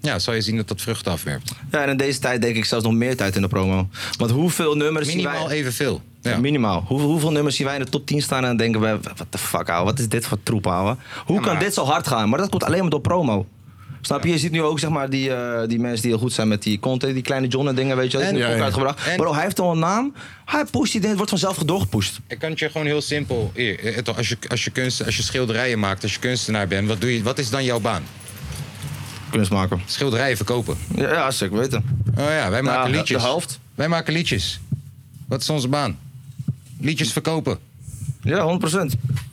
ja, zal je zien dat dat vruchten afwerpt.
Ja, en in deze tijd denk ik zelfs nog meer tijd in de promo. Want hoeveel nummers zien
Minimaal
wij...
evenveel.
Ja. Minimaal. Hoe, hoeveel nummers zien wij in de top 10 staan en denken wij... Wat de fuck, ouwe? Wat is dit voor troep, ouwe? Hoe kan dit zo hard gaan? Maar dat komt alleen maar door promo. Snap je? Je ziet nu ook zeg maar, die, eh, die mensen die heel goed zijn met die content, die kleine John en dingen, weet je wel. Die
En-
hebben
Ja, ja.
uitgebracht.
En-
Bro, hij heeft al een naam. Hij pusht die dingen, het wordt vanzelf doorgepusht.
Ik kan het je gewoon heel simpel. hier, het- Als je, als, je kunst, als je schilderijen maakt, als je kunstenaar bent, wat, doe je, wat is dan jouw baan?
Kunst maken.
Schilderijen verkopen.
Ja, ja zeker weten.
Oh ja, wij maken
de-
liedjes.
de helft.
Wij maken liedjes. Wat is onze baan? Liedjes verkopen.
Ja, 100%.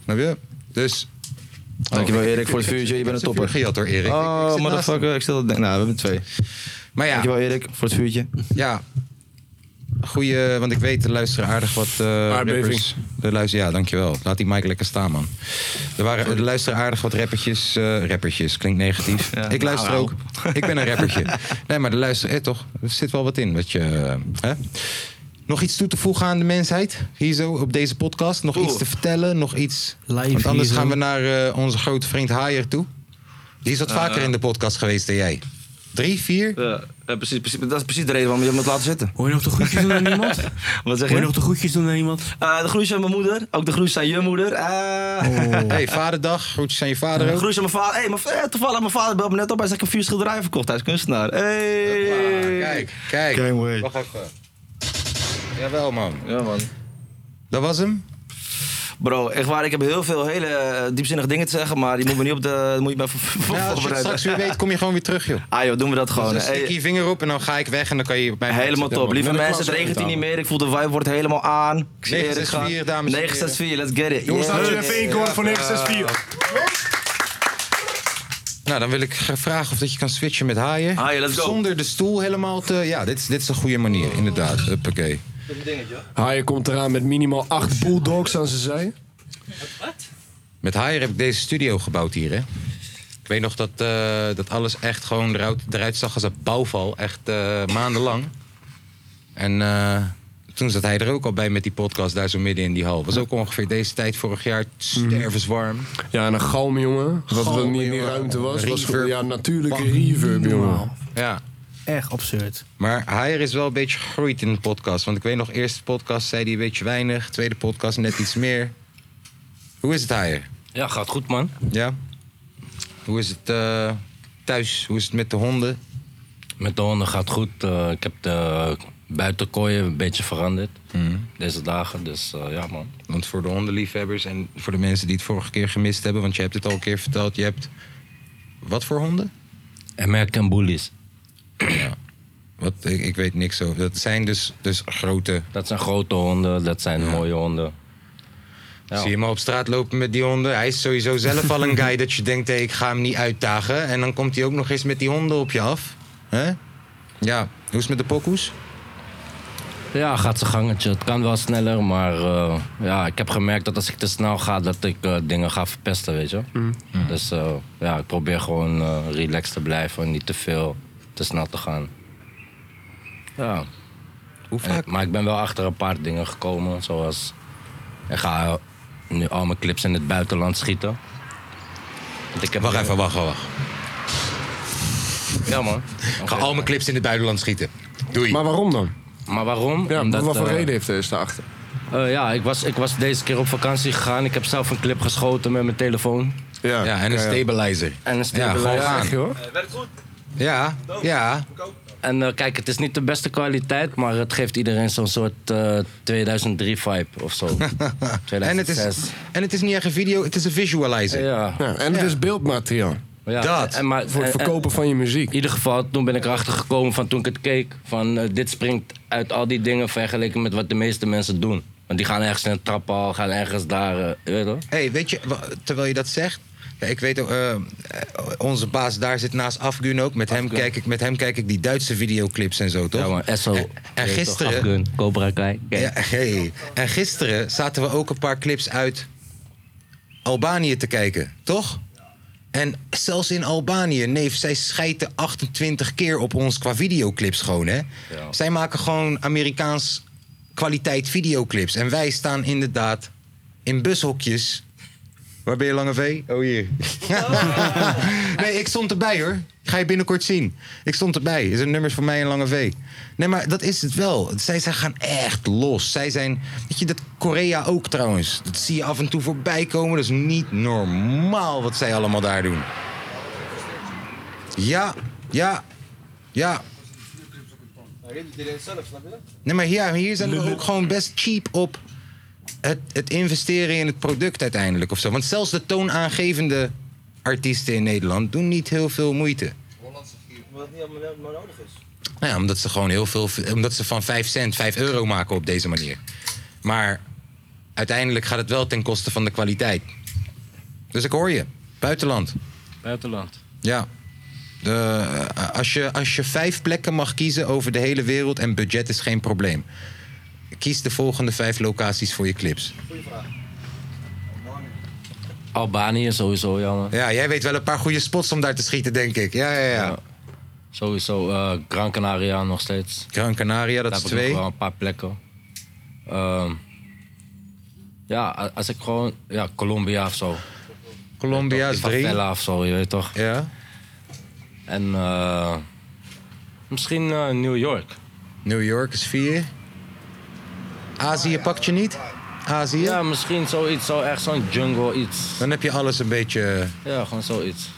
Snap je? Dus. Oh.
Dankjewel Erik voor het vuurtje, je bent een topper.
Gejat hoor Erik. Ik- ik
Oh,
zit naast hem.
motherfucker, ik stel dat... Nou, we hebben twee.
Maar ja.
Dankjewel Erik voor het vuurtje.
Ja. Goeie, want ik weet, er luisteren aardig wat eh
Aardbeving.
rappers. Er luisteren, ja, dankjewel. Laat die mic lekker staan, man. Er, waren, er luisteren aardig wat rappertjes. eh, rappertjes, klinkt negatief. ik luister
nou,
ook. Ik ben een rappertje. Nee, maar er luisteren, eh, toch? Er zit wel wat in, wat je... eh, hè? Nog iets toe te voegen aan de mensheid? Hier zo op deze podcast? Nog iets te vertellen? Nog iets? Want anders
hier zo.
gaan we naar eh, onze grote vriend Haier toe. Die is wat
Eh,
vaker
ja.
in de podcast geweest dan jij. Drie, vier?
Ja, ja, precies, precies. Dat is precies de reden waarom je hem moet laten zitten.
Hoor je nog de groetjes doen aan
Wat
iemand?
zeg
Moet
je?
je nog de groetjes doen aan iemand?
Eh, de groetjes aan mijn moeder. Ook de groetjes aan je moeder. Eh
Oh. Hey, vaderdag. Groetjes aan je vader
Eh,
ook.
groetjes aan mijn vader. Hey, mijn, eh, toevallig, mijn vader belt me net op. Hij zegt, ik heb vier schilderijen verkocht. Hij is kunstenaar. Hey.
Kijk, kijk. Wacht even. Jawel, man.
Ja, man.
Dat was hem?
Bro, echt waar. Ik heb heel veel hele eh, diepzinnige dingen te zeggen. Maar die moet me niet op de... Moet je me voor,
Nou, als
voor,
je het
voorbereiden.
straks weer weet, kom je gewoon weer terug, joh.
Ah joh, doen we dat gewoon.
Dus dan
Hey.
stik je je vinger op en dan ga ik weg en dan kan je op mij...
Helemaal top. Lieve mensen, het regent hier niet meer. Ik voel de vibe wordt helemaal aan. Ik zie
964,
het gaan.
dames en heren.
964, let's get it.
Jongens,
Yeah.
laten we even één koor voor
964.
Nou, dan wil ik graag vragen of dat je kan switchen met haaien.
Haaien, let's go.
Zonder de stoel helemaal te... Ja, dit is, dit is een goede manier, inderdaad. Huppakee.
Haaien komt eraan met minimaal acht bulldogs aan zijn zij.
Met Haier heb ik deze studio gebouwd hier, hè? Ik weet nog dat, eh, dat alles echt gewoon eruit, eruit zag als een bouwval. Echt eh, maandenlang. En eh, toen zat hij er ook al bij met die podcast daar zo midden in die hal. Was ook ongeveer deze tijd vorig jaar stervenswarm.
Ja, en een galm, jongen. Wat er
Galm,
niet meer
jongen.
ruimte was. was
Reverb.
ja, natuurlijke reverb, jongen.
Ja.
Echt absurd.
Maar Haier is wel een beetje gegroeid in de podcast. Want ik weet nog, eerste podcast zei hij een beetje weinig. Tweede podcast net iets meer. Hoe is het, Haier?
Ja, gaat goed, man.
Ja? Hoe is het eh, thuis? Hoe is het met de honden?
Met de honden gaat goed. Eh, ik heb de buitenkooien een beetje veranderd deze dagen. Dus eh, ja, man.
Hmm. Want voor de hondenliefhebbers en voor de mensen die het vorige keer gemist hebben, want je hebt het al een keer verteld, je hebt wat voor honden?
American Bullies.
Ja. Wat, ik, ik weet niks over. Dat zijn dus, dus grote.
Dat zijn grote honden, dat zijn mooie honden. Nou.
Zie je hem al op straat lopen met die honden? Hij is sowieso zelf al een guy dat je denkt, hé, ik ga hem niet uitdagen. En dan komt hij ook nog eens met die honden op je af. Hè? Ja, hoe is het met de pokoes?
Ja, gaat zijn gangetje. Het kan wel sneller, maar eh, ja, ik heb gemerkt dat als ik te snel ga, dat ik eh, dingen ga verpesten, weet je.
Mm.
Dus eh, ja, ik probeer gewoon eh, relaxed te blijven, niet te veel, te snel te gaan. Ja.
Hoe
vaak? maar ik ben wel achter een paar dingen gekomen, zoals ik ga nu al mijn clips in het buitenland schieten. Want ik heb
Wacht even, wacht, wacht.
Ja man.
Ga al mijn clips in het buitenland schieten. Doei.
Maar waarom dan?
Maar waarom?
Ja,
Omdat,
wat voor
eh,
reden heeft hij daarachter?
Eh, ja, ik was, ik was deze keer op vakantie gegaan. Ik heb zelf een clip geschoten met mijn telefoon.
Ja,
Ja, en een stabilizer.
En een stabilizer.
Ja, gewoon aan.
werkt goed.
Ja, ja.
En eh, kijk, het is niet de beste kwaliteit, maar het geeft iedereen zo'n soort eh 2003-vibe of zo. 2006.
En het, is, en het is niet echt een video, het is een visualizer.
Ja.
en het is beeldmateriaal.
Ja,
Dat.
en maar-
Voor het
en- en-
verkopen van je muziek.
In ieder geval, toen ben ik erachter gekomen van toen ik het keek. Van eh, dit springt uit al die dingen vergeleken met wat de meeste mensen doen. Want die gaan ergens in een traphal, gaan ergens daar. eh, je weet je wel?
Hey, weet je, wa- terwijl je dat zegt. ja, ik weet, ook, eh, eh, onze baas daar zit naast Afgun ook. Met hem, kijk ik, met hem kijk ik die Duitse videoclips en zo, toch? Ja,
man, SO.
En, en
Je weet toch,
gisteren...
Afgun, Cobra Kai.
Ja, hey. En gisteren zaten we ook een paar clips uit Albanië te kijken, toch? En zelfs in Albanië, neef, zij schijten 28 keer op ons qua videoclips gewoon, hè? Zij maken gewoon Amerikaans kwaliteit videoclips. En wij staan inderdaad in bushokjes. Waar ben je, Lange V? Oh, hier. nee, ik stond erbij, hoor. Ga je binnenkort zien. Ik stond erbij. Is een nummers voor mij en Lange V. Nee, maar dat is het wel. Zij, zij gaan echt los. Zij zijn... Weet je, dat Korea ook trouwens. Dat zie je af en toe voorbij komen. Dat is niet normaal wat zij allemaal daar doen. Ja, ja, ja.
Nou,
Nee, maar hier, hier zijn we ook gewoon best cheap op het, het investeren in het product uiteindelijk of zo. Want zelfs de toonaangevende artiesten in Nederland doen niet heel veel moeite.
Omdat het niet allemaal nodig is.
Nou ja, omdat ze gewoon heel veel, omdat ze van 5 cent 5 euro maken op deze manier. Maar uiteindelijk gaat het wel ten koste van de kwaliteit. Dus ik hoor je. Buitenland.
Buitenland.
Ja. De, eh, als, je, als je vijf plekken mag kiezen over de hele wereld en budget is geen probleem. Kies de volgende vijf locaties voor je clips.
Albanië sowieso, ja man.
Ja, jij weet wel een paar goede spots om daar te schieten, denk ik. Ja, ja, ja.
Sowieso, eh Gran Canaria nog steeds.
Gran Canaria, dat
Daar
is
heb ik nog
twee.
wel een paar plekken. ehm, ja, a- als ik gewoon... Ja, Colombia of zo. Colombia
is drie.
Favela of zo, je weet toch?
Ja.
En eh, misschien eh, New York.
New York is vier. Azië pakt je niet? Azië? Ja,
misschien zoiets. Zo echt zo'n jungle iets.
Dan heb je alles een beetje...
Ja, gewoon zoiets.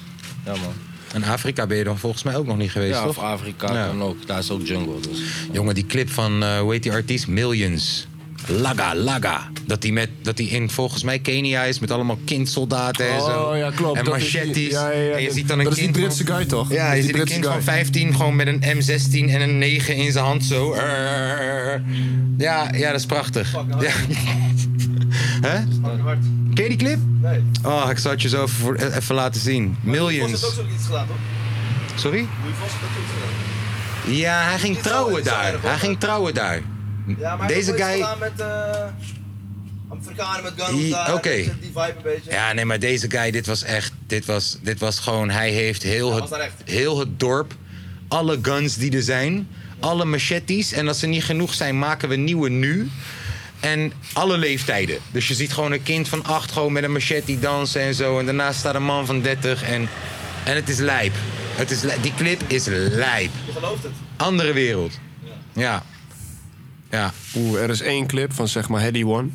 Ja, man.
En Afrika ben je dan volgens mij ook nog niet geweest,
ja,
toch?
of Afrika
Ja.
kan ook. Daar is ook jungle. Dus.
Jongen, die clip van, eh hoe heet die artiest? Millions. Laga, Laga. Dat die, met, dat die in volgens mij Kenia is met allemaal kindsoldaten en zo.
Oh, ja, klopt.
En
Dat is die-
machetes.
ja, ja, ja,
en je
dat-
ziet dan een
dat is
kind
die Britse
van-
guy, toch? Dat
Ja,
is
je
die
ziet een
Britse
kind
guy.
van 15 gewoon met een M16 en een 9 in zijn hand zo. Errrr. Ja, ja, dat is prachtig. Ja. Hè? Ken je die clip? Nee. Oh, ik zal het je zo even, voor- even laten zien.
Vos heeft
Millions.
ook zoiets gedaan, toch?
Sorry?
Louis Vos heeft ook zoiets gedaan.
Ja, hij ging trouwen daar. Hij ging trouwen daar.
Ja, maar hij heeft
Deze
ook iets
guy...
gedaan met eh Afrikanen met guns
Die-
daar.
oké.
weet je, Die vibe een beetje.
Ja, nee, maar deze guy, dit was echt... Dit was, dit was gewoon... Hij heeft heel het,
was daar echt.
heel het dorp... Alle guns die er zijn. Alle machetes. En als er niet genoeg zijn, maken we nieuwe nu. En alle leeftijden. Dus je ziet gewoon een kind van acht gewoon met een machete dansen en zo. En daarnaast staat een man van 30. En, en het is lijp. Het is, lij- die clip is lijp.
Je gelooft het.
Andere wereld. Ja. Ja.
Oeh, er is één clip van zeg maar Heady One.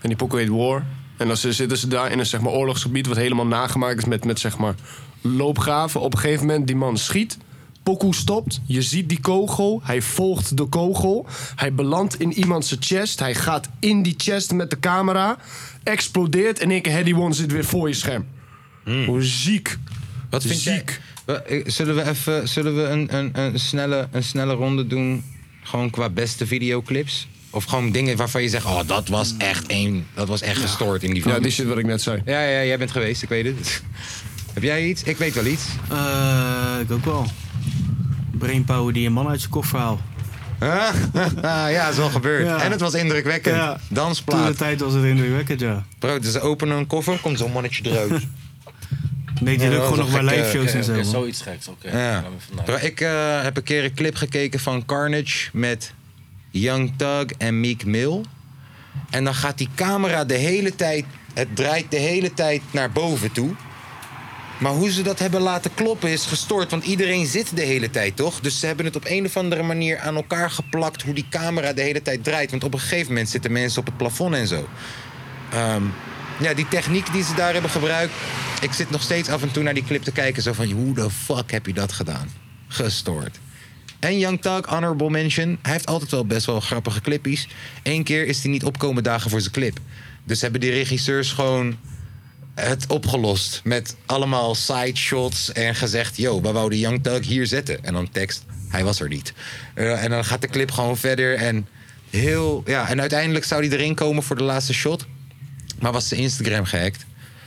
En die pokoe heet War. En dan z- zitten ze daar in een zeg maar, oorlogsgebied wat helemaal nagemaakt is met, met zeg maar, loopgraven. Op een gegeven moment die man schiet. Pokoe stopt. Je ziet die kogel. Hij volgt de kogel. Hij belandt in iemands chest. Hij gaat in die chest met de camera. Explodeert. En in één keer Heady One zit weer voor je scherm. Hoe ziek.
Hm. Wat vind
ziek.
Wel, eh, Zullen we even zullen we een, een, een, snelle, een snelle ronde doen? Gewoon qua beste videoclips? Of gewoon dingen waarvan je zegt: oh, dat was echt één. Dat was echt gestoord in die video.
Ja, die shit wat ik net zei.
Ja, ja, jij bent geweest, ik weet het. Heb jij iets? Ik weet wel iets.
Eh, ik ook wel. Brainpower die een man uit zijn koffer haalt.
ja, is wel gebeurd. En het was indrukwekkend. Dansplaat.
Toen de tijd was het indrukwekkend, ja.
Bro, dus ze openen een koffer, komt zo'n mannetje eruit.
Nee, die
Ja,
doet
dat
gewoon nog
was
maar
een
live
gekke-
shows
oké,
en zo.
oké,
man.
Zoiets geks, oké.
Ja.
Laat me vandaag.
Bro, ik eh, heb een keer een clip gekeken van Carnage met Young Thug en Meek Mill. En dan gaat die camera de hele tijd, het draait de hele tijd naar boven toe. Maar hoe ze dat hebben laten kloppen is gestoord, want iedereen zit de hele tijd toch? Dus ze hebben het op een of andere manier aan elkaar geplakt hoe die camera de hele tijd draait. Want op een gegeven moment zitten mensen op het plafond en zo. Ehm, ja, die techniek die ze daar hebben gebruikt. Ik zit nog steeds af en toe naar die clip te kijken. Zo van, hoe de fuck heb je dat gedaan? Gestoord. En Young Thug, honorable mention. Hij heeft altijd wel best wel grappige clippies. Eén keer is hij niet opkomen dagen voor zijn clip. Dus hebben die regisseurs gewoon het opgelost. Met allemaal sideshots en gezegd... yo, we wouden Young Thug hier zetten. En dan tekst, hij was er niet. Eh, en dan gaat de clip gewoon verder en... Heel, ja, en uiteindelijk zou hij erin komen voor de laatste shot. Maar was zijn Instagram gehackt.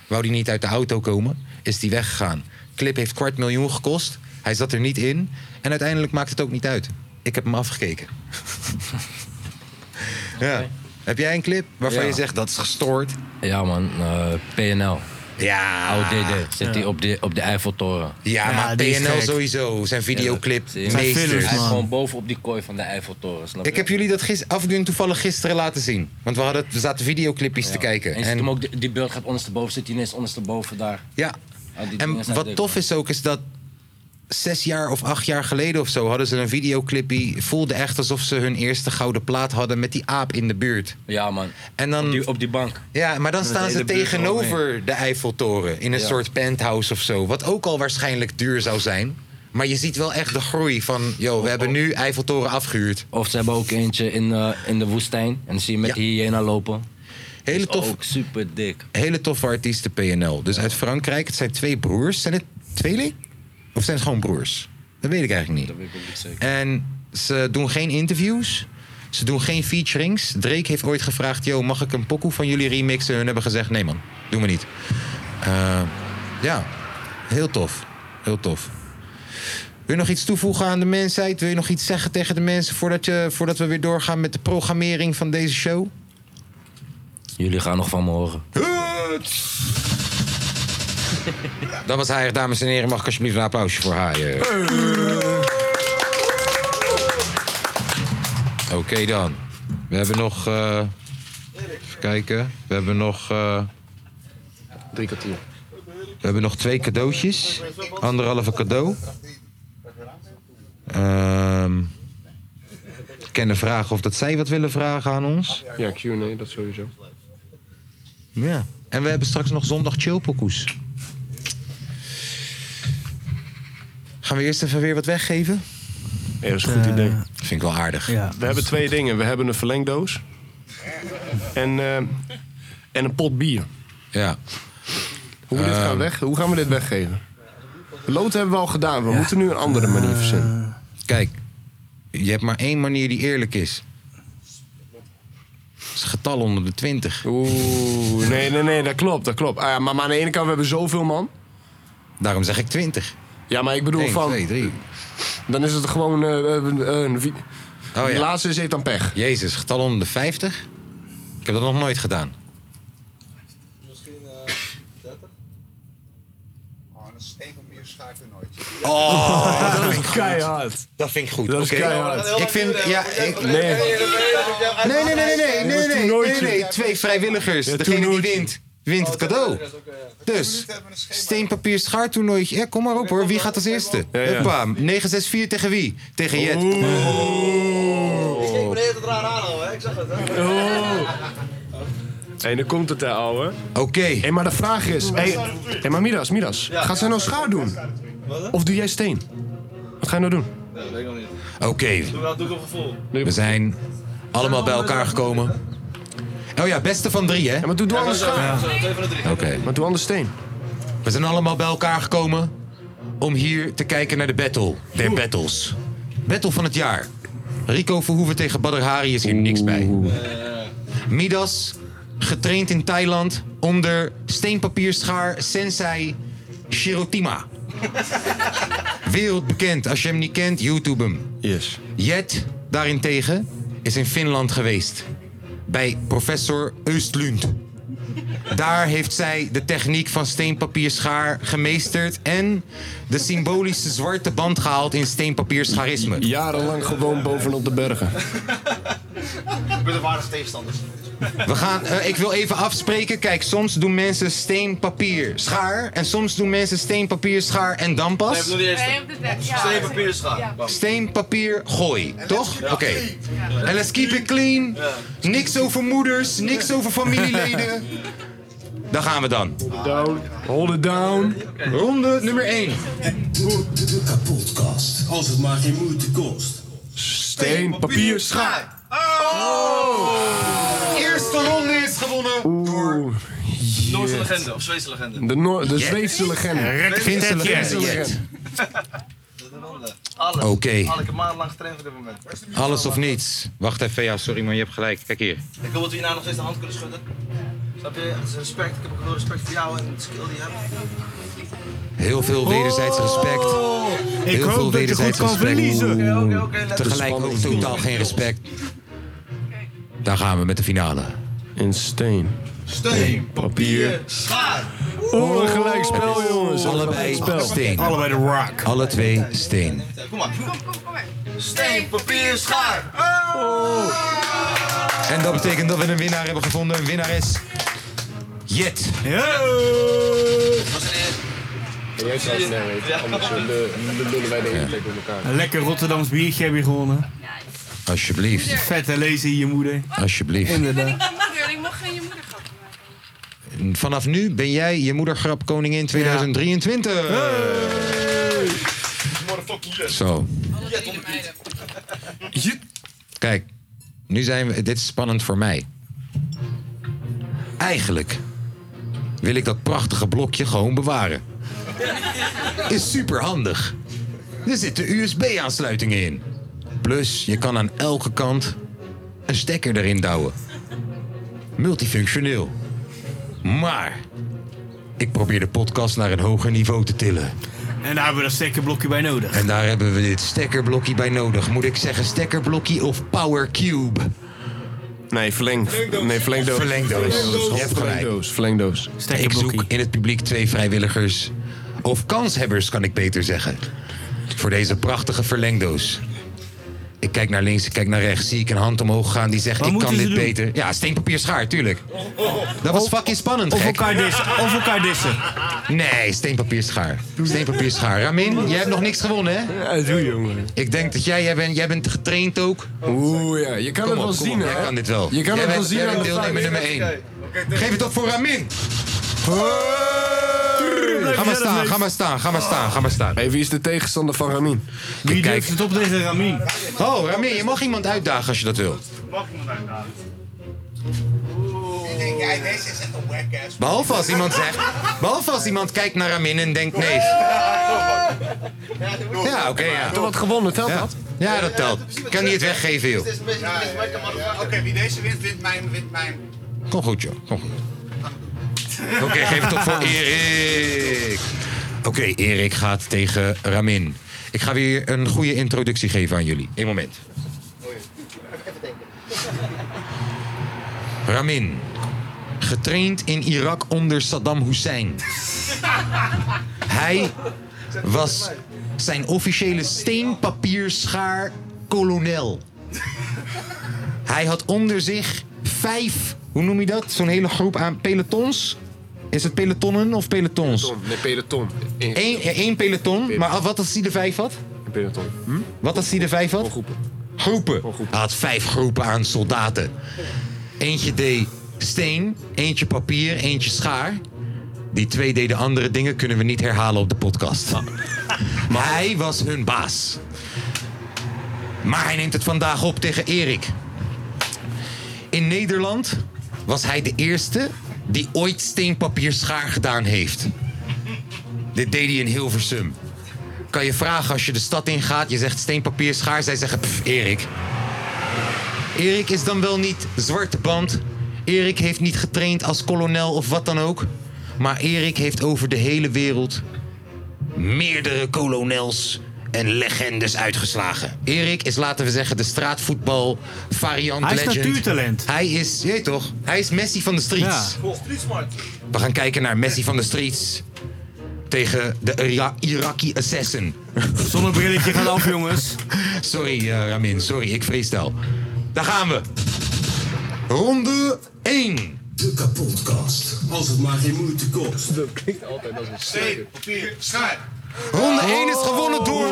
Wou die niet uit de auto komen, is die weggegaan. Clip heeft kwart miljoen gekost. Hij zat er niet in. En uiteindelijk maakt het ook niet uit. Ik heb hem afgekeken. ja. Heb jij een clip waarvan
Ja.
je zegt dat is gestoord?
Ja, man. eh, PNL.
Ja.
ODD. Zit die op, de, op de Eiffeltoren.
Ja, maar PNL sowieso. Zijn videoclip.
Ja, dat-
meesters.
Hij is gewoon bovenop die kooi van de Eiffeltoren. Snap
Ik
je?
heb jullie dat gis- afdoen toevallig gisteren laten zien. Want we, hadden, we zaten videoclipjes te kijken.
En je ziet hem ook, die, die beeld gaat ondersteboven, zit hij ineens ondersteboven daar.
Ja.
Ah, die dingen
En
zijn
wat
dik,
tof is ook, is dat zes jaar of acht jaar geleden of zo hadden ze een videoclipje. Voelde echt alsof ze hun eerste gouden plaat hadden met die aap in de buurt.
Ja, man.
En dan, op, die,
bank.
Ja, maar dan
Met
staan
de
ze
hele buurt
tegenover
eromheen.
de Eiffeltoren. In een
Ja.
soort penthouse of zo. Wat ook al waarschijnlijk duur zou zijn. Maar je ziet wel echt de groei van, yo, we hebben nu Eiffeltoren afgehuurd.
Of ze hebben ook eentje in, eh, in de woestijn. En dan zie je met die hyena lopen.
Hele
tof. Ook super dik.
Hele toffe artiesten PNL. Dus uit Frankrijk, het zijn twee broers. Zijn het tweeling? Of zijn het gewoon broers? Dat weet ik eigenlijk niet.
Ik weet niet zeker.
En ze doen geen interviews. Ze doen geen featurings. Drake heeft ooit gevraagd: Yo, mag ik een pokoe van jullie remixen? Hun hebben gezegd: Nee, man, doen we niet. Eh, ja, heel tof. Heel tof. Wil je nog iets toevoegen aan de mensheid? Wil je nog iets zeggen tegen de mensen voordat, je, voordat we weer doorgaan met de programmering van deze show?
Jullie gaan nog van me horen.
Dat was hij, dames en heren. Mag ik alsjeblieft een applausje voor haar? eh? Oké dan. We hebben nog. eh, even kijken. We hebben nog. eh, Drie kwartier. We hebben nog twee cadeautjes. Anderhalve cadeau. Ehm. Ik ken de vraag of dat zij wat willen vragen aan ons.
Ja, Q&A, dat sowieso.
Ja. En we hebben straks nog zondag chillpokoes. Gaan we eerst even weer wat weggeven?
Ja, dat is een goed idee.
Vind ik wel aardig.
we hebben twee dingen. We hebben een verlengdoos. En, eh, en een pot bier.
Ja. Ehm.
Hoe, we dit gaan weg, hoe gaan we dit weggeven? Lood hebben we al gedaan. We moeten nu een andere manier verzinnen.
Kijk, je hebt maar één manier die eerlijk is. Dat is een getal onder de 20.
Oeh, nee, nee, nee, dat klopt, dat klopt. Ah ja, maar, maar aan de ene kant, we hebben zoveel man.
Daarom zeg ik 20.
Ja, maar ik bedoel
Eén,
van...
twee, drie.
Dan is het gewoon... eh, eh, eh, wie- De laatste is heeft dan pech.
Oh Jezus, getal onder de 50? Ik heb dat nog nooit gedaan.
Oh, dat
vind ik
keihard.
Dat vind ik goed.
Dat is
Oké.
keihard.
Ik vind, ja, ik,
Nee. Nee,
nee, nee, nee, nee, nee, nee, nee, nee,
Toernooitje.
nee. Twee vrijwilligers. Degene die wint, wint het cadeau. Dus, steen, papier, schaar toernooitje. Ja, kom maar op hoor, wie gaat als eerste?
Ja, ja.
Huppa, 964 tegen wie? Tegen Jet.
Ik ben het eraan aan hoor, hè? ik zag het. Hè?
Oh.
Hé, dan komt het daar, ouwe.
Oké.
Hé, maar de vraag is... Hé, hé, maar Midas, Midas. gaat zij nou schaar doen? Of doe jij steen? Wat ga je nou doen?
Nee, weet ik nog niet.
Oké,
Doe dat doe ik op gevoel.
we zijn allemaal bij elkaar gekomen. Oh ja, beste van drie, hè? Ja,
maar doe, doe anders schaar.
Twee van de drie.
Oké.
Maar doe anders steen.
We zijn allemaal bij elkaar gekomen om hier te kijken naar de battle. Der battles. Battle van het jaar. Rico Verhoeven tegen Badr Hari is hier niks bij. Midas, getraind in Thailand onder steenpapierschaar Sensei Shirotima. Wereldbekend. Als je hem niet kent, YouTube hem.
Yes.
Jet, daarentegen, is in Finland geweest. Bij professor Östlund. Daar heeft zij de techniek van steenpapierschaar gemeesterd en de symbolische zwarte band gehaald in steenpapierschaarisme.
Jarenlang gewoon bovenop de bergen.
Ik ben de waardige tegenstanders.
We gaan, eh, ik wil even afspreken. Kijk, soms doen mensen steen, papier, schaar. En soms doen mensen steen, papier, schaar en dan
Nee, ik
pas.
bedoel de eerste. Steen, papier, schaar. Bam.
Steen, papier, gooi. Toch? Oké. En let's keep it clean. Niks over moeders, niks over familieleden. Daar gaan we dan.
Down. Hold it down.
Ronde nummer 1.
De podcast. Als het maar geen moeite kost.
Steen, papier, schaar.
Oh.
Oh.
Eerste ronde is gewonnen
door...
Noorse legende of Zweedse legende.
De, Noor- de
Jet.
Zweedse legende.
Red
Finse
Jet.
legende.
Jet.
legende.
Alles.
Oké.
Al ik een maand lang getraind op dit moment.
Alles of niets. Wacht even, ja, sorry, maar je hebt gelijk. Kijk hier.
Ik wil dat we hierna nog steeds de hand kunnen schudden. Snap je? Het is respect. Ik heb ook heel respect voor jou en de skill die je hebt.
Heel veel wederzijds respect. Heel
Oh. hoop
veel
dat je
wederzijds
goed kan
respect.
verliezen. Oké, oké, oké, let op.
Tegelijk ook totaal geen respect. Daar gaan we met de finale.
In steen.
Steen,
papier,
schaar.
Oh, een gelijkspel, jongens.
Allebei steen. Allebei de rock. Alle twee steen.
Kom maar. Steen, papier, schaar.
Oh.
En dat betekent dat we een winnaar hebben gevonden. Een winnaar is... Jet.
Jij zou het snel weten, anders eh, lullen lullen wij de hele tijd door elkaar.
Een lekker Rotterdams biertje heb je gewonnen.
Alsjeblieft.
Vette lezen in je moeder.
Alsjeblieft.
Inderdaad.
Ik mag geen je moeder gaan.
Vanaf nu ben jij je moedergrap koningin 2023. Zo. Kijk, nu zijn we. Dit is spannend voor mij. Eigenlijk wil ik dat prachtige blokje gewoon bewaren. Is super handig. Er zitten USB-aansluitingen in. Plus, je kan aan elke kant een stekker erin douwen. Multifunctioneel. Maar ik probeer de podcast naar een hoger niveau te tillen.
En daar hebben we dat stekkerblokje bij nodig.
En daar hebben we dit stekkerblokje bij nodig. Moet ik zeggen stekkerblokje of power cube?
Nee, verleng... Nee, verlengdoos.
Verlengdoos. Je hebt gelijk.
Verlengdoos. Verlengdoos.
Ik zoek in het publiek twee vrijwilligers. Of kanshebbers, kan ik beter zeggen. Voor deze prachtige verlengdoos. Ik kijk naar links, ik kijk naar rechts. Zie ik een hand omhoog gaan die zegt:
Wat
Ik kan
moeten
dit
ze doen?
beter. Ja, steen, papier, schaar, tuurlijk. Dat was fucking spannend,
Of
gek.
elkaar dissen. Of elkaar dissen.
Nee, steen, papier, schaar. Steen, papier, schaar. Ramin, jij hebt nog niks gewonnen, hè? Ja, doe jongen. Ik denk dat jij, jij bent, jij bent getraind ook. Oeh ja, je
kan het wel zien, hè?
Jij kan dit wel.
Je kan
Jij
het wel
bent-
zien
Jij
aan
bent
de
deelnemer
vijf.
nummer 1. Geef het op voor Ramin.
Ga maar staan, ga
maar staan, ga maar staan, ga maar staan.
Hey, wie is de tegenstander van Ramin?
Wie durft
het op tegen Ramin?
Oh, Ramin, je mag iemand uitdagen als je dat wil.
Mag iemand uitdagen?
Behalve als iemand zegt, behalve als iemand kijkt naar Ramin en denkt nee. Ja, oké, ja.
Toch wat gewonnen, telt
Ja.
dat?
Ja, dat telt. Kan niet het weggeven, joh.
Oké, wie deze wint, wint mijn, wint mijn.
Kom goed, joh. Kom goed. Oké, geef het op voor Erik. Oké, Erik gaat tegen Ramin. Ik ga weer een goede introductie geven aan jullie. Eén moment. Ramin, getraind in Irak onder Saddam Hussein. Hij was zijn officiële steenpapierschaar-kolonel. Hij had onder zich vijf, hoe noem je dat? Zo'n hele groep aan pelotons. Is het pelotonnen of pelotons?
Nee, peloton.
Eén ja, één peloton, maar wat als hij er vijf had?
Peloton. Hm?
Hm? Wat als hij er vijf had? Groepen. Groepen. Hij had vijf groepen aan soldaten. Eentje deed steen, eentje papier, eentje schaar. Die twee deden andere dingen, kunnen we niet herhalen op de podcast. Maar hij was hun baas. Maar hij neemt het vandaag op tegen Erik. In Nederland was hij de eerste die ooit steen, papier, schaar gedaan heeft. Dit deed hij in Hilversum. Kan je vragen als je de stad ingaat, je zegt steen, papier, schaar. Zij zeggen, pff, Erik. Erik is dan wel niet zwarte band. Erik heeft niet getraind als kolonel of wat dan ook. Maar Erik heeft over de hele wereld meerdere kolonels en legendes uitgeslagen. Erik is, laten we zeggen, de straatvoetbal variant
Hij is
legend.
natuurtalent.
Hij is, je weet toch, hij is Messi van de streets.
Streetsmart.
We gaan kijken naar Messi van de Streets. Tegen de Ira- Iraqi Assassin.
Zonnebrilletje gaat af, jongens.
Sorry, eh, Ramin. Sorry, ik freestyle. Daar gaan we. Ronde 1.
De kapotkast. Als het maar geen moeite kost. Dat klinkt altijd als een
Steen, papier, schaar.
Ronde 1 is gewonnen door...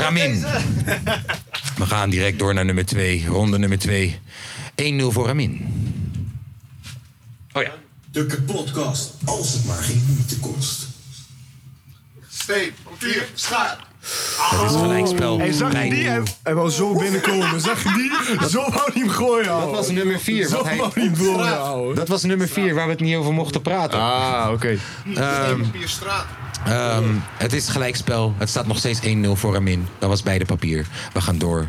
Ramin. We gaan direct door naar nummer 2. Ronde nummer 2. 1-0 voor Ramin. Oh ja.
De kapotkast. Als het maar geen moeite kost.
Steen, papier, schaar.
Dat is gelijkspel.
Hey, zag je
Mijn-
die? Hij, hij wou zo binnenkomen. Zag je die? Zo wou hij hem gooien,
Dat was nummer 4.
Zo wou hij hem gooien, ouwe.
Dat was nummer 4 waar we het niet over mochten praten. Ah, oké.
Steen, papier, straat.
Ehm, het is gelijkspel. Het staat nog steeds 1-0 voor Ramin. Dat was beide papier. We gaan door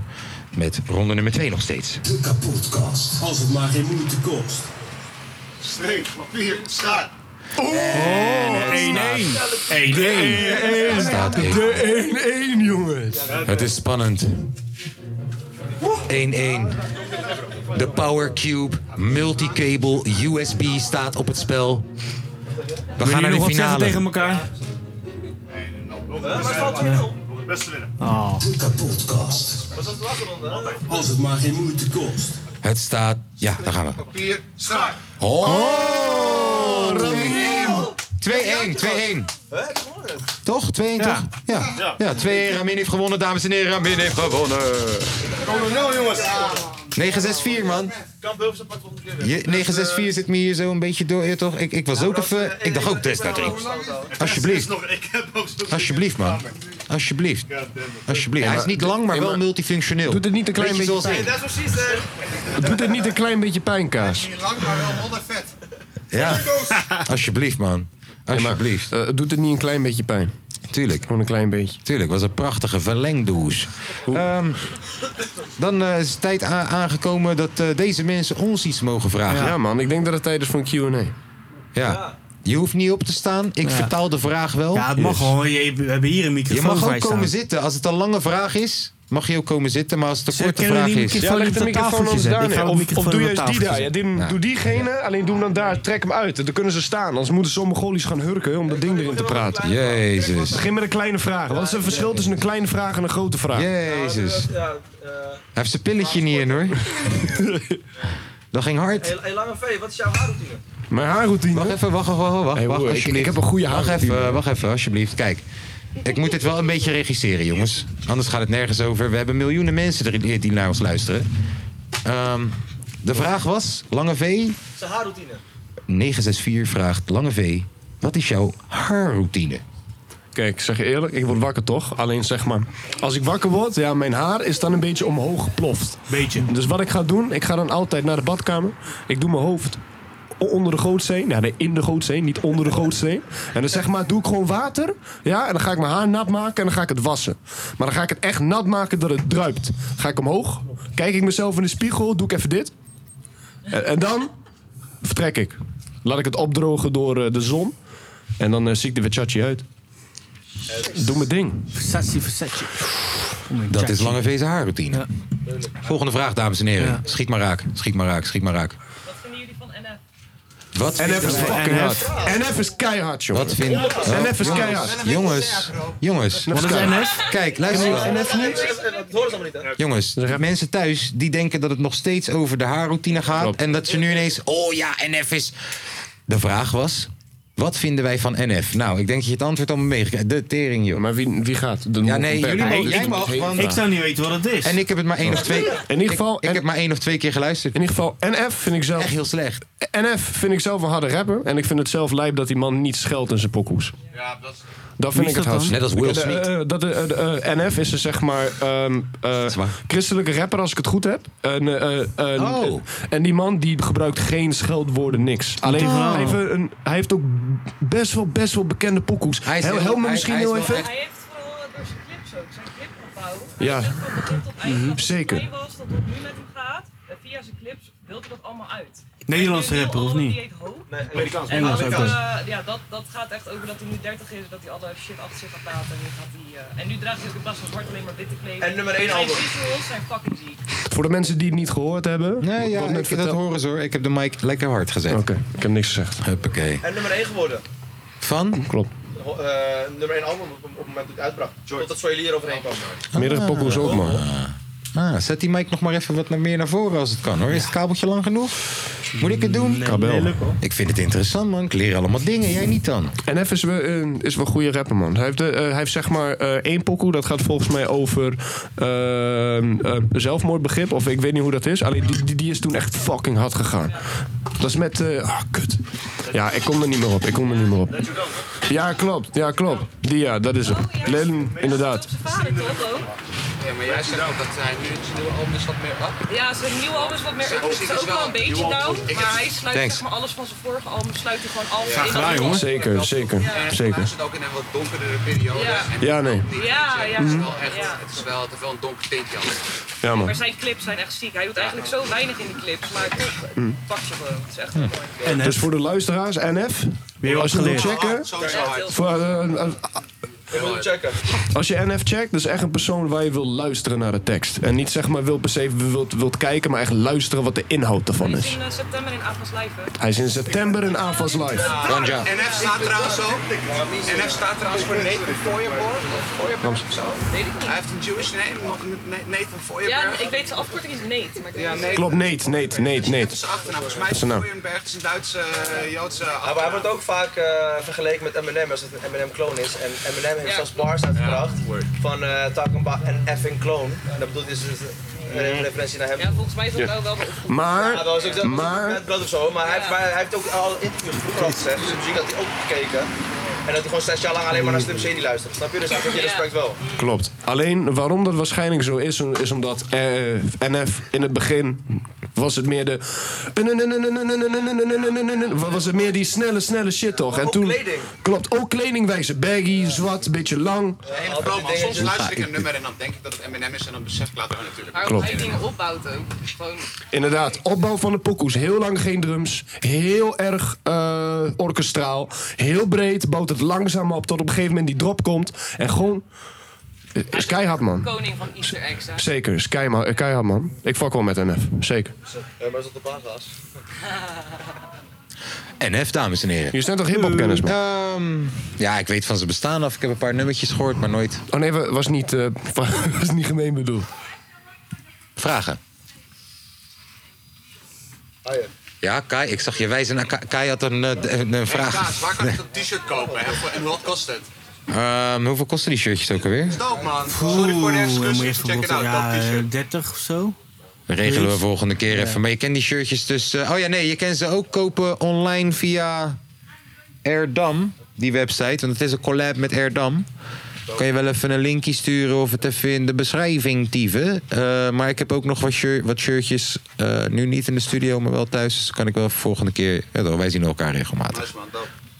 met ronde nummer 2 nog steeds.
De kapotkast. Als het maar geen moeite kost.
Steen, papier, schaar.
Oh,
Het staat 1-1.
De 1-1, jongens.
Het is spannend. 1-1. De Power Cube Multicable USB staat op het spel. We gaan naar de finale.
tegen elkaar?
Beste winnen.
De kapotkast. Als het maar geen moeite kost.
Het staat. Ja, daar gaan we.
Papier, schaar.
Oh!
Oh,
2-1, 2-1. Toch? 2-1, toch? Ja. Ja, 2-1. Ramin heeft gewonnen, dames en heren. Ramin heeft gewonnen.
Oh,
Kolonel, jongens.
9-6-4, man.
Kan Bulfs apart volgende keer
Je- 964 zit me hier zo een beetje door, ja, toch? Ik, ik was ook even... Ik dacht ook test erin. Alsjeblieft.
Ik heb ook zo'n
Alsjeblieft, man. Alsjeblieft. Alsjeblieft. Hij is niet lang, maar wel multifunctioneel.
Doet het niet een klein
Beetje
beetje
zoals
pijn?
ik.
Dat is precies,
Doet het niet een klein beetje pijn, Kaas?
lang, maar wel honderd vet.
Ja. Alsjeblieft, man. Alsjeblieft.
eh, doet het niet een klein beetje pijn?
Tuurlijk.
Gewoon een klein beetje.
Tuurlijk, was een prachtige verlengdoes. Ehm, dan eh, is het tijd a- aangekomen dat eh, deze mensen ons iets mogen vragen.
Ja. man, ik denk dat het tijd is voor een Q&A.
Ja. Je hoeft niet op te staan. Ik
Ja.
vertaal de vraag wel.
Ja, het mag
Yes.
gewoon. Je- We hebben hier een
Je
microfoon
mag
voor
ook
je staan.
komen zitten. Als het een lange vraag is, Mag je ook komen zitten, maar als het een korte
kunnen
vraag
die
is...
microfoon Ja, leg niet de op microfoon tafeltjes anders zetten. daar Ik ga neer. de Of- of microfoon doe op juist die tafeltjes daar. Ja, die-
Ja.
Doe diegene, alleen doe hem dan daar. Trek hem uit. Dan kunnen ze staan. Anders moeten ze Mongolisch gaan hurken om dat ding erin te praten.
Jezus.
Begin met een kleine vraag. Wat is het verschil tussen een kleine vraag en een grote vraag?
Jezus. Hij heeft zijn pilletje niet in hoor. Dat ging hard.
Hey, hey, Lange V, wat is jouw haarroutine?
Mijn haarroutine.
Wacht even, wacht, wacht, wacht, wacht, wacht
broer, ik-
alsjeblieft.
ik heb een goede haarroutine.
Wacht even, wacht even, alsjeblieft. Kijk, ik moet dit wel een beetje regisseren, jongens. Anders gaat het nergens over. We hebben miljoenen mensen er- die naar ons luisteren. Ehm, de vraag was, Lange V,
Zijn haarroutine.
964 vraagt, Lange V, wat is jouw haarroutine?
Kijk, ik zeg je eerlijk, ik word wakker toch? Alleen zeg maar, als ik wakker word, ja, mijn haar is dan een beetje omhoog geploft. Beetje. Dus wat ik ga doen, ik ga dan altijd naar de badkamer. Ik doe mijn hoofd o- onder de gootsteen. Ja, nee, in de gootsteen, niet onder de gootsteen. En dan zeg maar, doe ik gewoon water. Ja, en dan ga ik mijn haar nat maken en dan ga ik het wassen. Maar dan ga ik het echt nat maken dat het druipt. Ga ik omhoog, kijk ik mezelf in de spiegel, doe ik even dit. En, en dan vertrek ik. Laat ik het opdrogen door eh, de zon. En dan eh, zie ik er weer tjatje uit. Doe mijn ding.
Versace, Versace.
Dat is Lange V's haarroutine. Volgende vraag, dames en heren. Schiet maar raak, schiet maar raak, schiet maar raak. Wat vinden
NF is
jullie van NF? Wat
fucking hard. NF is keihard, jongen.
Wat vind
Oh, NF is
jongens,
keihard.
Jongens, jongens.
Wat is NF?
Kijk, luister.
Kennen jullie
Eh,
NF niet?
Dat horen ze allemaal niet, hè?
Jongens, de mensen thuis die denken dat het nog steeds over de haarroutine gaat. En dat ze nu ineens. Oh ja, NF is. De vraag was. Wat vinden wij van NF? Nou, ik denk dat je het antwoord al meegekregen De tering, joh.
Maar wie, wie gaat? De
ja, nee,
Pep.
jullie mogen,
Nee,
jij
ik-
mag.
ik-
want-
ik zou niet weten wat het is.
En ik heb het maar één of twee...
In ieder geval...
Ik, ik heb maar één of twee keer geluisterd.
In ieder geval, NF vind ik zelf...
Echt heel slecht.
NF vind ik zelf een harde rapper. En ik vind het zelf lijp dat die man niet scheldt in zijn pokoes.
Ja, dat is...
Dat vind
Wie
ik
is
het
dat
hardst.
dan? Net als Will
De-
Smith.
eh, dat, eh, de, eh, NF is een zeg maar ehm, eh, christelijke rapper, als ik het goed heb. En, eh, eh, een-
Oh.
en die man die gebruikt geen scheldwoorden, niks. Alleen
Oh.
hij, heeft een, hij heeft ook best wel, best wel bekende pokoes.
Hij is
Hel-
heel-
Help me
hij-
misschien
hij is
heel
wel
even.
echt-
heeft vooral eh, door zijn clips ook, zijn clip opbouwen.
Ja.
Mhm.
Zeker.
Het was dat het nu met hem gaat, en via zijn clips wilde hij dat allemaal uit.
Nederlandse rapper, of niet?
Die heet Hope.
eh,
Nee, Amerikaans.
En
Engels
dat,
ook.
dus.
eh, ja, dat, dat gaat echt over dat hij nu 30 is, dat hij alle shit achter zich gaat laten. En nu, gaat hij, eh, en nu draagt hij ook in plaats van zwart alleen maar witte kleding.
En nummer één
Zijn
album.
visuals zijn fucking ziek.
Voor de mensen die het niet gehoord hebben.
Nee, ja, ik, dat horen ze hoor. Ik heb de mic lekker hard gezet. Oké,
ik heb niks gezegd.
Huppakee.
En nummer 1 geworden.
Van?
Klopt.
Ho- eh, nummer 1 album op, op het moment dat het uitbracht. Totdat Soyli hier overheen kwam.
Meerdere pokoes ook, man.
Ah, zet die mic nog maar even wat naar meer naar voren als het kan hoor. Is het kabeltje lang genoeg? Moet ik het doen?
Kabel. nee, lukt, hoor.
Ik vind het interessant man. Ik leer allemaal dingen. Jij niet dan?
NF is wel, eh, is wel een goede rapper, man. Hij heeft, eh, eh, hij heeft zeg maar eh, één pokoe, dat gaat volgens mij over ehm, eh, zelfmoordbegrip, of ik weet niet hoe dat is. Alleen die, die, die is toen echt fucking hard gegaan. Dat is met. eh, ah, kut. Ja, ik kom er niet meer op. Ik kom er niet meer op. Ja, klopt. Ja, klopt. Die ja, dat is hem. Lennon, inderdaad.
Vader toch ook?
Ja, maar jij zegt ook dat hij nu het nieuwe album is wat meer af.
Ja, zijn nieuwe album is wat meer.
Zijn
Ik
muziek
zit
is
ook wel
wel
een beetje
nieuw album.
down.
Ik
Maar
heb-
hij sluit
Thanks.
zeg maar alles van zijn vorige album. Sluit hij gewoon allemaal in.
gedaan,
dat
jongen.
album.
Zeker, zeker,
En
zeker.
Hij zit ook in een wat donkerdere periode.
Ja.
En
Ja, nee.
die-
Ja, ja.
Het is wel echt, het is wel, het heeft wel een donker tintje aan.
Ja, man.
Maar zijn clips zijn echt ziek. Hij doet eigenlijk zo weinig in die clips, maar toch eh,
Hm.
pakt je gewoon. Het is echt heel mooi.
Dus voor de luisteraars, NF.
wat
Als je hem wilt
geleerd.
checken. Voor, eh, eh,
Ik moet het checken.
Als je NF checkt, dat is echt een persoon waar je wil luisteren naar de tekst. En niet zeg maar wil per se wilt, wilt kijken, maar echt luisteren wat de inhoud ervan is.
In eh, september in Avas Live. hè?
Hij is in september in AFAS Live. Ganja.
NF staat trouwens ook. NF staat trouwens voor Nathan Feuerborg. Feuerborg of zo. Hij heeft een Jewish name, nog een Na- Nathan
Ja,
Feuerberg.
ik weet zijn afkorting is Nate. Maar ik
Ja,
weet
Nate.
niet.
Klopt, Nate, Nate, Nate,
Dat
Nate.
is zijn achternaam. Volgens mij
Dat is
is
zijn naam.
Feuerberg is een Duitse, eh, Joodse
Ja, maar hij wordt ook vaak eh, vergeleken met Eminem als het een Eminem-kloon is. En Eminem heeft zelfs bars uitgebracht van eh talking about an effing clone. En dat bedoelt dus dus een referentie naar hem. Ja,
volgens mij is
dat Mhm. Ja. wel
wel
Maar-
dat was ook zo,
maar-
met brood of zo, maar hij, heeft, maar hij heeft ook al interviews vroeger al gezegd, dus de muziek had hij ook gekeken. En dat hij gewoon zes jaar lang alleen maar naar Slim Shady luistert. Snap je? Dus dat heb je respect wel.
Klopt. Alleen waarom dat waarschijnlijk zo is, is omdat eh, NF in het begin was het meer de. Was het meer die snelle, snelle shit toch? En toen. Klopt, ook kledingwijze. Baggy, zwart, beetje lang.
Hele
Oh,
promo. Soms luister ik een nummer en dan denk ik dat het M&M is en dan besef ik later oh, natuurlijk.
Maar Klopt. hij dingen
opbouwt ook. Gewoon...
Inderdaad, opbouw van de pokoes. Heel lang geen drums. Heel erg eh, orkestraal. Heel breed. Bouwt het langzaam op tot op een gegeven moment die drop komt. En gewoon eh, Is keihard, man.
Koning van Easter eggs, hè?
Zeker, is keima- eh, keihard, man. Ik fuck wel met NF, zeker.
Eh, maar is dat op aangehast?
NF, dames en heren.
Je bent toch hip-hop kennis, man?
Ehm, ja, ik weet van zijn bestaan af. Ik heb een paar nummertjes gehoord, maar nooit.
Oh nee, was niet, was niet gemeen bedoeld.
Vragen?
Ah, ja.
Ja, Kai, ik zag je wijzen naar Kai. Kai had een, eh, d- een, een
Hey,
vraag.
Klaas, waar kan ik dat t-shirt kopen? hè? Voor- En wat kost het?
Ehm, hoeveel kosten die shirtjes ook alweer?
Dope, man. Sorry voor
Oeh,
de
dan moet je
excursie.
even
Check it
botten,
out.
ja,
Dat t-shirt.
eh, 30 of zo.
Regelen we
Zoiets.
volgende keer
Ja.
even. Maar je kent die shirtjes dus. eh, oh ja, nee, je kan ze ook kopen online via Erdam, die website. Want het is een collab met Erdam. Kan je wel even een linkje sturen of het even in de beschrijving tyven. Eh, maar ik heb ook nog wat, shir- wat shirtjes. eh, nu niet in de studio, maar wel thuis. Dus kan ik wel volgende keer. Ja, toch, wij zien elkaar regelmatig.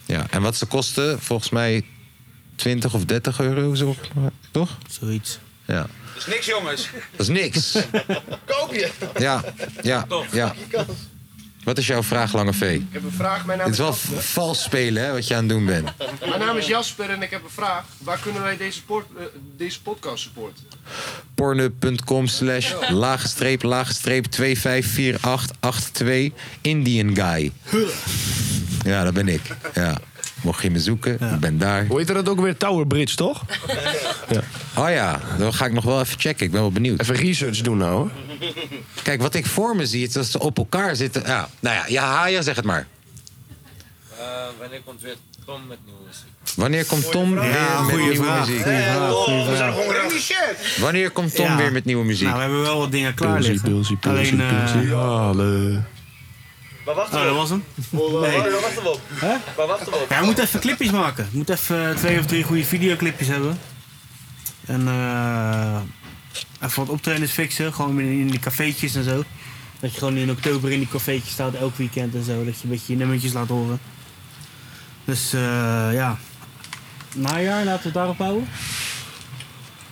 Ja, en wat ze kosten, volgens mij 20 of 30 euro, zo, toch?
Zoiets.
Ja.
Dat is niks, jongens.
Dat is niks.
Koop je.
Ja, ja, ja. Wat is jouw vraag, Lange V? Ik
heb een vraag, mijn naam
Het is
is
wel v- vals spelen, hè, wat je aan het doen bent.
Mijn naam is Jasper en ik heb een vraag. Waar kunnen wij deze, eh, deze podcast supporten?
Pornhub.com slash laagstreep, laagstreep 254882 Indian Guy. Ja, dat ben ik. Ja. Mocht je me zoeken, ik ben daar.
Hoe heet dat ook weer? Tower Bridge, toch?
Oh ja, dan ga ik nog wel even checken. Ik ben wel benieuwd.
Even research doen nou, hoor.
Kijk, wat ik voor me zie, is dat ze op elkaar zitten. Ja, nou ja, ja, Haya, zeg het maar.
Eh, wanneer komt weer Tom met nieuwe muziek?
Wanneer komt Tom weer met nieuwe muziek?
Holy shit!
Wanneer komt Tom
Ja.
weer met nieuwe muziek?
Nou, we hebben wel wat dingen klaar liggen. Alleen, eh,
Eh.
Maar wacht
Nou,
Oh, dat was hem. Nee.
Waar wachten we op? Waar wachten we op?
Ja, we moeten even clipjes maken. We moeten even eh, twee of drie goede videoclipjes hebben. En eh, even wat optredens fixen. Gewoon in, in die cafeetjes en zo. Dat je gewoon in oktober in die cafeetjes staat elk weekend en zo. Dat je een beetje je nummertjes laat horen. Dus eh, ja. Najaar, laten we het daarop houden.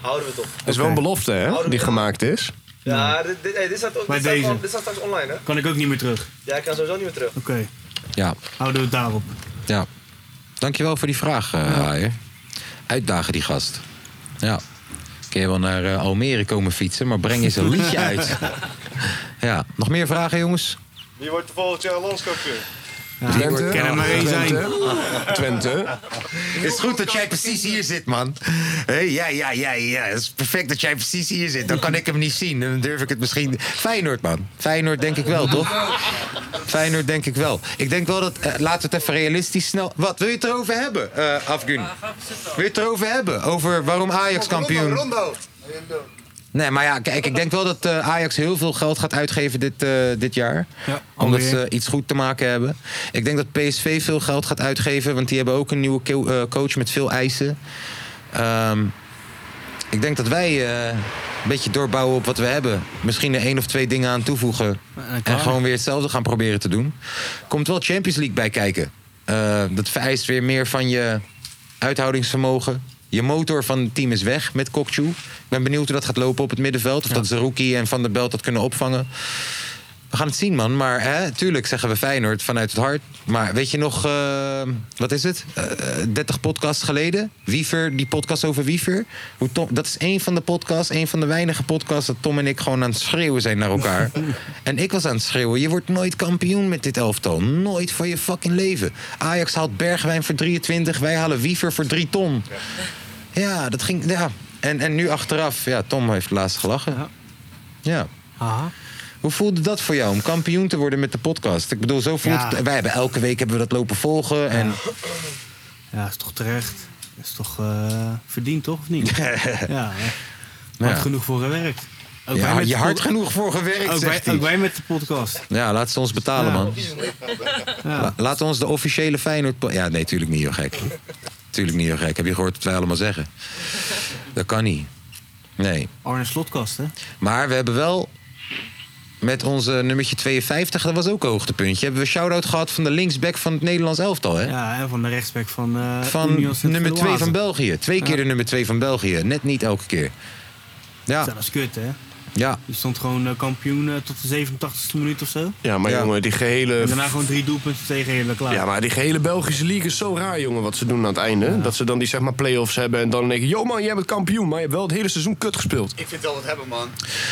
Houden we het op.
Dat is wel een belofte, hè, die gemaakt is.
Ja, dit, dit, hey, dit staat, ook,
Bij
dit, staat
deze.
gewoon- dit staat straks online, hè?
Kan ik ook niet meer terug.
Ja, ik kan sowieso niet meer terug.
Oké,
Ja.
houden we het daarop.
Ja. Dankjewel voor die vraag, eh Haier. Uitdagen die gast. Ja. Kun je wel naar eh, Almere komen fietsen, maar breng eens een liedje uit. Ja. Nog meer vragen, jongens?
Wie wordt de volgend jaar landskampioen?
Twente.
Kan er maar één zijn.
Twente. Het is goed dat jij precies hier zit, man. Hé, ja, ja, ja, ja. Het is perfect dat jij precies hier zit. Dan kan ik hem niet zien. En dan durf ik het misschien... Feyenoord, man. Feyenoord denk ik wel, toch? Feyenoord denk ik wel. Ik denk wel dat... eh, laten we het even realistisch snel... Wat, wil je het erover hebben, eh Afgun? Wil je het erover hebben? Over waarom Ajax kampioen...
Rondo.
Nee, maar ja, kijk, ik denk wel dat eh, Ajax heel veel geld gaat uitgeven dit, eh, dit jaar. omdat
alweer.
ze iets goed te maken hebben. Ik denk dat PSV veel geld gaat uitgeven, want die hebben ook een nieuwe co- eh, coach met veel eisen. Ehm, ik denk dat wij eh, een beetje doorbouwen op wat we hebben. Misschien er één of twee dingen aan toevoegen. En
klaar.
gewoon weer hetzelfde gaan proberen te doen. Komt wel Champions League bij kijken. Eh, dat vereist weer meer van je uithoudingsvermogen. Je motor van het team is weg met Kokchu. Ik ben benieuwd hoe dat gaat lopen op het middenveld. Of dat Zerouki en Van der Belt dat kunnen opvangen. We gaan het zien, man. Maar hè, tuurlijk zeggen we Feyenoord vanuit het hart. Maar weet je nog, eh, wat is het? Eh, eh, 30 podcasts geleden. Wiever, die podcast over Wiever. Hoe Tom, dat is één van de podcasts, één van de weinige podcasts... dat Tom en ik gewoon aan het schreeuwen zijn naar elkaar. en ik was aan het schreeuwen, je wordt nooit kampioen met dit elftal. Nooit van je fucking leven. Ajax haalt Bergwijn voor 23, wij halen Wiever voor 3 ton. Ja, dat ging... Ja. En, en nu achteraf, ja, Tom heeft laatst gelachen. ja. Hoe voelde dat voor jou om kampioen te worden met de podcast? Ik bedoel, zo voelt
Ja.
het. Wij hebben elke week hebben we dat lopen volgen. En
Ja, is toch terecht. Is toch eh, verdiend, toch? Of niet? ja, hè.
Ja.
hard genoeg voor gewerkt.
Ja,
wij met
je
de
hard
pod-
genoeg voor gewerkt,
ook
zegt
wij,
hij.
ook wij met de podcast.
ja, laat ze ons betalen, man.
Ja.
La- laat ons de officiële Feyenoord... Ja, nee, tuurlijk niet, joh, gek. Tuurlijk niet, joh, gek. Heb je gehoord wat wij allemaal zeggen? Dat kan niet. Nee.
Arne Slotkast, hè?
Maar we hebben wel met onze nummertje 52... dat was ook een hoogtepuntje... hebben we shout-out gehad van de linksback van het Nederlands elftal, hè?
Ja, en van de rechtsback van, eh, Union
Van nummer 2
Saint-Gilloise.
van België. Twee keer de nummer 2 van België. Net niet elke keer. Ja.
Dat is kut, hè?
Ja.
Die stond gewoon eh, kampioen eh, tot de 87e minuut of zo.
Ja, maar jongen, die gehele...
En daarna gewoon drie doelpunten tegen hele klaar.
Ja, maar die gehele Belgische league is zo raar, jongen, wat ze doen aan het einde. Dat ze dan die, zeg maar, play-offs hebben en dan denken... Yo man, jij bent kampioen, maar je hebt wel het hele seizoen kut gespeeld.
Ik vind het wel wat hebben, man.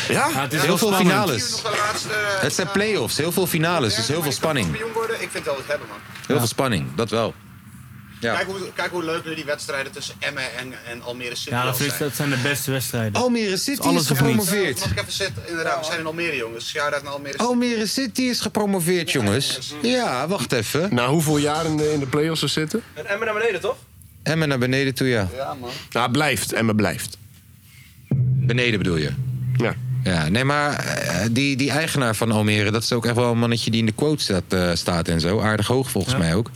Ja?
het is heel veel finales.
De laatste eh,
Het zijn play-offs, heel veel finales, dus heel veel spanning.
kampioen worden, ik vind het wel wat hebben, man.
Heel veel spanning, dat wel. Ja.
Kijk, hoe, kijk hoe leuk die wedstrijden tussen Emmen en, en Almere City
Ja,
wel
dat,
zijn.
vind, dat zijn de beste wedstrijden.
Almere City
Alles
is
of niets.
gepromoveerd.
Mag ik even zitten? Inderdaad, we zijn in Almere, jongens. Ja, dat naar Almere City.
Almere City is gepromoveerd, jongens. Ja, wacht even.
Na hoeveel jaar in de, in de play-offs ze zitten?
En Emmen naar beneden, toch?
Emmen naar beneden toe, ja.
Ja, man.
Nou, blijft. Emmen blijft.
Beneden bedoel je?
Ja.
Ja, nee, maar eh, die, die eigenaar van Almere, dat is ook echt wel een mannetje die in de quote staat, eh, staat en zo. Aardig hoog volgens mij ook.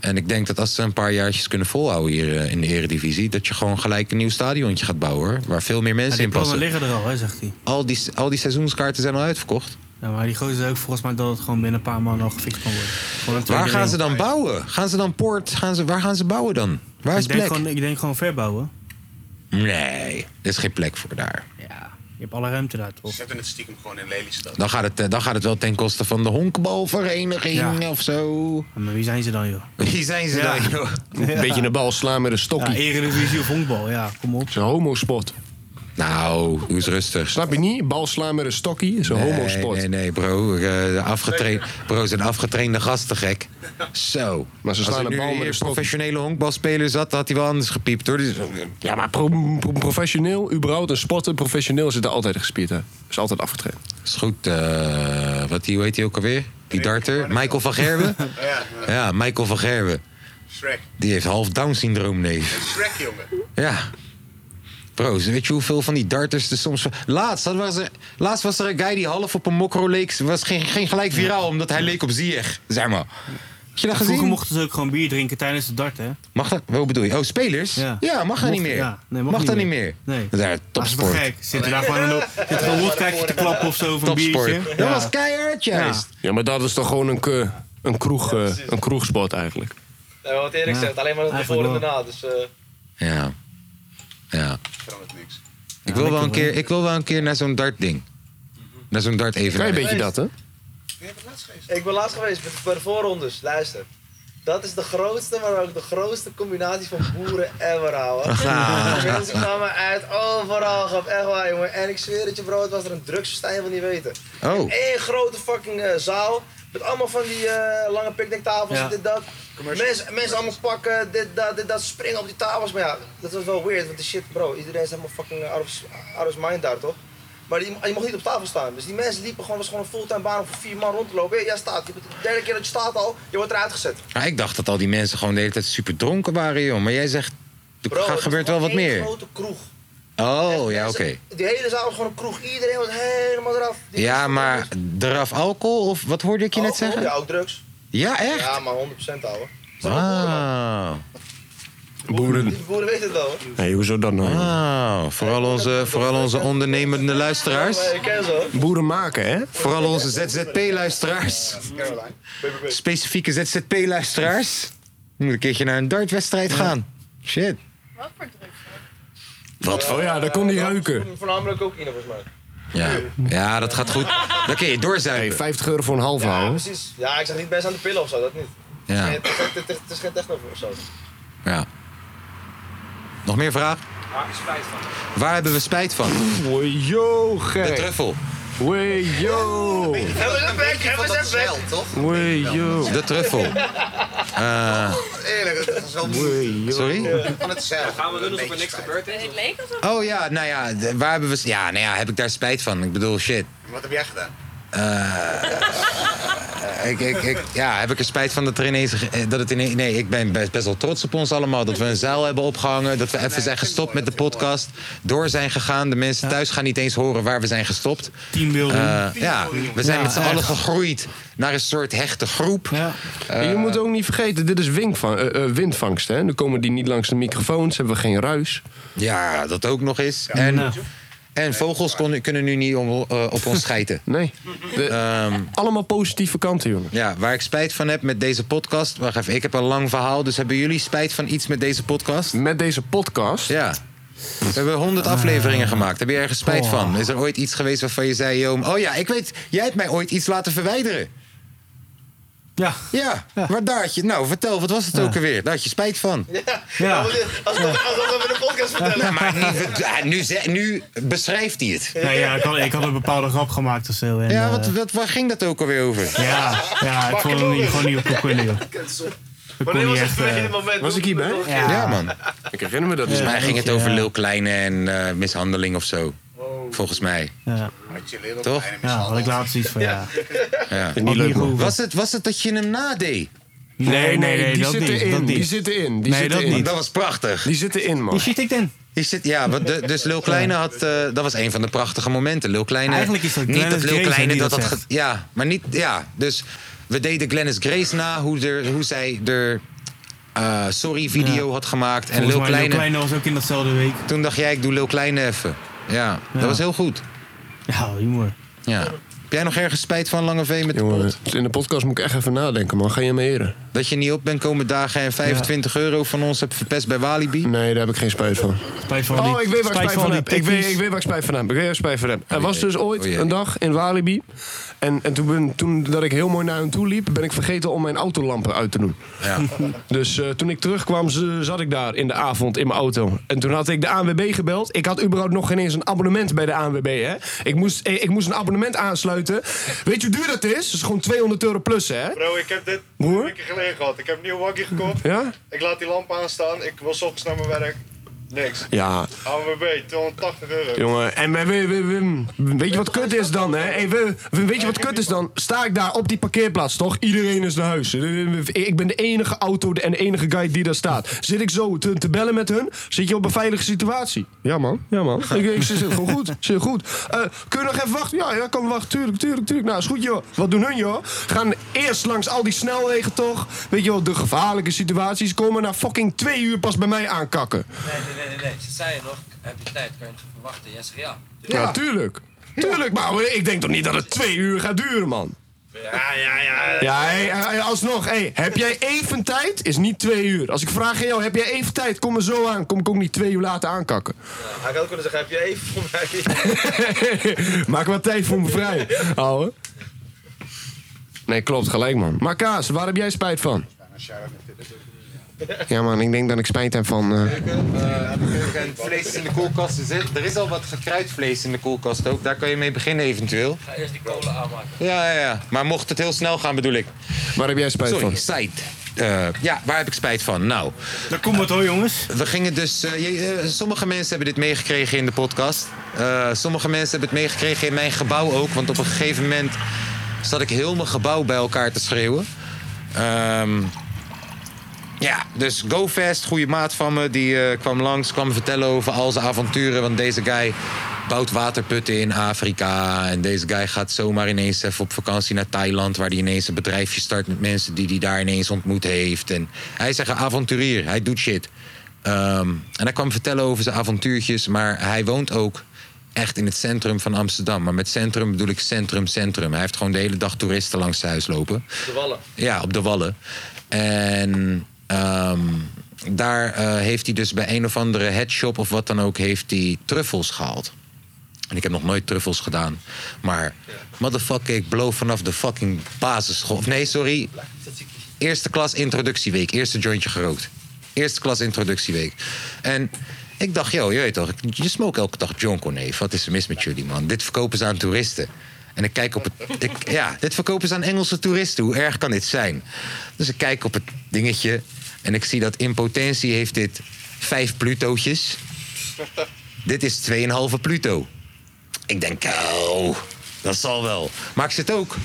En ik denk dat als ze een paar jaartjes kunnen volhouden hier eh, in de eredivisie... dat je gewoon gelijk een nieuw stadiontje gaat bouwen, hoor. Waar veel meer
Ja,
mensen
die
in
plannen
passen.
liggen er al, hè, zegt hij.
Al die, al die seizoenskaarten zijn al uitverkocht.
Ja, maar die gozer zei ook volgens mij dat het gewoon binnen een paar maanden al gefixt kan worden. Gewoon een
Waar
tweede
gaan
ring.
ze dan bouwen? Gaan ze dan poort? Gaan ze, waar gaan ze bouwen dan? Waar is
ik, denk
plek?
gewoon, ik denk gewoon verbouwen.
Nee, er is geen plek voor daar.
Je hebt alle ruimte daar, toch?
Zetten het stiekem gewoon in Lelystad.
Dan gaat het, eh, dan gaat het wel ten koste van de honkbalvereniging of zo.
Maar wie zijn ze dan, joh?
Wie zijn ze
Ja.
dan, joh?
Ja.
Een beetje een bal slaan met een stokje.
Ja, Eredivisie of honkbal, ja, kom op.
Het is een homosport.
Nou, doe eens rustig.
Snap je niet? Bal slaan met een stokje is een
nee,
homosport.
Nee, nee, bro. Eh, afgetraind, bro zijn afgetrainde gasten gek. Zo.
Maar ze
Als
slaan
er
een
nu
bal met
hier
een stok.
professionele honkbalspeler zat, dan had hij wel anders gepiept hoor. Dus-
Ja, maar pro- pro- professioneel, überhaupt een sporter, professioneel zit er altijd gespierd. Hè. Is altijd afgetraind.
is goed. eh, wat die, hoe heet hij ook alweer? Die darter? Michael van Gerwen?
Ja,
Ja, Michael van Gerwen.
Shrek.
Die heeft half Down-syndroom, nee.
Shrek, jongen.
Ja. Bro, weet je hoeveel van die darters er soms... Laatst, dat was er, laatst was er een guy die half op een mokro leek. was geen, geen gelijk viraal, omdat hij leek op Ziyech. Zeg maar. Heb je dat
Vroeger
gezien?
mochten ze ook gewoon bier drinken tijdens de dart, hè?
Mag dat? Wat bedoel je? Oh, spelers? Ja, mag dat
Mocht-
niet meer.
ja, nee,
mag dat niet meer.
Nee.
Dat is echt
Dat is toch
topsport.
gek? Zitten daar gewoon een zit gewoon wodkaartje te klappen of zo, of een biertje?
Dat
Ja.
was keihard juist.
Ja, maar dat is toch gewoon een, ke- een, kroeg, eh, een kroegsport eigenlijk.
Nee, maar wat Erik
Ja,
zegt, alleen maar het voor
eigenlijk
en daarna. Dus, eh,
Ja. Ja.
Verandert niks.
Ik wil, wel een keer, ik wil wel een keer naar zo'n dartding. Naar zo'n dart even.
Klein beetje dat,
hè?
Ik ben laatst geweest met- bij de voorrondes. Luister. Dat is de grootste, maar ook de grootste combinatie van boeren ever, ouwe.
Ah.
Mensen kwamen uit overal, gaf echt waar, jongen. En ik zweer het je, bro, het was er een drugsfestijn van niet weten.
Oh.
Eén grote fucking eh, zaal. Met allemaal van die eh, lange picknicktafels,
Ja.
dit, dat. Mensen, mensen allemaal pakken, dit, dat, dit, dat. Springen op die tafels. Maar ja, dat was wel weird, want de shit, bro. Iedereen is helemaal fucking out of, out of mind daar, toch? Maar die, je mocht niet op tafel staan. Dus die mensen liepen gewoon, was gewoon een fulltime baan om voor vier man rond te lopen. Hé, jij staat. Je bent de derde keer dat je staat al, je wordt eruit gezet.
Maar ik dacht dat al die mensen gewoon de hele tijd super dronken waren, joh. Maar jij zegt, er
Bro,
gaat-
het
gebeurt
was
wel wat
één
meer.
grote kroeg.
Oh, ja, oké.
Die hele zaal was gewoon een kroeg. Iedereen was helemaal eraf. Die
Ja, maar eraf alcohol of wat hoorde ik je net
alcohol, Ja,
zeggen?
ook drugs.
Ja, echt?
Ja, maar 100% ouwe.
Wauw.
Boeren.
Die boeren weten het wel, hoor.
Nee, hoezo dan nou?
Wauw, vooral onze, vooral onze ondernemende luisteraars.
Boeren maken, hè?
Vooral onze ZZP-luisteraars. Specifieke ZZP-luisteraars. Moet een keertje naar een dartwedstrijd gaan. Shit. Wat voor
Oh ja, daar kon die ruiken.
Voornamelijk ook in, volgens mij.
Ja, ja dat gaat goed. Dan kun je doorzuipen.
50 euro voor een half
Ja,
houden.
precies. Ja, ik zag niet best aan de pillen of zo, dat niet.
Ja.
Het is geen- het is- het is geen techno of zo.
Ja. Nog meer vraag?
Waar is spijt van?
Waar hebben we spijt van?
Yo, gek.
De truffel.
Wee, yo.
Hebben we een bek? Hebben ze een bek?
Wee, yo.
De truffel. Eh,
Oh, Eerlijk, dat is wel
sorry?
Van het zelf. gaan we doen alsof er niks
gebeurd is. Het leek alsof...
Oh ja, nou ja, de- waar hebben we... s- Ja, nou ja, heb ik daar spijt van? Ik bedoel, shit.
Wat heb jij gedaan?
Eh, ik, ik, ik, ja, heb ik er spijt van dat er ineens... eh, Dat het ineens nee, ik ben best, best wel trots op ons allemaal. Dat we een zeil hebben opgehangen. Dat we even zijn gestopt met de podcast. Door zijn gegaan. De mensen thuis gaan niet eens horen waar we zijn gestopt.
Teambuilding.
Eh, ja, we zijn
Ja,
met z'n
echt.
allen gegroeid naar een soort hechte groep. Eh,
je moet ook niet vergeten, dit is winkva- eh, eh, windvangst. Hè? Dan komen die niet langs de microfoons, hebben we geen ruis.
Ja, dat ook nog eens. en, en vogels kon, kunnen nu niet om, eh, op ons schijten. Ehm,
Nee. allemaal positieve kanten, jongen.
Ja, waar ik spijt van heb met deze podcast. Wacht even, ik heb een lang verhaal. Dus hebben jullie spijt van iets met deze podcast?
Met deze podcast? Eh.
Ja. We hebben 100 afleveringen gemaakt. Heb je ergens
Oh.
spijt van? Is er ooit iets geweest waarvan je zei: "Yo, Oh ja, ik weet, jij hebt mij ooit iets laten verwijderen.
Ja.
Ja, maar daar had je. Nou, vertel, wat was het ook alweer? Daar had je spijt van.
Ja.
Ja.
Als we als we- als we de podcast vertellen.
Ja, maar niet- ja, nu, ze- nu beschrijft hij het.
Nee, Nou ja, ik, had, ik had een bepaalde grap gemaakt of zo. En,
Ja,
eh,
wat, wat, waar ging dat ook alweer over?
Ja, ja ik vond hem niet, gewoon niet op de kunnen, joh. Ik kon niet echt... eh,
Was ik hierbij?
Ja. Ja,
man.
Ik herinner me dat.
Volgens
niet.
mij ging het over Lil Kleine en eh, mishandeling of zo. Volgens mij.
ja.
Toch?
Ja, had ik laatst iets van, ja.
Ja.
Niet leuk, man.
was, het, was het dat je hem nadeed?
Nee, nee, nee,
die
dat
zitten
niet,
in.
dat niet.
Die zitten in. Die
Nee,
zitten
dat
in.
niet. Dat was prachtig.
Die zitten in, man.
Die zit ik dan.
Je zit, ja, want de- dus Lil Kleine had. eh, dat was een van de prachtige momenten. Lil Kleine.
Eigenlijk is dat
niet dat
Glennis
Lil
Grace
Kleine
die
dat
dat
had.
zegt.
ge- Ja, maar niet. Ja, dus we deden Glennis Grace na hoe, er, hoe zij er. eh, sorry video had gemaakt. En
Volgens
Lil
mij, Lil
Kleine,
Kleine was ook in datzelfde week.
Toen dacht jij, ik doe Lil Kleine even. Ja, dat
Ja.
was heel goed.
Ja, humor.
Ja. Heb jij nog ergens spijt van, Lange V, met
Jongen, In de podcast moet ik echt even nadenken, man. Ga je me heren?
Dat je niet op bent komen dagen en 25 euro van ons hebt verpest bij Walibi?
Nee, daar heb ik geen spijt van.
Spijt van
Oh,
die-
ik weet waar ik
spijt
spijt van
die
heb. Ik weet,
tikkies.
ik weet waar ik spijt van heb. Ik weet waar ik spijt van heb. Er
Oh
was
jee.
dus ooit
Oh jee.
een dag in Walibi. En, en toen, ben, toen dat ik heel mooi naar hem toe liep, ben ik vergeten om mijn autolampen uit te doen. dus eh, toen ik terugkwam, z- zat ik daar in de avond in mijn auto. En toen had ik de ANWB gebeld. Ik had überhaupt nog geen eens een abonnement bij de ANWB. Hè? Ik, moest, eh, ik moest een abonnement aansluiten. Weet je hoe duur dat is? Dat is gewoon 200 euro plus, hè?
Bro, ik heb dit
Broer?
een keer geleden gehad. Ik heb een nieuw waggie gekocht.
Ja?
Ik laat die lamp aanstaan. Ik wil 's ochtends naar mijn werk. Niks.
Ja.
AWB, 280 euro.
Jongen, en we, we- we- we- weet je wat kut is dan, hè? Hey, we, we- weet je wat kut is dan? Sta ik daar op die parkeerplaats, toch? Iedereen is naar huis. Ik ben de enige auto en de enige guy die daar staat. Zit ik zo te, te bellen met hun? Zit je op een veilige situatie? Ja, man. Ja, man. Ik, ik zit gewoon goed. Ik Zit goed. Eh, kun je nog even wachten? Ja, ja, kan wachten. Tuurlijk, tuurlijk, tuurlijk. Nou, is goed, joh. Wat doen hun, joh? Gaan eerst langs al die snelwegen, toch? Weet je wel, de gevaarlijke situaties komen na fucking twee uur pas bij mij aankakken.
Nee, nee, nee, nee. Ze zeiden nog, heb je tijd, kan je nog even wachten? Jij zegt ja.
Ja, tuurlijk. Tuurlijk, maar hoor, ik denk toch niet dat het twee uur gaat duren, man.
Ja, ja, ja.
Ja, hey, hey, alsnog, hey, heb jij even tijd? Is niet twee uur. Als ik vraag aan jou, heb jij even tijd? Kom er zo aan. Kom ik ook niet twee uur later aankakken.
Hij had ook kunnen zeggen, heb je even voor mij?
Maak wat tijd voor me vrij, ouwe. Nee, klopt, gelijk, man. Maar Kaas, waar heb jij spijt van? Ja, man, ik denk dat ik spijt heb van... eh,
vlees in de koelkast. Er zit- Eh, Er is al wat gekruid vlees in de koelkast ook. Daar kan je mee beginnen eventueel.
Ga eerst die kolen aanmaken.
Ja, ja, ja. Maar mocht het heel snel gaan, bedoel ik.
Waar heb jij spijt
Sorry,
van?
Sorry, spijt. Eh, ja, waar heb ik spijt van? Nou.
Daar komt het hoor, jongens.
We gingen dus... eh, je- eh, sommige mensen hebben dit meegekregen in de podcast. Eh, sommige mensen hebben het meegekregen in mijn gebouw ook. Want op een gegeven moment zat ik heel mijn gebouw bij elkaar te schreeuwen. Ehm, ja, dus GoFest, goede maat van me, die eh, kwam langs, kwam vertellen over al zijn avonturen. Want deze guy bouwt waterputten in Afrika. En deze guy gaat zomaar ineens even op vakantie naar Thailand, waar hij ineens een bedrijfje start met mensen die hij daar ineens ontmoet heeft. En hij is echt een avonturier, hij doet shit. Ehm, en hij kwam vertellen over zijn avontuurtjes, maar hij woont ook echt in het centrum van Amsterdam. Maar met centrum bedoel ik centrum, centrum. Hij heeft gewoon de hele dag toeristen langs zijn huis lopen.
De wallen.
Ja, op de Wallen. En ehm, daar eh, heeft hij dus bij een of andere headshop of wat dan ook... heeft hij truffels gehaald. En ik heb nog nooit truffels gedaan. Maar motherfucker, ik bloof vanaf de fucking basisschool. Of nee, sorry. Eerste klas introductieweek. Eerste jointje gerookt. Eerste klas introductieweek. En ik dacht, joh, je weet toch, je smoke elke dag jonko, neef. Wat is er mis met jullie, man? Dit verkopen ze aan toeristen. En ik kijk op het... Ik, ja, dit verkopen ze aan Engelse toeristen. Hoe erg kan dit zijn? Dus ik kijk op het dingetje en ik zie dat in potentie heeft dit vijf plutootjes. Dit is 2,5 Pluto. Ik denk, oh, dat zal wel. Maar ik zit ook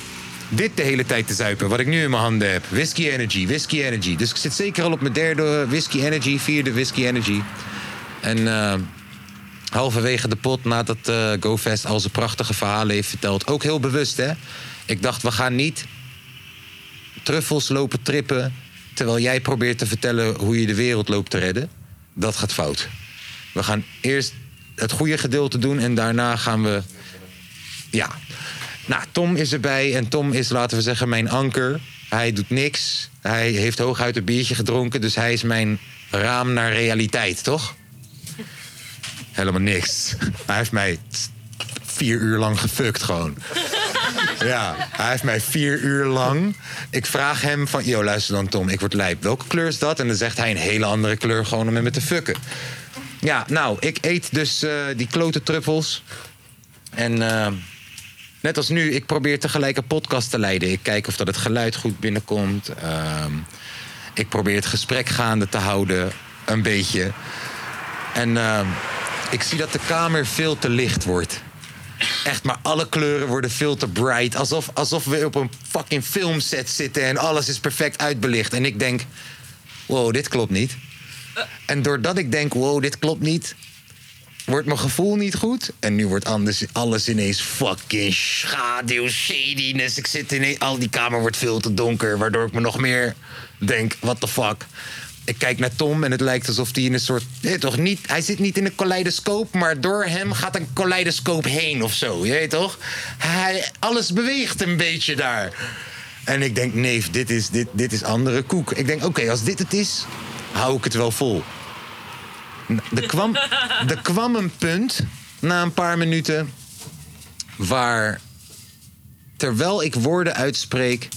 dit de hele tijd te zuipen, wat ik nu in mijn handen heb. Whisky Energy, Whisky Energy. Dus ik zit zeker al op mijn derde eh, Whisky Energy, vierde Whisky Energy. En eh, halverwege de pot, nadat eh, GoFest al zijn prachtige verhalen heeft verteld... ook heel bewust, hè. Ik dacht, we gaan niet truffels lopen trippen... terwijl jij probeert te vertellen hoe je de wereld loopt te redden. Dat gaat fout. We gaan eerst het goede gedeelte doen en daarna gaan we... Ja. Nou, Tom is erbij en Tom is, laten we zeggen, mijn anker. Hij doet niks. Hij heeft hooguit een biertje gedronken, dus hij is mijn raam naar realiteit, toch? Helemaal niks. Hij heeft mij t- vier uur lang gefukt gewoon. Ja, hij heeft mij vier uur lang. Ik vraag hem van, yo, luister dan Tom, ik word lijp. Welke kleur is dat? En dan zegt hij een hele andere kleur gewoon om met me te fucken. Ja, nou, ik eet dus eh, die klote truffels. En eh, net als nu, ik probeer tegelijk een podcast te leiden. Ik kijk of dat het geluid goed binnenkomt. Ehm, ik probeer het gesprek gaande te houden, een beetje. En ehm, ik zie dat de kamer veel te licht wordt. Echt, maar alle kleuren worden veel te bright. Alsof, alsof we op een fucking filmset zitten en alles is perfect uitbelicht. En ik denk, wow, dit klopt niet. En doordat ik denk, wow, dit klopt niet, wordt mijn gevoel niet goed. En nu wordt anders alles ineens fucking schaduw, shadiness. Ik zit in al die kamer wordt veel te donker, waardoor ik me nog meer denk, what the fuck. Ik kijk naar Tom en het lijkt alsof hij in een soort. Nee, toch niet, hij zit niet in een kaleidoscoop, maar door hem gaat een kaleidoscoop heen of zo. Je weet toch? Hij, alles beweegt een beetje daar. En ik denk, nee, dit is, dit, dit is andere koek. Ik denk, oké, als dit het is, hou ik het wel vol. N- Er kwam, er kwam een punt na een paar minuten waar, terwijl ik woorden uitspreek,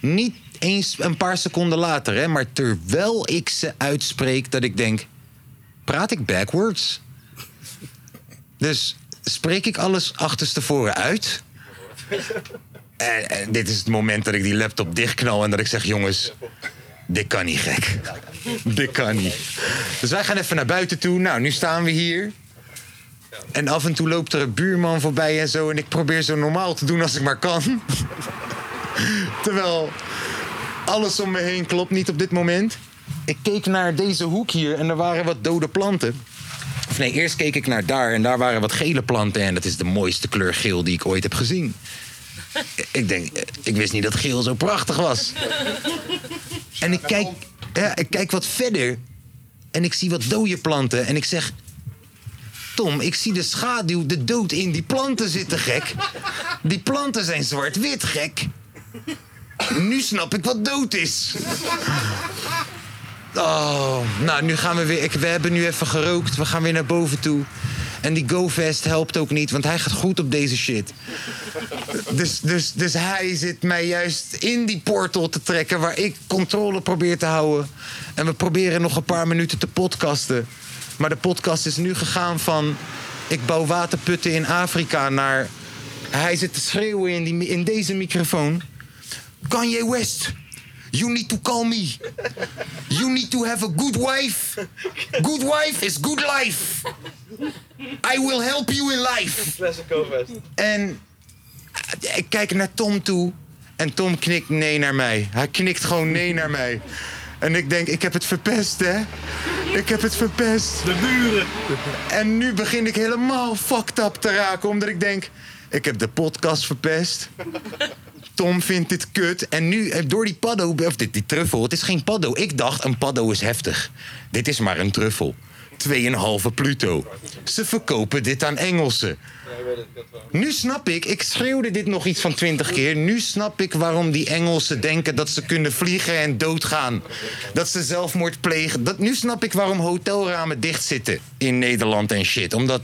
niet eens een paar seconden later, hè, maar terwijl ik ze uitspreek, dat ik denk: praat ik backwards? Dus spreek ik alles achterstevoren uit? En, en dit is het moment dat ik die laptop dichtknal en dat ik zeg: jongens, dit kan niet gek. Dit kan niet. Dus wij gaan even naar buiten toe. Nou, nu staan we hier. En af en toe loopt er een buurman voorbij en zo. En ik probeer zo normaal te doen als ik maar kan. Terwijl alles om me heen klopt niet op dit moment. Ik keek naar deze hoek hier en er waren wat dode planten. Of nee, eerst keek ik naar daar en daar waren wat gele planten. En dat is de mooiste kleur geel die ik ooit heb gezien. Ik denk, eh, ik wist niet dat geel zo prachtig was. En ik kijk, ja, ik kijk wat verder. En ik zie wat dode planten. En ik zeg... Tom, ik zie de schaduw, de dood in die planten zitten, gek. Die planten zijn zwart-wit, gek. Nu snap ik wat dood is. Oh, nou, nu gaan we weer... Ik, we hebben nu even gerookt. We gaan weer naar boven toe. En die GoFest helpt ook niet, want hij gaat goed op deze shit. Dus, dus, dus hij zit mij juist in die portal te trekken waar ik controle probeer te houden. En we proberen nog een paar minuten te podcasten. Maar de podcast is nu gegaan van... ik bouw waterputten in Afrika naar... hij zit te schreeuwen in, die, mi- in deze microfoon. Kanye West, you need to call me. You need to have a good wife. Good wife is good life. I will help you in life. En eh, ik kijk naar Tom toe. En Tom knikt nee naar mij. Hij knikt gewoon nee naar mij. En ik denk, ik heb het verpest, hè? Ik heb het verpest. De buren. En nu begin ik helemaal fucked up te raken. Omdat ik denk, ik heb de podcast verpest. Tom vindt dit kut. En nu, eh, door die paddo, of dit, die truffel, het is geen paddo. Ik dacht, een paddo is heftig. Dit is maar een truffel. 2,5 Pluto. Ze verkopen dit aan Engelsen. Nu snap ik, ik schreeuwde dit nog iets van 20 keer. Nu snap ik waarom die Engelsen denken dat ze kunnen vliegen en doodgaan. Dat ze zelfmoord plegen. Dat, nu snap ik waarom hotelramen dicht zitten in Nederland en shit. Omdat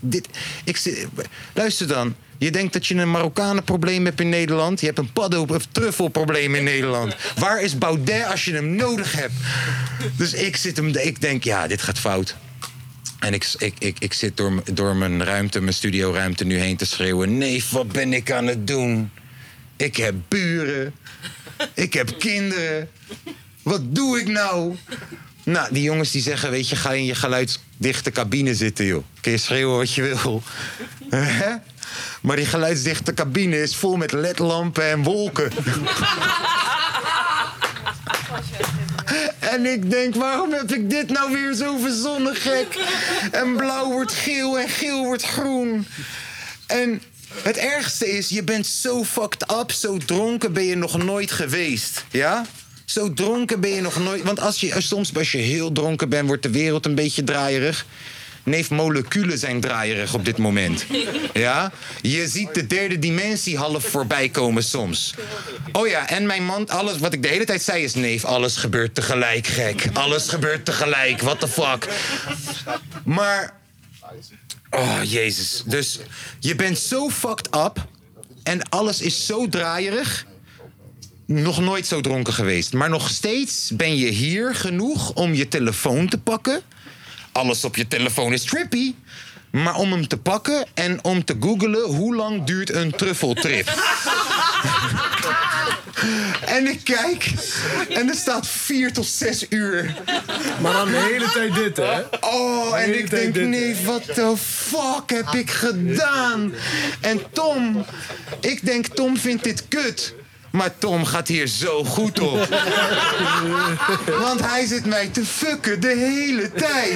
dit, ik, zit- luister dan. Je denkt dat je een Marokkanenprobleem hebt in Nederland. Je hebt een paddo- of truffelprobleem in Nederland. Waar is Baudet als je hem nodig hebt? Dus ik, zit hem, ik denk, ja, dit gaat fout. En ik, ik, ik, ik zit door, m- door mijn ruimte, mijn studioruimte nu heen te schreeuwen. Nee, wat ben ik aan het doen? Ik heb buren. Ik heb kinderen. Wat doe ik nou? Nou, die jongens die zeggen, weet je, ga in je geluidsdichte cabine zitten, joh. Kun je schreeuwen wat je wil. Hè? maar die geluidsdichte cabine is vol met ledlampen en wolken. En ik denk, waarom heb ik dit nou weer zo verzonnen, gek? En blauw wordt geel en geel wordt groen. En het ergste is, je bent zo fucked up, zo dronken ben je nog nooit geweest. Ja? Zo dronken ben je nog nooit. Want als je, soms als je heel dronken bent, wordt de wereld een beetje draaierig. Neef, moleculen zijn draaierig op dit moment. Ja? Je ziet de derde dimensie half voorbij komen soms. Oh ja, en mijn man, alles wat ik de hele tijd zei is... neef, alles gebeurt tegelijk, gek. Alles gebeurt tegelijk, what the fuck. Maar Oh, jezus. Dus je bent zo fucked up en alles is zo draaierig. Nog nooit zo dronken geweest. Maar nog steeds ben je hier genoeg om je telefoon te pakken. Alles op je telefoon is trippy. Maar om hem te pakken en om te googelen hoe lang duurt een truffeltrip. En ik eh, kijk en er staat vier tot zes uur.
Maar dan de hele tijd dit, hè?
Oh,
De hele
en ik
tijd
denk,
dit, hè?
nee, wat de fuck heb ik gedaan? En Tom, ik denk, Tom vindt dit kut. Maar Tom gaat hier zo goed op. Want hij zit mij te fucken de hele tijd.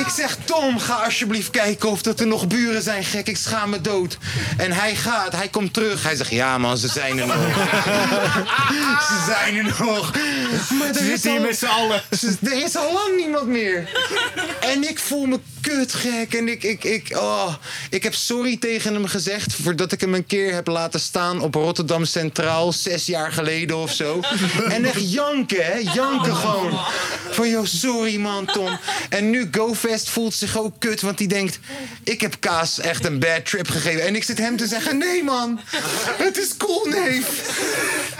Ik zeg, Tom, ga alsjeblieft kijken of dat er nog buren zijn, gek. Ik schaam me dood. En hij gaat, hij komt terug. Hij zegt, ja man, ze zijn er nog. ze zijn er nog. Maar er
Ze
is
zitten hier
al-
met z'n allen.
Ze- Er is al lang niemand meer. En ik voel me kutgek. En ik, ik, ik, oh. ik heb sorry tegen hem gezegd... voordat ik hem een keer heb laten staan op Rotterdam Centraal... zes jaar geleden of zo. En echt janken, hè. Janken gewoon. Van, joh, sorry man, Tom. En nu GoFest voelt zich ook kut... want die denkt, ik heb Kaas echt een bad trip gegeven. En ik zit hem te zeggen, nee man. Het is cool, neef.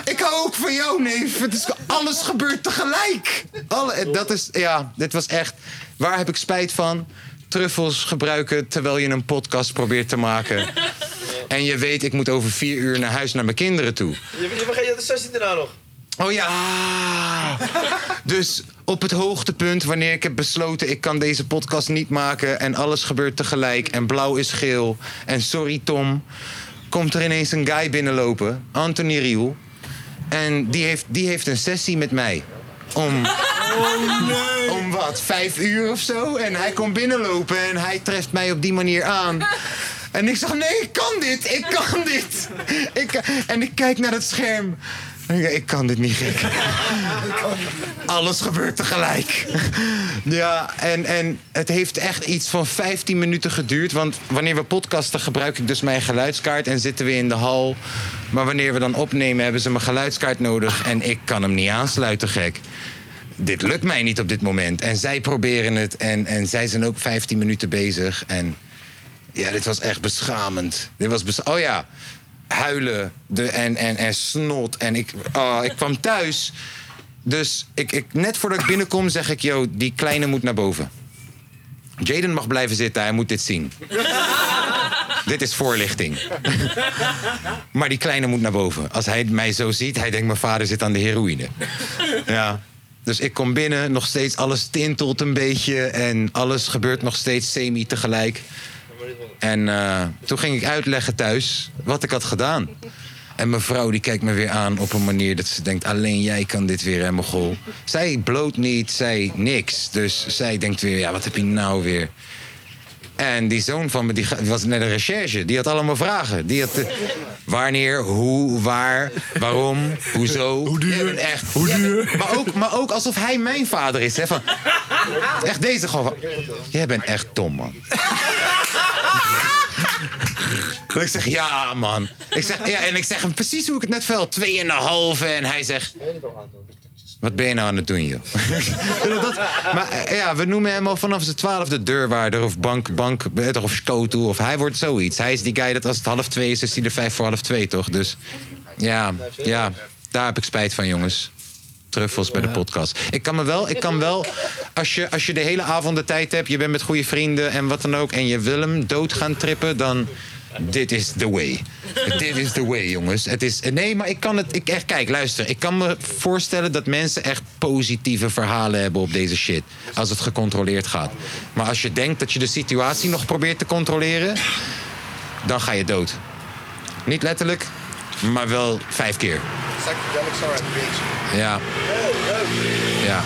Ik hou ook van jou, neef. Het is, alles gebeurt tegelijk. Alle, dat is, ja, dit was echt... Waar heb ik spijt van? Truffels gebruiken terwijl je een podcast probeert te maken. En je weet, ik moet over vier uur naar huis naar mijn kinderen toe.
Je, je vergeet dat de 16 daarna nog.
Oh ja. Dus op het hoogtepunt, wanneer ik heb besloten... ik kan deze podcast niet maken en alles gebeurt tegelijk... en blauw is geel en sorry Tom... komt er ineens een guy binnenlopen, Anthony Riel... en die heeft, die heeft een sessie met mij. Om... Om wat, vijf uur of zo? En hij komt binnenlopen en hij treft mij op die manier aan. En ik zeg, nee, ik kan dit, ik kan dit. Ik, en ik kijk naar het scherm. En ik denk, ik kan dit niet, gek. Alles gebeurt tegelijk. Ja, en, en het heeft echt iets van 15 minuten geduurd. Want wanneer we podcasten gebruik ik dus mijn geluidskaart en zitten we in de hal. Maar wanneer we dan opnemen hebben ze mijn geluidskaart nodig en ik kan hem niet aansluiten, gek. Dit lukt mij niet op dit moment. En zij proberen het en, en zij zijn ook 15 minuten bezig. En ja, dit was echt beschamend. Dit was bes oh ja, huilen de, en, en, en snot. En ik, oh, ik kwam thuis. Dus ik, ik, net voordat ik binnenkom zeg ik... Yo, die kleine moet naar boven. Jaden mag blijven zitten, hij moet dit zien. dit is voorlichting. maar die kleine moet naar boven. Als hij mij zo ziet, hij denkt... mijn vader zit aan de heroïne. ja. Dus ik kom binnen, nog steeds alles tintelt een beetje... en alles gebeurt nog steeds semi tegelijk. En eh, toen ging ik uitleggen thuis wat ik had gedaan. En mijn vrouw die kijkt me weer aan op een manier dat ze denkt... alleen jij kan dit weer, hè, mogol. Zij bloot niet, zij niks. Dus zij denkt weer, ja, wat heb je nou weer? En die zoon van me, die ga- was net een recherche. Die had allemaal vragen. Die had... eh, wanneer, hoe, waar, waarom, hoezo. Hoe duur? Echt. Hoe duur? maar, ook, maar ook alsof hij mijn vader is. Hè, van, echt deze gewoon van... Jij bent echt dom, man. Maar ik zeg, ja, man. Ik zeg, ja, en ik zeg hem precies hoe ik het net viel. Tweeënhalve. En hij zegt... Wat ben je nou aan het doen, joh? dat, maar eh, ja, we noemen hem al vanaf zijn twaalfde deurwaarder of bank, bank eh, toch, of scoto. Of hij wordt zoiets. Hij is die guy dat als het half twee is, is hij er vijf voor half twee, toch? Dus ja, ja, daar heb ik spijt van, jongens. Truffels bij de podcast. Ik kan me wel, ik kan wel als, je, als je de hele avond de tijd hebt, je bent met goede vrienden en wat dan ook, en je wil hem dood gaan trippen, dan. Dit is the way. Dit is the way, jongens. Het is, nee, maar ik kan het. Ik, echt, kijk, luister. Ik kan me voorstellen dat mensen echt positieve verhalen hebben op deze shit. Als het gecontroleerd gaat. Maar als je denkt dat je de situatie nog probeert te controleren. dan ga je dood. Niet letterlijk, maar wel vijf keer.
Psychedelics are a bitch.
Ja. Ja.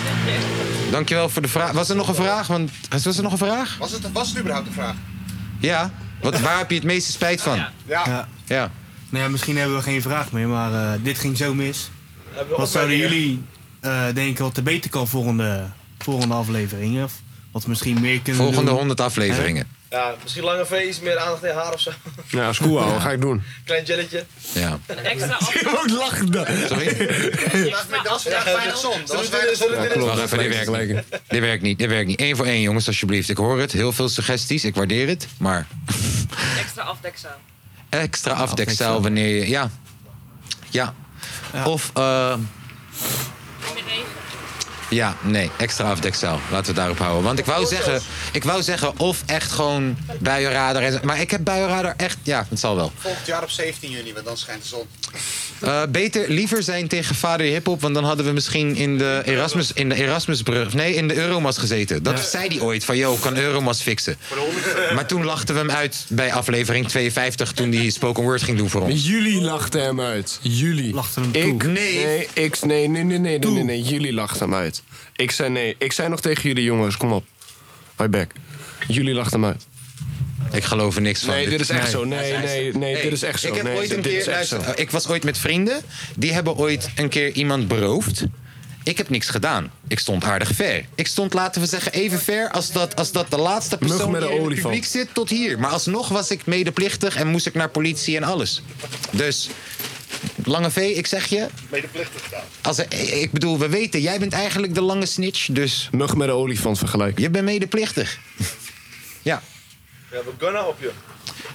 Dankjewel voor de vraag. Was er nog een vraag? Want, was er nog een vraag?
Was het, was het überhaupt een vraag?
Ja. Wat, waar heb je het meeste spijt van?
Ja.
Ja.
Nou ja, misschien hebben we geen vraag meer, maar eh, dit ging zo mis.
Hebben we
Wat zouden
opmerkingen?
jullie eh, denken wat er beter kan volgende, volgende afleveringen? Of wat we misschien meer kunnen
Volgende
doen?
100 afleveringen.
Hè?
Ja, misschien langer feest, meer aandacht in haar of zo.
Ja, school houden, ga ik doen.
Klein jelletje.
Ja.
Extra
Ik ook lachen. daar.
Dat is weinig zon. Dat is weinig zon.
Wacht even, dit werkt niet. Dit werkt niet, dit werkt niet. Eén voor één, jongens, alsjeblieft. Ik hoor het. Heel veel suggesties, ik waardeer het. Maar
Extra afdekzaal.
extra afdekzaal wanneer je... Ja. Ja. Of, eh, ja, nee, extra afdekzaal. Laten we het daarop houden. Want ik wou zeggen, ik wou zeggen of echt gewoon buienradar. en- Maar ik heb buienradar echt... Ja, het zal wel.
Volgend jaar op 17 juni, want dan schijnt de zon.
Eh, beter liever zijn tegen vader hiphop, want dan hadden we misschien in de Erasmus, in de Erasmusbrug, nee, in de Euromas gezeten. Dat zei hij ooit van, yo, kan Euromas fixen. Maar toen lachten we hem uit bij aflevering 52 toen hij spoken word ging doen voor ons.
Jullie lachten hem uit. Jullie. Lachten hem ik, Nee. ik, nee, nee, nee, nee, nee, nee, nee. Jullie lachten hem uit. Ik zei nee. Ik zei nog tegen jullie jongens, kom op. Hoi back. Jullie lachten hem uit.
Ik geloof er niks van.
Nee, dit is echt zo. Nee, nee, nee,
Hey,
dit is echt zo.
Ik heb
Nee,
ooit een
dit is
keer,
echt
luister,
zo.
eh, ik was ooit met vrienden, die hebben ooit een keer iemand beroofd. Ik heb niks gedaan. Ik stond aardig ver. Ik stond, laten we zeggen, even ver als dat, als dat de laatste
Mug
persoon
met
die
een
in het
olifant.
publiek zit tot hier. Maar alsnog was ik medeplichtig en moest ik naar politie en alles. Dus, Lange V, ik zeg je,
Medeplichtig gedaan.
als er- ik bedoel, we weten, jij bent eigenlijk de lange snitch, dus...
Mug met een olifant vergelijken.
Je bent medeplichtig. ja.
We hebben gunna op je.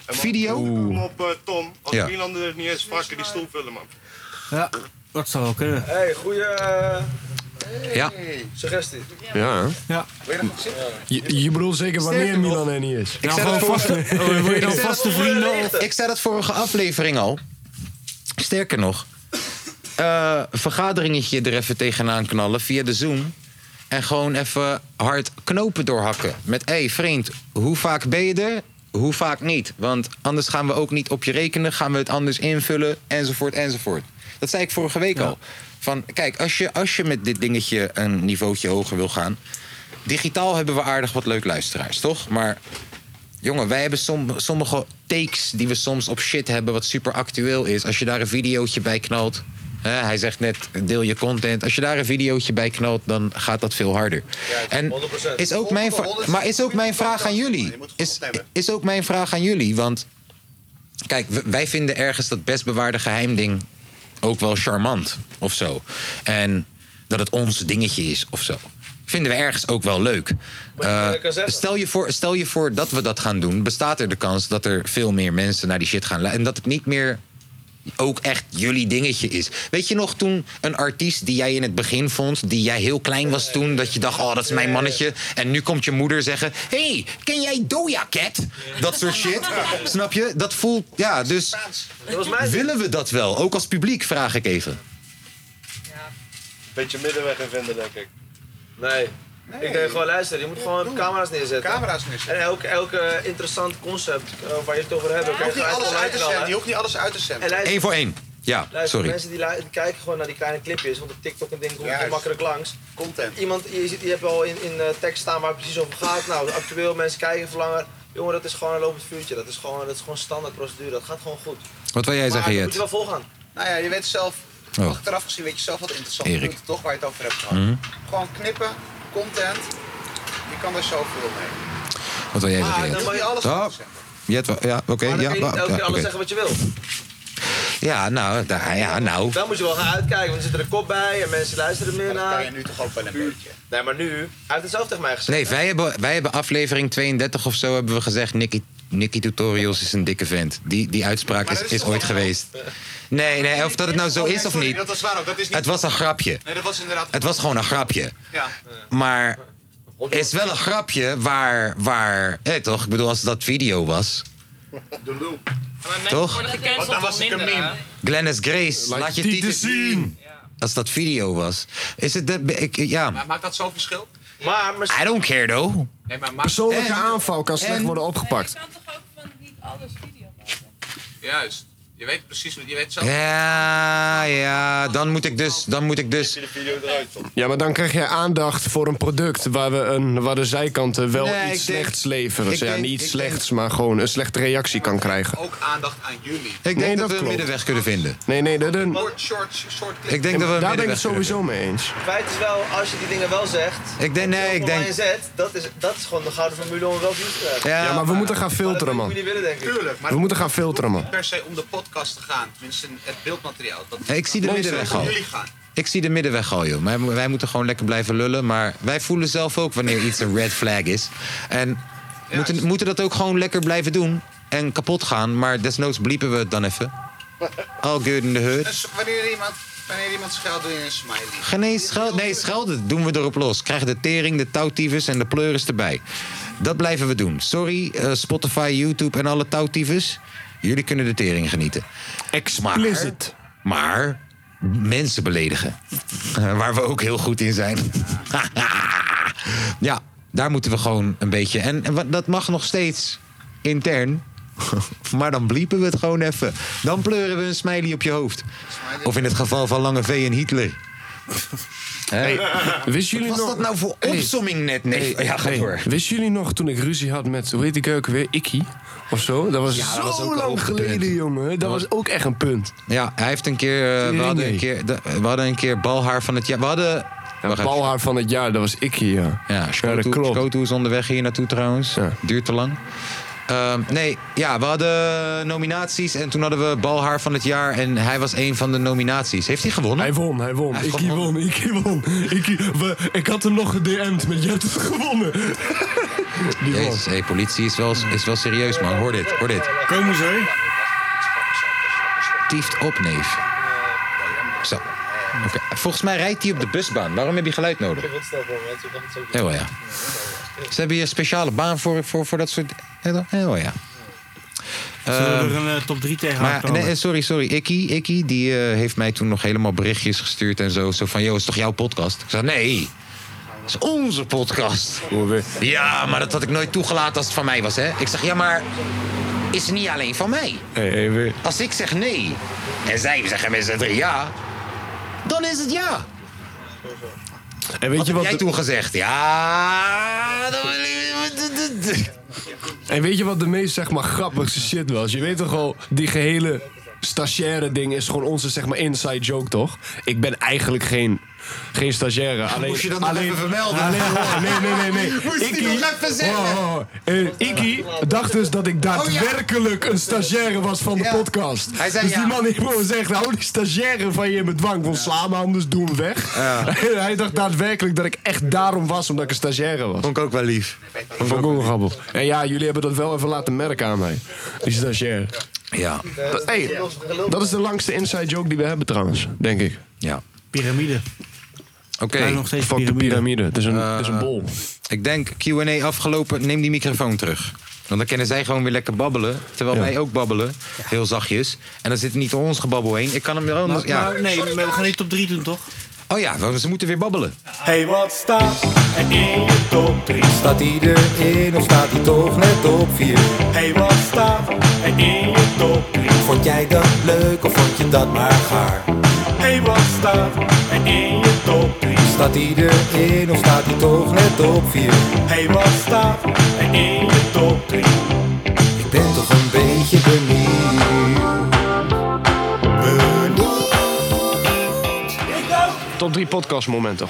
Video?
Op eh, Tom, als
Ja.
Mielander het niet eens vakken die stoel vullen, man.
Ja, dat zou wel kunnen.
Hey, goeie... eh,
Ja.
Suggestie.
Ja.
ja.
Wil je nog wat zien?
Je, je bedoelt zeker wanneer
Sterker nog,
Milan Nou, er niet is.
Ik zei dat Oh, voor- Nou,
Oh,
Ik zei dat voor-
of-
Ik zei dat vorige aflevering al. Sterker nog, eh, vergaderingetje er even tegenaan knallen via de Zoom. En gewoon even hard knopen doorhakken. Met, hé hey, vriend, hoe vaak ben je er? Hoe vaak niet? Want anders gaan we ook niet op je rekenen. Gaan we het anders invullen? Enzovoort, enzovoort. Dat zei ik vorige week al. Van, kijk, als je, als je met dit dingetje een niveautje hoger wil gaan... Digitaal hebben we aardig wat leuk luisteraars, toch? Maar Jongen, wij hebben som- sommige takes die we soms op shit hebben, wat super actueel is. Als je daar een videootje bij knalt. Hè, hij zegt net, deel je content. Als je daar een videootje bij knalt, dan gaat dat veel harder. en is ook mijn vra- maar is ook mijn vraag aan jullie. Is, is ook mijn vraag aan jullie. Want kijk, w- wij vinden ergens dat best bewaarde geheimding ook wel charmant of zo. En dat het ons dingetje is of zo. Vinden we ergens ook wel leuk. Eh, stel, je voor, stel je voor dat we dat gaan doen, bestaat er de kans dat er veel meer mensen naar die shit gaan luisteren. En dat het niet meer ook echt jullie dingetje is. Weet je nog toen een artiest die jij in het begin vond, die jij heel klein was toen, dat je dacht, oh dat is mijn mannetje. En nu komt je moeder zeggen, hey, ken jij Doja Cat? Dat soort shit. Snap je? Dat voelt, ja, dus willen we dat wel? Ook als publiek vraag ik even.
Beetje middenweg in vinden, denk ik. Nee. Ik denk gewoon luister, je moet gewoon camera's neerzetten. Camera's neerzetten. En elk, elk eh, interessant concept eh, waar je het over hebt,
Je hoeft niet alles uit te zenden, je
hoeft niet alles uit te zenden.
Eén voor één. Ja,
Luister,
sorry.
mensen die, lu- die kijken gewoon naar die kleine clipjes, want op TikTok en ding komt
Juist.
heel makkelijk langs. Content. Iemand, je, ziet, je hebt al in, in eh, tekst staan waar het precies over gaat. Nou, actueel, mensen kijken verlangen. Jongen, dat is gewoon een lopend vuurtje. Dat is gewoon, dat is gewoon standaard procedure. Dat gaat gewoon goed.
Wat wil jij zeggen,
je moet
Jet?
je wel volgaan.
Nou ja, je weet zelf,
Oh.
achteraf gezien weet je zelf wat interessant
Erik.
punten toch waar je het over hebt gehad.
Mhm.
Gewoon knippen, content, je kan daar zoveel mee.
Wat wil jij zeggen,
Maar Ah, dan moet je
Jet?
alles
Oh, Jet, wa- ja, oké.
Maar dan
Eh, ja,
kun je
wa-
niet elke keer
ja,
alles
oké.
zeggen wat je wil.
ja, nou, da- ja, nou.
Dan moet je wel gaan uitkijken, want er zit er een kop bij en mensen luisteren meer naar. kan je nu toch ook wel een beetje. Nee, maar nu, hij heeft het zelf tegen mij gezegd.
Nee, wij hebben, wij hebben aflevering 32 of zo hebben we gezegd... Nicky, Nicky Tutorials is een dikke vent. Die, die uitspraak is, is ooit geweest. Nee, nee, of dat het nou zo
Oh, nee,
is of
sorry,
niet.
Dat was waar ook, dat is niet.
Het was een grapje.
Nee, dat was inderdaad.
Het was gewoon een grapje.
Ja.
Maar is wel een grapje waar... waar hé, toch? Ik bedoel, als dat video was...
De loop.
Toch?
Want dan was ik een meme.
Glennis Grace, laat, je
dus
titel zien. Als dat video was. Is het... de- ik, ja,
Maar maakt dat zo'n verschil?
Maar,
I don't care though.
Nee, maar maakt...
Persoonlijke
En-
aanval kan slecht
en-
worden opgepakt.
Juist. Je weet precies, wat- je weet zelf.
Ja, ja, Ah, ja, dan moet ik dus. Dan moet ik dus
Ja, maar dan krijg jij aandacht voor een product waar, we een, waar de zijkanten wel
Nee,
iets
ik denk-
slechts leveren. Dus
ik
ja,
denk-
niet
ik
slechts, maar gewoon een slechte reactie kan krijgen.
Ook aandacht aan jullie.
Ik denk dat we een middenweg
kunnen vinden.
Nee, nee, dat een...
Short, short, short clip.
Ik denk dat we een Daar ben ik het middenweg sowieso
mee eens.
Het feit is wel, als je die dingen wel zegt.
Ik denk, nee, ik denk.
Zet, dat, is, dat is gewoon de gouden formule om wel views te hebben.
Ja, maar we moeten gaan filteren, man.
Jullie willen denk ik.
Tuurlijk, maar
We moeten gaan filteren, man.
niet per se om de podcast te gaan. Tenminste, het beeldmateriaal. Dat,
Ik zie de
dat-
middenweg
dat
al.
jullie gaan.
Ik zie de middenweg al, joh. Wij, wij moeten gewoon lekker blijven lullen. Maar wij voelen zelf ook wanneer iets een red flag is. En moeten, moeten dat ook gewoon lekker blijven doen. En kapot gaan. Maar desnoods bliepen we het dan even. All good in the hood.
Dus wanneer iemand, wanneer iemand schuilt, doe je een smiley.
Geen eens scheld, nee, schelden doen we erop los. Krijgen de tering, de touwtyfus en de pleuris erbij. Dat blijven we doen. Sorry, eh, Spotify, YouTube en alle touwtyfus. Jullie kunnen de tering genieten.
Explicit.
Maar, maar mensen beledigen. Eh, Waar we ook heel goed in zijn. ja, daar moeten we gewoon een beetje... En, en wat- dat mag nog steeds intern. maar dan bliepen we het gewoon even. Dan pleuren we een smiley op je hoofd. Of in het geval van Lange V en Hitler. Hey,
wisten jullie
Wat was
nog-
dat nou voor
Hey.
opsomming net? Nee,
Hey,
ja, ga
hey,
door.
Wisten jullie nog toen ik ruzie had met, hoe heet die keuken weer? Ikkie of zo? Dat was
Ja, dat
zo
was ook een
lang
hoogtepunt.
geleden, jongen. Dat, was ook echt een punt.
Ja, hij heeft een keer... eh, we,
Tering,
hadden een
nee.
keer de- we hadden een keer balhaar van het jaar. We hadden... Wacht even.
Balhaar van het jaar, dat was Ikkie, ja.
Ja, Schotu, Schotu is onderweg hier naartoe trouwens. Duurt te lang. Ehm, nee, ja, we hadden nominaties en toen hadden we balhaar van het jaar en hij was een van de nominaties. Heeft hij gewonnen? Hij
won, hij won. Ikkie won, Ikkie won. Ikkie, we- ik had hem nog gedM'd met je hebt het gewonnen.
Jezus, hey, politie is wel, is wel serieus man. Hoor dit, hoor dit. Komen ze? Tieft op, neef. Zo. Oké. Volgens mij rijdt hij op de busbaan. Waarom heb je geluid nodig? Oh ja. Ze hebben hier een speciale baan voor, voor, voor dat soort... Oh ja.
Zullen
Ehm,
we er een eh, top 3 tegen
Maar,
aankomen?
nee, sorry, sorry. Ikkie, Ikkie die eh, heeft mij toen nog helemaal berichtjes gestuurd en zo. Zo van, joh, is toch jouw podcast? Ik zei, nee, het is onze podcast. Ja, maar dat had ik nooit toegelaten als het van mij was, hè? Ik zeg, ja, maar is het niet alleen van mij? Als ik zeg nee en zij zeggen met z'n drie ja, dan is het ja.
En weet
wat
je
heb
wat
jij
de-
toen gezegd? Ja, dan wil ik-
En weet je wat de meest zeg maar, grappigste shit was? Je weet toch wel, die gehele stagiaire ding is gewoon onze zeg maar, inside joke, toch? Ik ben eigenlijk geen, geen stagiaire. Alleen,
Moest je dat nog
alleen,
even vermelden?
Alleen, oh, nee, nee, nee. nee.
Moest je die
Ikkie-
nog even zeggen? Oh,
Oh, oh, oh. Eh, Ikkie dacht dus dat ik daadwerkelijk een stagiaire was van de podcast.
Hij zei
dus die
ja.
man heeft gewoon gezegd, hou die stagiaire van je in bedwang. Van sla me anders, doe hem weg. En hij dacht daadwerkelijk dat ik echt daarom was, omdat ik een stagiaire was.
Vond ik ook wel lief.
Vond ik ook wel grappig. En ja, jullie hebben dat wel even laten merken aan mij. Die stagiaire.
Ja.
Dat, hey, dat is de langste inside joke die we hebben trouwens, denk ik.
Ja.
Piramide.
Oké.
Blijf nog steeds
Fuck de piramide. Het is een,
Eh,
het is een bol.
Ik denk Q&A afgelopen. Neem die microfoon terug. Want dan kunnen zij gewoon weer lekker babbelen. Terwijl wij ook babbelen. Heel zachtjes. En dan zit er niet door ons gebabbel heen. Ik kan hem wel anders...
Maar,
ja.
maar nee, maar we gaan niet top 3 doen, toch?
Oh ja, want ze moeten weer babbelen.
Hey, wat staat er in de top 3? Staat hij erin of staat hij toch net op 4? Hey, wat staat er in je top 3? Vond jij dat leuk of vond je dat maar gaar? Hey, wat staat er in je top 3? Staat hij erin of staat hij toch net op 4? Hey, wat staat er in je top 3? Ik ben toch een beetje benieuwd.
Top 3 podcastmomenten.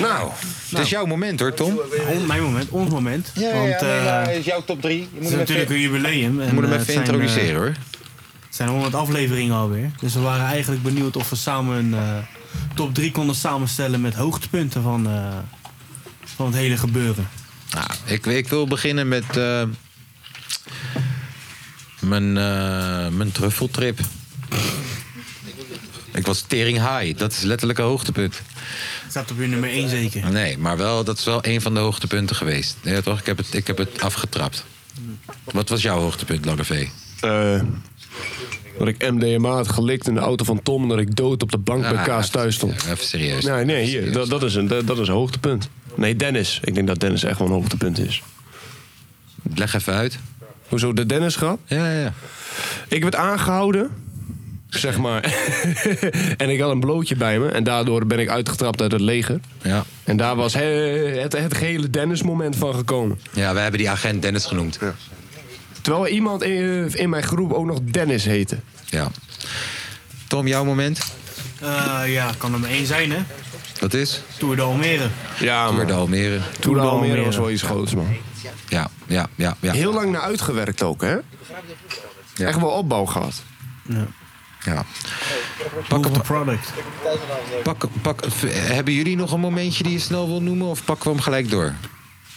Nou, het is jouw moment hoor, Tom.
On- mijn moment, ons moment.
ja,
want,
nee,
eh,
maar het is jouw top 3. Je
het
moet
is
hem
natuurlijk
even-
een jubileum.
Je moet hem
eh,
even
het zijn, eh,
introduceren hoor.
Het zijn 100 afleveringen alweer. Dus we waren eigenlijk benieuwd of we samen een eh, top 3 konden samenstellen met hoogtepunten van, eh, van het hele gebeuren.
Nou, ik, ik wil beginnen met eh, mijn, eh, mijn truffeltrip. Ik was tering high. Dat is letterlijk een hoogtepunt.
Staat op je nummer 1 zeker.
Nee, maar wel, dat is wel een van de hoogtepunten geweest. Ja, toch? Ik heb het, ik heb het afgetrapt. Wat was jouw hoogtepunt, Lange V?
Eh, dat ik MDMA had gelikt in de auto van Tom... en dat ik dood op de bank bij
Ah,
Kaas thuis stond.
Even serieus.
Nee, nee, hier, dat, dat, is een, dat, dat is een hoogtepunt. Nee, Dennis. Ik denk dat Dennis echt wel een hoogtepunt is.
Leg even uit.
Hoezo, de Dennis-grap?
Ja, ja, ja.
Ik werd aangehouden zeg maar. en ik had een blootje bij me en daardoor ben ik uitgetrapt uit het leger.
Ja.
En daar was he- het, het gehele Dennis-moment van gekomen.
Ja, we hebben die agent Dennis genoemd.
Terwijl iemand in, in mijn groep ook nog Dennis heette.
Ja. Tom, jouw moment?
Eh, ja, kan er maar één zijn, hè?
Dat is?
Tour de Almere.
Ja,
Tour de Almere.
Tour de Almere was wel iets groots, man.
Ja, ja, ja. ja.
Heel lang naar uitgewerkt ook, hè?
Ja.
Echt wel opbouw gehad.
Ja.
ja.
Pak een product.
Pak, pak, v- hebben jullie nog een momentje die je snel wil noemen of pakken we hem gelijk door?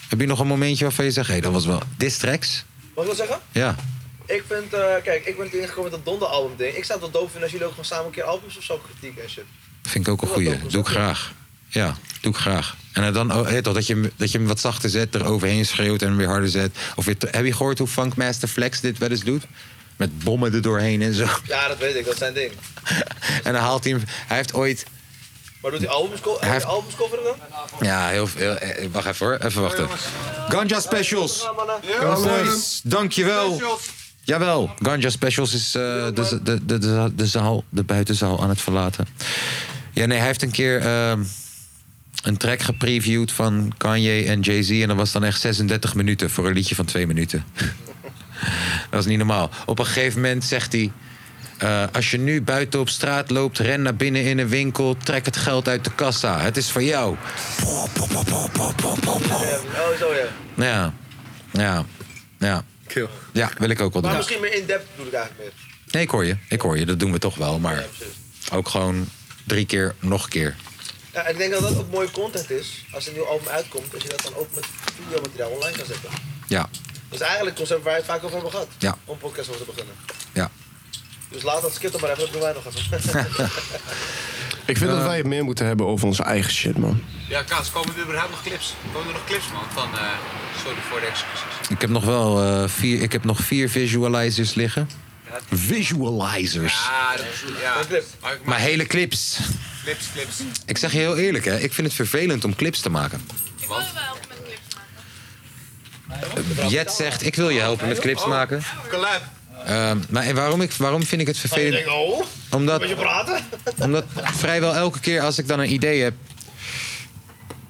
Heb je nog een momentje waarvan je zegt, hé, dat was wel distracts?
Wat ik wil zeggen?
Ja.
Ik vind, eh, kijk, ik ben natuurlijk ingekomen met dat donderalbum ding. Ik zou het wel doof vinden als jullie ook gewoon samen een keer albums of zo kritiek en shit.
Vind ik ook een goeie. Doe ik graag. Ja, doe ik graag. En eh, dan oh, hè, toch, dat, je, hem- dat je hem wat zachter zet, er overheen schreeuwt en hem weer harder zet. Of weer te- heb je gehoord hoe Funkmaster Flex dit wel eens doet? Met bommen er doorheen en zo.
Ja, dat weet ik, dat is zijn ding.
En dan haalt hij hem. Hij heeft ooit.
Maar doet hij albums, co-
Hij
hij
heeft-
albums coveren dan?
Ja, heel veel. eh, Wacht even hoor, even wachten. Ganja Specials. Kom, boys. Dankjewel. Jawel, Ganja Specials is eh, de, de, de, de, de zaal, de buitenzaal aan het verlaten. Ja, nee, hij heeft een keer ehm, een track gepreviewd van Kanye en Jay-Z. En dat was dan echt 36 minuten voor een liedje van twee minuten. dat is niet normaal. Op een gegeven moment zegt hij... eh, als je nu buiten op straat loopt, ren naar binnen in een winkel... trek het geld uit de kassa. Het is voor jou.
Oh, zo ja.
Ja, ja, ja. Ja, wil ik ook wel doen.
Maar misschien meer in-depth bedoel ik eigenlijk meer.
Nee, ik hoor je. Ik hoor je. Dat doen we toch wel. Maar ook gewoon drie keer, nog een keer.
Ja, en ik denk dat dat ook mooie content is, als een nieuw album uitkomt, dat je dat dan ook met videomateriaal online kan zetten.
Ja,
Dat is eigenlijk het concept waar we het vaak over hebben gehad.
Ja.
Om podcast over te beginnen.
Ja.
Dus laat dat skip er maar even, dat doen wij nog even.
Ik vind dat
Eh.
wij het meer moeten hebben over onze eigen shit, man.
Ja, Kaas, komen er überhaupt nog clips? Komen er nog clips, man? Van, eh, sorry voor de excuses.
ik heb nog wel eh, vier, ik heb nog vier visualizers liggen. Visualizers.
Ja, dat is ja. Maar,
Dus- Maar hele clips.
clips, clips.
Ik zeg je heel eerlijk, hè. Ik vind het vervelend om clips te maken.
Want?
Eh, Jet zegt, ik wil je helpen met clips maken.
Collab.
Ehm, maar en waarom, ik, waarom vind ik het
Ik
vervelend?
denk, Oh, oh,
Omdat,
moet je praten?
Omdat vrijwel elke keer als ik dan een idee heb,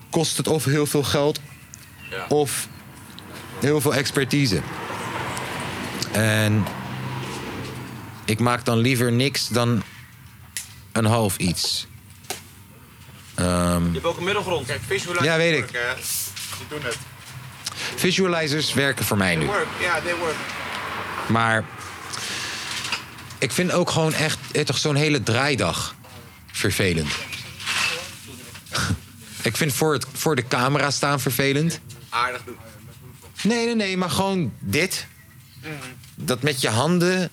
kost het of heel veel geld of heel veel expertise. En ik maak dan liever niks dan een half iets. Ehm,
Je hebt ook een middelgrond. Kijk, visualize.
Ja, weet ik.
Die doen het.
visualizers werken voor mij
They
nu.
work, ja, they work.
Maar ik vind ook gewoon echt eh, toch zo'n hele draaidag vervelend. ik vind voor, het, voor de camera staan vervelend.
Aardig doen.
Nee, nee, nee, maar gewoon dit.
Mm.
Dat met je handen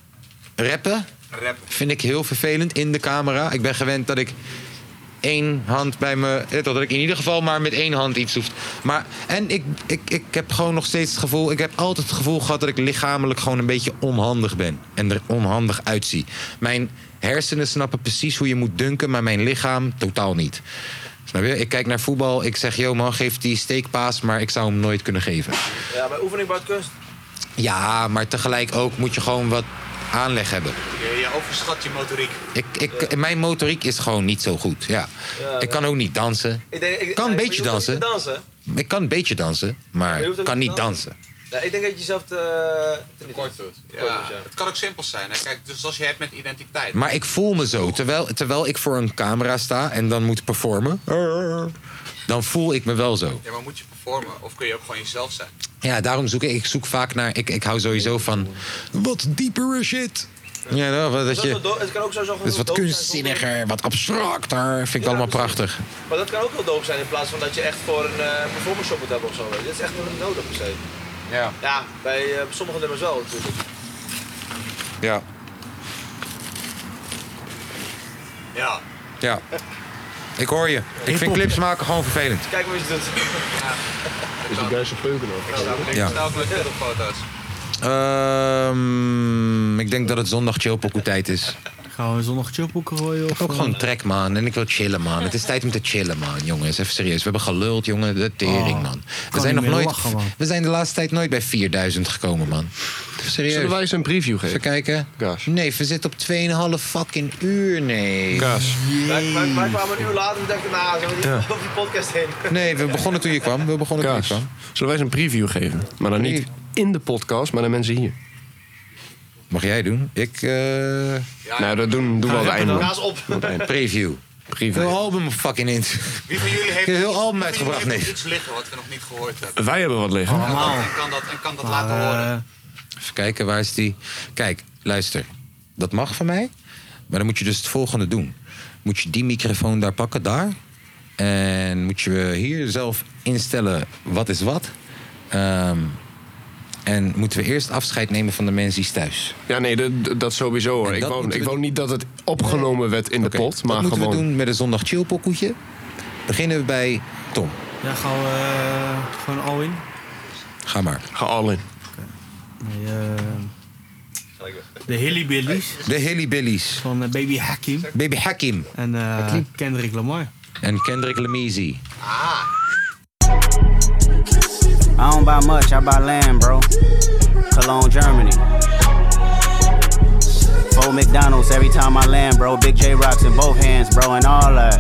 rappen.
Rappen.
Vind ik heel vervelend in de camera. Ik ben gewend dat ik één hand bij me. eh, Dat ik in ieder geval maar met één hand iets hoef. Maar, en ik, ik, ik heb gewoon nog steeds het gevoel. Ik heb altijd het gevoel gehad dat ik lichamelijk gewoon een beetje onhandig ben. En er onhandig uitzie. Mijn hersenen snappen precies hoe je moet dunken, maar mijn lichaam totaal niet. Snap je? Ik kijk naar voetbal. Ik zeg, yo man, geef die steekpaas, maar ik zou hem nooit kunnen geven.
Ja, bij oefening bouwt kunst.
Ja, maar tegelijk ook moet je gewoon wat aanleg hebben.
Je, je overschat je motoriek.
Ik, ik, mijn motoriek is gewoon niet zo goed. Ja.
Ja,
ik kan ook niet dansen.
Ik denk, ik,
kan een
ja,
beetje
je hoeft
dansen.
niet te dansen.
Ik kan een beetje dansen, maar
Je hoeft ook
kan
niet
niet
te
dansen.
Ja, ik denk dat je jezelf te... Kort doet.
Ja, het kan ook simpel zijn. Hè. Kijk, dus als je hebt met identiteit.
Maar ik voel me zo. Terwijl, terwijl ik voor een camera sta en dan moet performen. Dan voel ik me wel zo.
Ja, maar moet je performen? Of kun je ook gewoon jezelf zijn?
Ja, daarom zoek ik, ik zoek vaak naar. Ik, ik hou sowieso van wat diepere shit. Ja, nou, dat, dat
Dat is wel
je,
doof- het kan ook zo
dat is wat kunstzinniger, wat abstracter. Vind ik allemaal prachtig.
Maar dat kan ook wel doof zijn in plaats van dat je echt voor een eh, performance shop moet hebben of zo. weet je. Dat is echt niet nodig per se.
Ja.
Ja, bij eh, sommige nummers wel natuurlijk.
Ja.
Ja.
Ja. Ik hoor je. Ik vind clips maken gewoon vervelend.
Kijk maar wat je doet. Ja.
Is die guys een peuken
Ik Ja. sta
ook met foto's.
Ehm, ik denk dat het zondag chillpokoe tijd is.
Gaan we zondag chillpoeken gooien? Of
eh,
Ook gewoon trek, man. En ik wil chillen, man. Het is tijd om te chillen, man, jongens. Even serieus. We hebben geluld, jongen. De tering, man. We
Oh, niet
zijn, nog
meer
nooit,
lachen, man.
we zijn de laatste tijd nooit bij 4000 gekomen, man. Serieus.
Zullen wij eens een preview geven?
Even kijken. Nee, we zitten op 2,5 fucking uur, nee.
Kaas.
Wij, wij, wij kwamen een uur later en dachten, nou, zo die,
Ja.
over die podcast heen.
Nee, we begonnen toen je kwam. We begonnen
Kaas. Zullen wij eens een preview geven? Maar dan niet in de podcast, maar aan mensen hier.
Mag jij doen? Ik. eh,
nou, dat doen, doen we aan het einde.
Kaas op.
Aan het einde.
Preview.
Preview.
Heel album fucking in.
Wie van jullie heeft,
Heel
wie van
album
jullie
uitgebracht,
heeft
nee.
nog iets liggen wat we nog niet gehoord hebben?
Wij hebben wat liggen.
En kan dat, en kan dat laten horen?
eh, Even kijken, waar is die? Kijk, luister. Dat mag van mij. Maar dan moet je dus het volgende doen. Moet je die microfoon daar pakken, daar. En moet je hier zelf instellen wat is wat. Ehm, en moeten we eerst afscheid nemen van de mensen thuis.
Ja, nee, dat, dat sowieso hoor. Ik wou, ik wou niet dat het opgenomen werd in de pot, maar
Wat moeten
gewoon...
we doen met een zondag chill pokoetje? Beginnen we bij Tom.
Ja, gaan we eh, gewoon all in.
Ga maar.
Ga al in.
Nee, eh, de Hillybillies.
De Hillybillies.
Van eh, Baby Hakim.
Baby Hakim.
En eh, Kendrick Lamar.
En Kendrick Lamisi.
I don't buy much, I buy land, bro. Cologne, Germany. Four McDonald's every time I land, bro. Big J rocks in both hands, bro, and all that.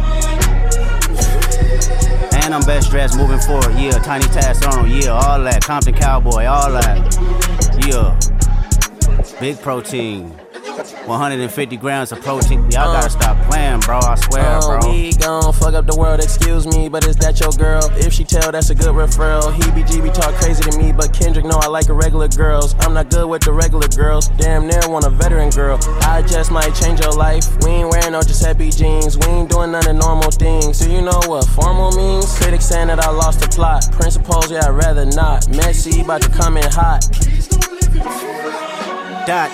And I'm best dressed moving forward, yeah. Tiny Tass Arnold, yeah. All that. Compton Cowboy, all that. Yeah. Big protein. 150 grams of protein. Y'all gotta stop playing, bro. I swear,
Um,
bro.
We gon' fuck up the world, excuse me, but is that your girl? If she tell, that's a good referral. Heebie jeebie talk crazy to me, but Kendrick know I like regular girls. I'm not good with the regular girls, damn near want a veteran girl. I just might change your life. We ain't wearing no Giuseppe jeans, we ain't doing none of normal things. So you know what formal means? Critics saying that I lost the plot. Principles, yeah, I'd rather not. Messi about to come in hot.
Dot.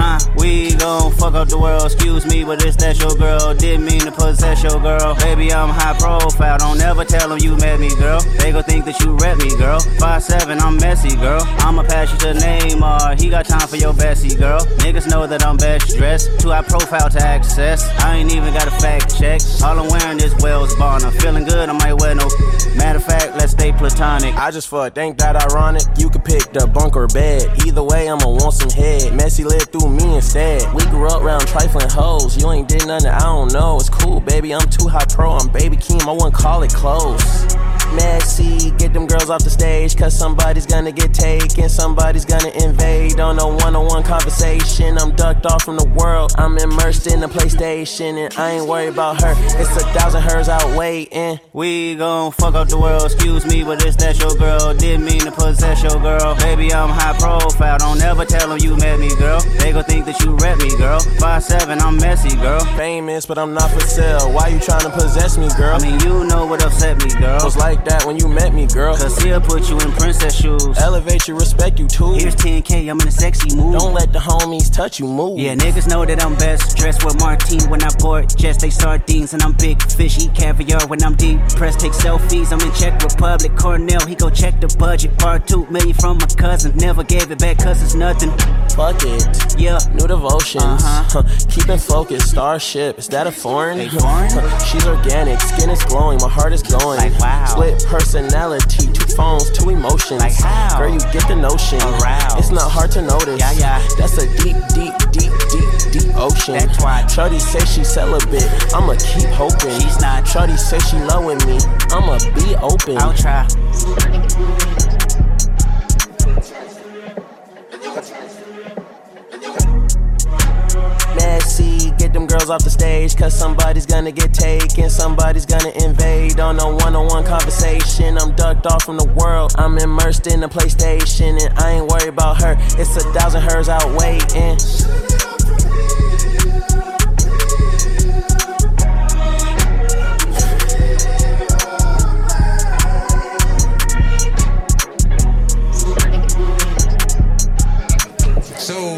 Uh, we gon' fuck up the world. Excuse me, but it's that your girl. Didn't mean to possess your girl. Baby, I'm high profile. Don't ever tell them you met me, girl. They gon' think that you rep me, girl. Five seven, I'm messy, girl. I'ma pass you to Neymar. He got time for your Bessie, girl. Niggas know that I'm best dressed. Too high profile to access. I ain't even got a fact check. All I'm wearing is Wells Bonner. Feeling good, I might wear no. Matter of fact, let's stay platonic.
I just fucked, ain't that ironic? You could pick the bunker bed. Either way, I'ma want some head. Messy lived through me instead. We grew up round trifling hoes. You ain't did nothing, I don't know. It's cool, baby. I'm too high pro. I'm baby keem. I wouldn't call it close. Messy, get them girls off the stage. Cause somebody's gonna get taken. Somebody's gonna invade on a one on one conversation. I'm ducked off from the world. I'm immersed in the PlayStation. And I ain't worried about her. It's a thousand hers out waiting.
We gon' fuck up the world, excuse me, but it's that your girl. Didn't mean to possess your girl. Baby, I'm high profile. Don't ever tell them you met me, girl. They gon' think that you rep me, girl. Five seven, I'm messy, girl.
Famous, but I'm not for sale. Why you tryna possess me, girl? I
mean, you know what upset me, girl.
Was like that when you met me, girl.
Cause he'll put you in princess shoes.
Elevate you, respect you too.
Here's 10K, I'm in a sexy mood.
Don't let the homies touch you, move.
Yeah, niggas know that I'm best dressed with Martine when I board jest. They sardines and I'm big fish, eat caviar when I'm deep pressed. Take selfies, I'm in Czech Republic. Cornell, he go check the budget. Bar two million from my cousin, never gave it back cause it's nothing.
Fuck it.
Yeah.
New devotions.
Uh-huh.
Keep it focused. Starship. Is that a foreign?
They foreign?
She's organic. Skin is glowing. My heart is glowing.
Like, wow.
Split personality. Two phones. Two emotions.
Like, how?
Girl, you get the notion.
Aroused.
It's not hard to notice.
Yeah, yeah.
That's a deep, deep, deep, deep, deep ocean.
That's why.
Shorty say she celibate. I'ma keep hoping.
She's not.
Shorty say she loving me. I'ma be open.
I'll try.
Messy, get them girls off the stage, cause somebody's gonna get taken, somebody's gonna invade on a one on one conversation. I'm ducked off from the world, I'm immersed in the PlayStation, and I ain't worried about her. It's a thousand hers out waiting.
Zo,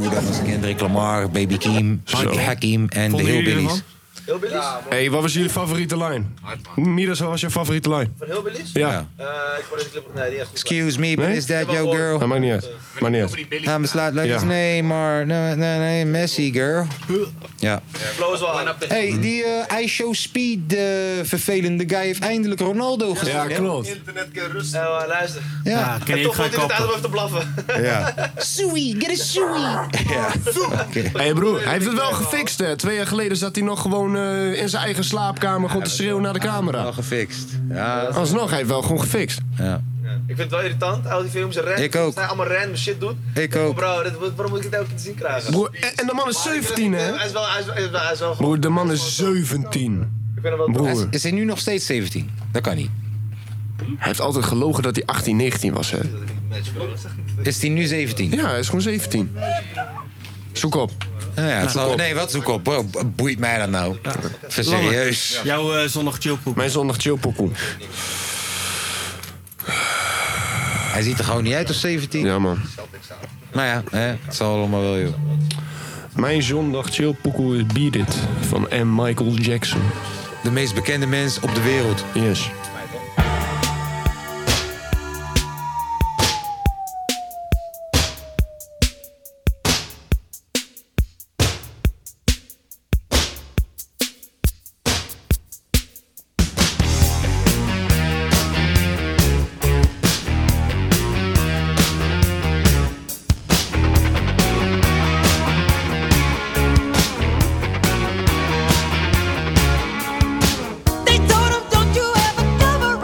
dat was Kendrick Lamar, Baby Kim, Baby Hakim en de
Vonden jullie
Hillbillies.
ervan?
Hillbillies?
hey, wat was jullie favoriete line? Midas, wat was je favoriete line?
Van Hillbillies?
Ja.
Eh, ik vond deze clip... Nee, die echt goed.
Excuse me, but
Nee?
is that your girl?
Dat maakt niet
Eh,
uit. Maakt niet uit.
Hij besluit
Ja.
lekker. Nee, maar. Nee, nee, nee, Messi, girl. Ja.
Flow is wel aan.
Hey, die eh iShow Speed eh, vervelende guy heeft eindelijk Ronaldo gezien. hè?
Internet kan rust. Eh, luister.
Ja. Ja, Ah, ken
en
ik
toch
geen
vond
koppen.
hij het uit om even te blaffen.
Ja.
Sui, get a sui.
Ja.
Hé broer, hij heeft het wel gefixt hè. Twee jaar geleden zat hij nog gewoon eh, in zijn eigen slaapkamer gewoon te schreeuwen naar de camera. Wel
gefixt.
Alsnog, hij heeft wel gewoon gefixt.
Ja.
Ik vind het wel irritant, al die films random.
Ik ook.
Als hij allemaal random shit doet.
Ik
denk,
ook.
Bro, dit, waarom moet ik dit elke keer te zien krijgen?
Broer, en- en de man is
Maar ik vind
17,
het-
hè?
Hij is wel, hij is, hij is wel, hij is wel goed.
Broer, de man is 17.
Ik vind hem wel
Broer.
tof.
Is hij nu nog steeds 17? Dat kan niet.
Hij heeft altijd gelogen dat hij 18, 19 was hè.
Is hij nu 17?
Ja, hij is gewoon 17. Zoek op.
Oh Ja, het zal-
Zoek op.
nee, wat zoek op? Bro, b- boeit mij dat nou? Even serieus.
Jouw eh, zondag chillpokoe. Mijn zondag chillpokoe.
Hij ziet er gewoon niet uit als 17.
Ja, man.
Nou ja, hè, het zal allemaal wel, joh.
Mijn zondag chillpokoe is Beat It van M. Michael Jackson.
De meest bekende mens op de wereld.
Yes.
They told him, don't you ever come uh, uh,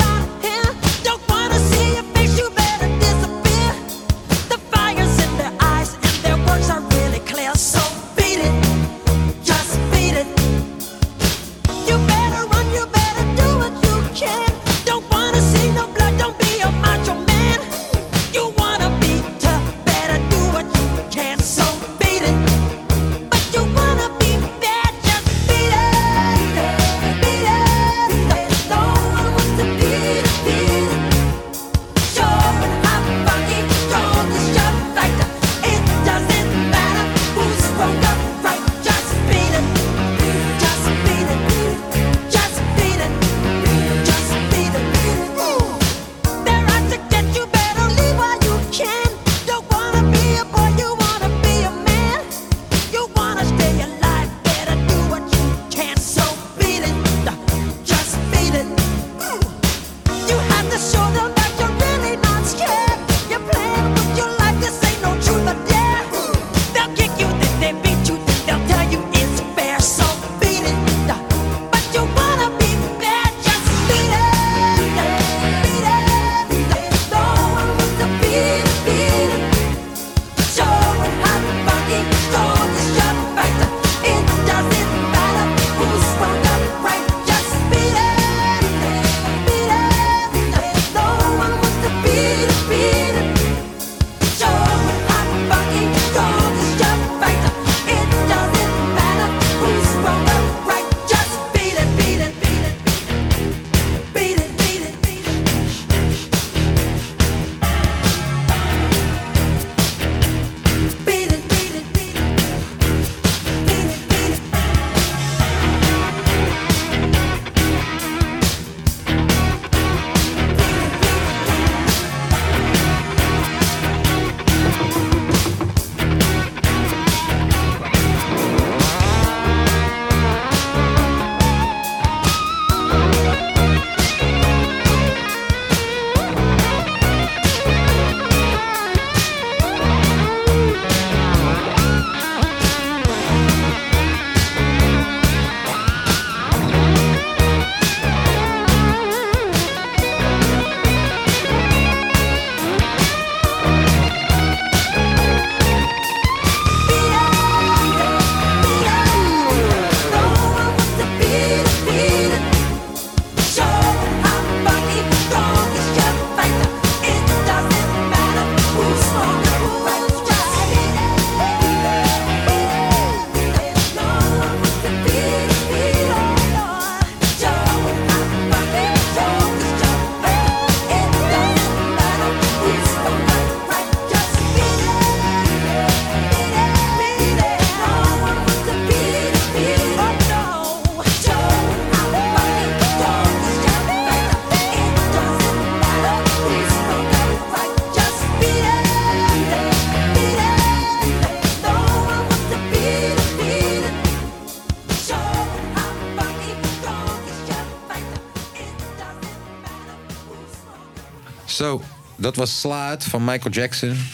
Zo, dat was Slaat van Michael Jackson.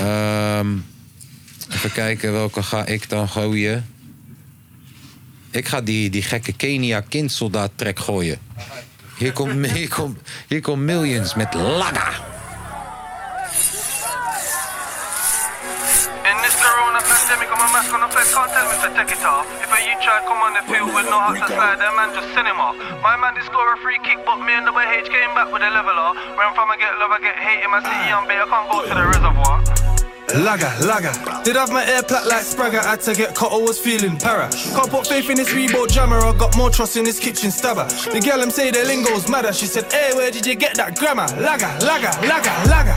Ehm, even kijken welke ga ik dan gooien. Ik ga die, die gekke Kenia kindsoldaat trek gooien. Hier komt hier komt hier komt Millions met Laga.
In this corona pandemic, on my mask on, I play can't tell me to take it off. If a you try come on the field with no heart inside, that man just cinema. My man did score a free kick, but me and double H came back with a leveler. Where I'm from, I get love, I get hate in my city, I'm bait, I can't go to the reservoir.
Lagger, lagger. Did have my air plat like Spragger. Had to get cut, I was feeling para. Can't put faith in this Reebok jammer. I got more trust in this kitchen stabber. The gal em say the lingo's madder. She said, Hey, where did you get that grammar? Lagger, lagger, lagger, lagger.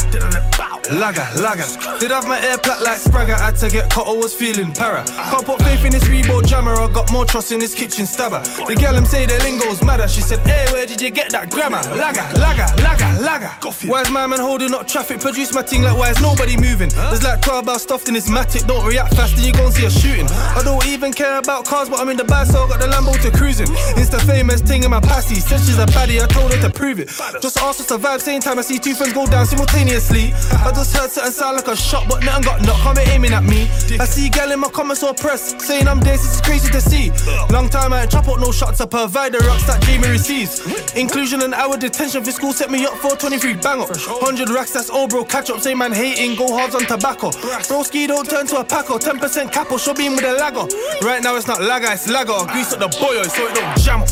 Lagger, lagger. Did have my air plat like Spragger. Had to get cut, I was feeling para. Can't put faith in this Reebok jammer. I got more trust in this kitchen stabber. The gal em say the lingo's madder. She said, Hey, where did you get that grammar? Lagger, lagger, lagger, lagger. Why is my man holding up traffic? Produce my ting like why is nobody moving? There's like 12 bars stuffed in this matic. Don't react fast and you gon' see a shooting. I don't even care about cars, but I'm in the bag, so I got the Lambo to cruising. Insta famous thing in my passy. Said she's a baddie, I told her to prove it. Just asked us to vibe, same time I see two friends go down simultaneously. I just heard certain sound like a shot, but nothing got knocked. Come aiming at me. I see gal in my comments or press saying I'm this, it's crazy to see. Long time I ain't chop up no shots, I provide the rocks that Jamie receives. Inclusion and hour detention for school set me up for 23 bang up. 100 racks, that's all bro, catch up. Say man hating, go hard on tobacco. Broski don't turn to a packer, 10% capo, show beam with a lagger. Right now it's not lagger, it's lagger. Grease up the boyo so it don't jam up.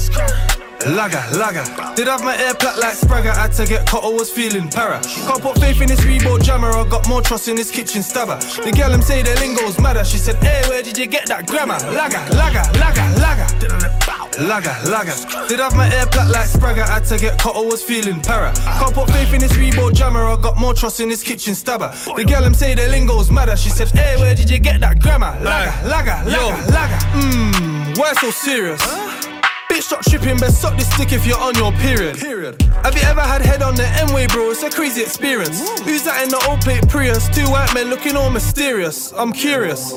Lagger, lagger. Did have my air plat like Spragger. Had to get cut, I was feeling para. Can't put faith in this Reebok jammer. I got more trust in this kitchen stabber. The gal em say the lingo's madder. She said, Hey, where did you get that grammar? Lagger, lagger, lagger, lagger. Lagger, lagger. Did have my air plat like Spragger. Had to get cut, I was feeling para. Can't put faith in this Reebok jammer. I got more trust in this kitchen stabber. The gal em say the lingo's madder. She said, Hey, where did you get that grammar? Lagger, lagger, lagger, lagger. Mmm, why so serious? Bitch, stop tripping, best suck this dick if you're on your period. Period. Have you ever had head on the M-way, bro? It's a crazy experience. Who's that in the old plate Prius? Two white men looking all mysterious. I'm curious.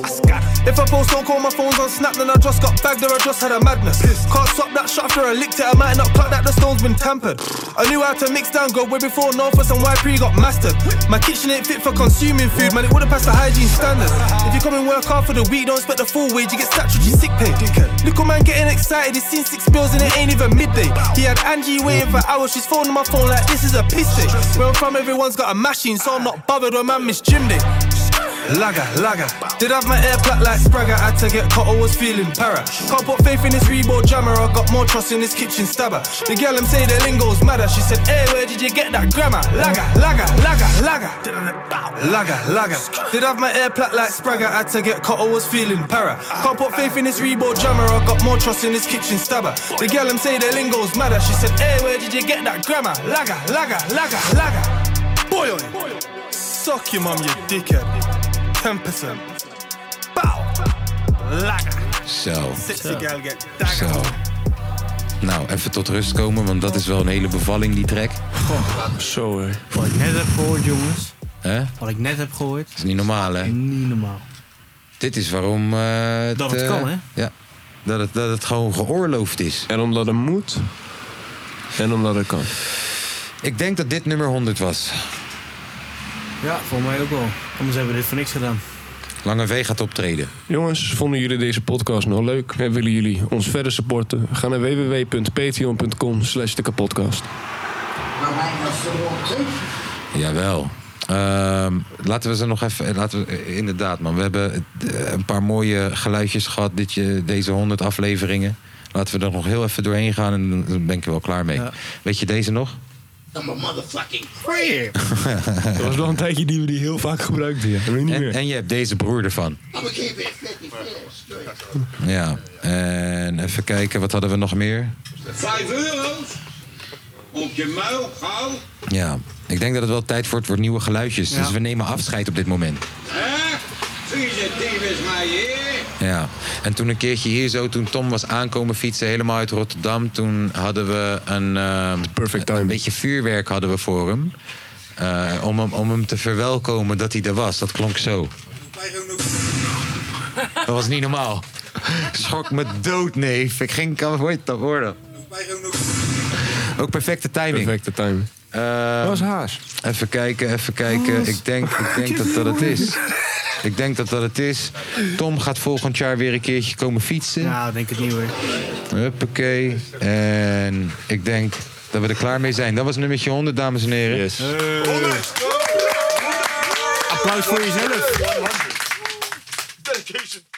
If I post, don't call my phones on snap, then I just got bagged or I just had a madness. Can't stop that shot after I licked it. I might not cut that, the stone's been tampered. I knew how to mix down, go way before Northwest and YP got mastered. My kitchen ain't fit for consuming food, man, it wouldn't pass the hygiene standards. If you come and work hard for the week, don't expect the full wage, you get statutory sick pay. Little man getting excited, he's seen six bills and it ain't even midday. He had Angie waiting for hours, she's phoning my phone like this is a piss day. Where I'm from, everyone's got a machine, so I'm not bothered when man miss gym day. Lagger, lagger. Did have my air plat like Spragger. Had to get cut, I was feeling para. Can't put faith in this Reebok jammer. I got more trust in this kitchen stabber. The gal em say the lingo's madder. She said, Hey, where did you get that grammar? Lagger, lagger, lagger, lagger. Lagger, lagger. Did have my air plat like Spragger. Had to get cut, I was feeling para. Can't put faith in this Reebok jammer. I got more trust in this kitchen stabber. The gal em say the lingo's madder. She said, Hey, where did you get that grammar? Lagger, lagger, lagger, lagger. Boy, on. Suck your mum, you dickhead. 10%. Bow. Lagger.
Zo.
Sexy gal get
Zo. Nou, even tot rust komen, want dat is wel een hele bevalling, die track. Zo hè.
Wat ik net heb gehoord, jongens.
Hè?
Wat ik net heb gehoord.
Dat is niet normaal, hè?
Niet normaal.
Dit is waarom... eh, het,
Dat het
eh,
kan, hè?
Ja. Dat het, dat het gewoon geoorloofd is.
En omdat het moet. En omdat het kan.
Ik denk dat dit nummer 100 was.
Ja, voor mij ook wel. Anders hebben we dit voor niks gedaan.
Lange V gaat optreden.
Jongens, vonden jullie deze podcast nou leuk? En willen jullie ons verder supporten? Ga naar www.patreon.com slash de kapotkast.
Jawel. Ehm, laten we ze nog even. Laten we, eh, inderdaad, man. We hebben eh, een paar mooie geluidjes gehad. Dit, je- deze 100 afleveringen. Laten we er nog heel even doorheen gaan en dan ben ik er wel klaar mee. Weet je deze nog?
I'm a motherfucking prayer.
Dat
was wel een tijdje die we die heel vaak gebruikten.
en, en je hebt deze broer ervan.
I'm gonna keep it 50 cents straight.
Ja. En even kijken, wat hadden we nog meer?
5 euro's op je muil, gauw.
Ja. Ik denk dat het wel tijd wordt voor nieuwe geluidjes. Dus we nemen afscheid op dit moment.
Hè? Vieze ding is mij hier.
Ja, en toen een keertje hier zo, toen Tom was aankomen fietsen helemaal uit Rotterdam, toen hadden we een, eh, een beetje vuurwerk hadden we voor hem. Eh, om, hem om hem te verwelkomen dat hij er was. Dat klonk zo. Dat was niet normaal. Schok me dood, neef. Ik ging kan nooit dat worden. Ook perfecte timing.
Perfecte timing.
dat was haas. Even kijken, even kijken. Ik denk, ik denk dat dat het is. Ik denk dat dat het is. Tom gaat volgend jaar weer een keertje komen fietsen.
Nou, denk het niet hoor.
Huppakee. En ik denk dat we er klaar mee zijn. Dat was nummertje 100, dames en heren.
Applaus voor jezelf.
Dedication.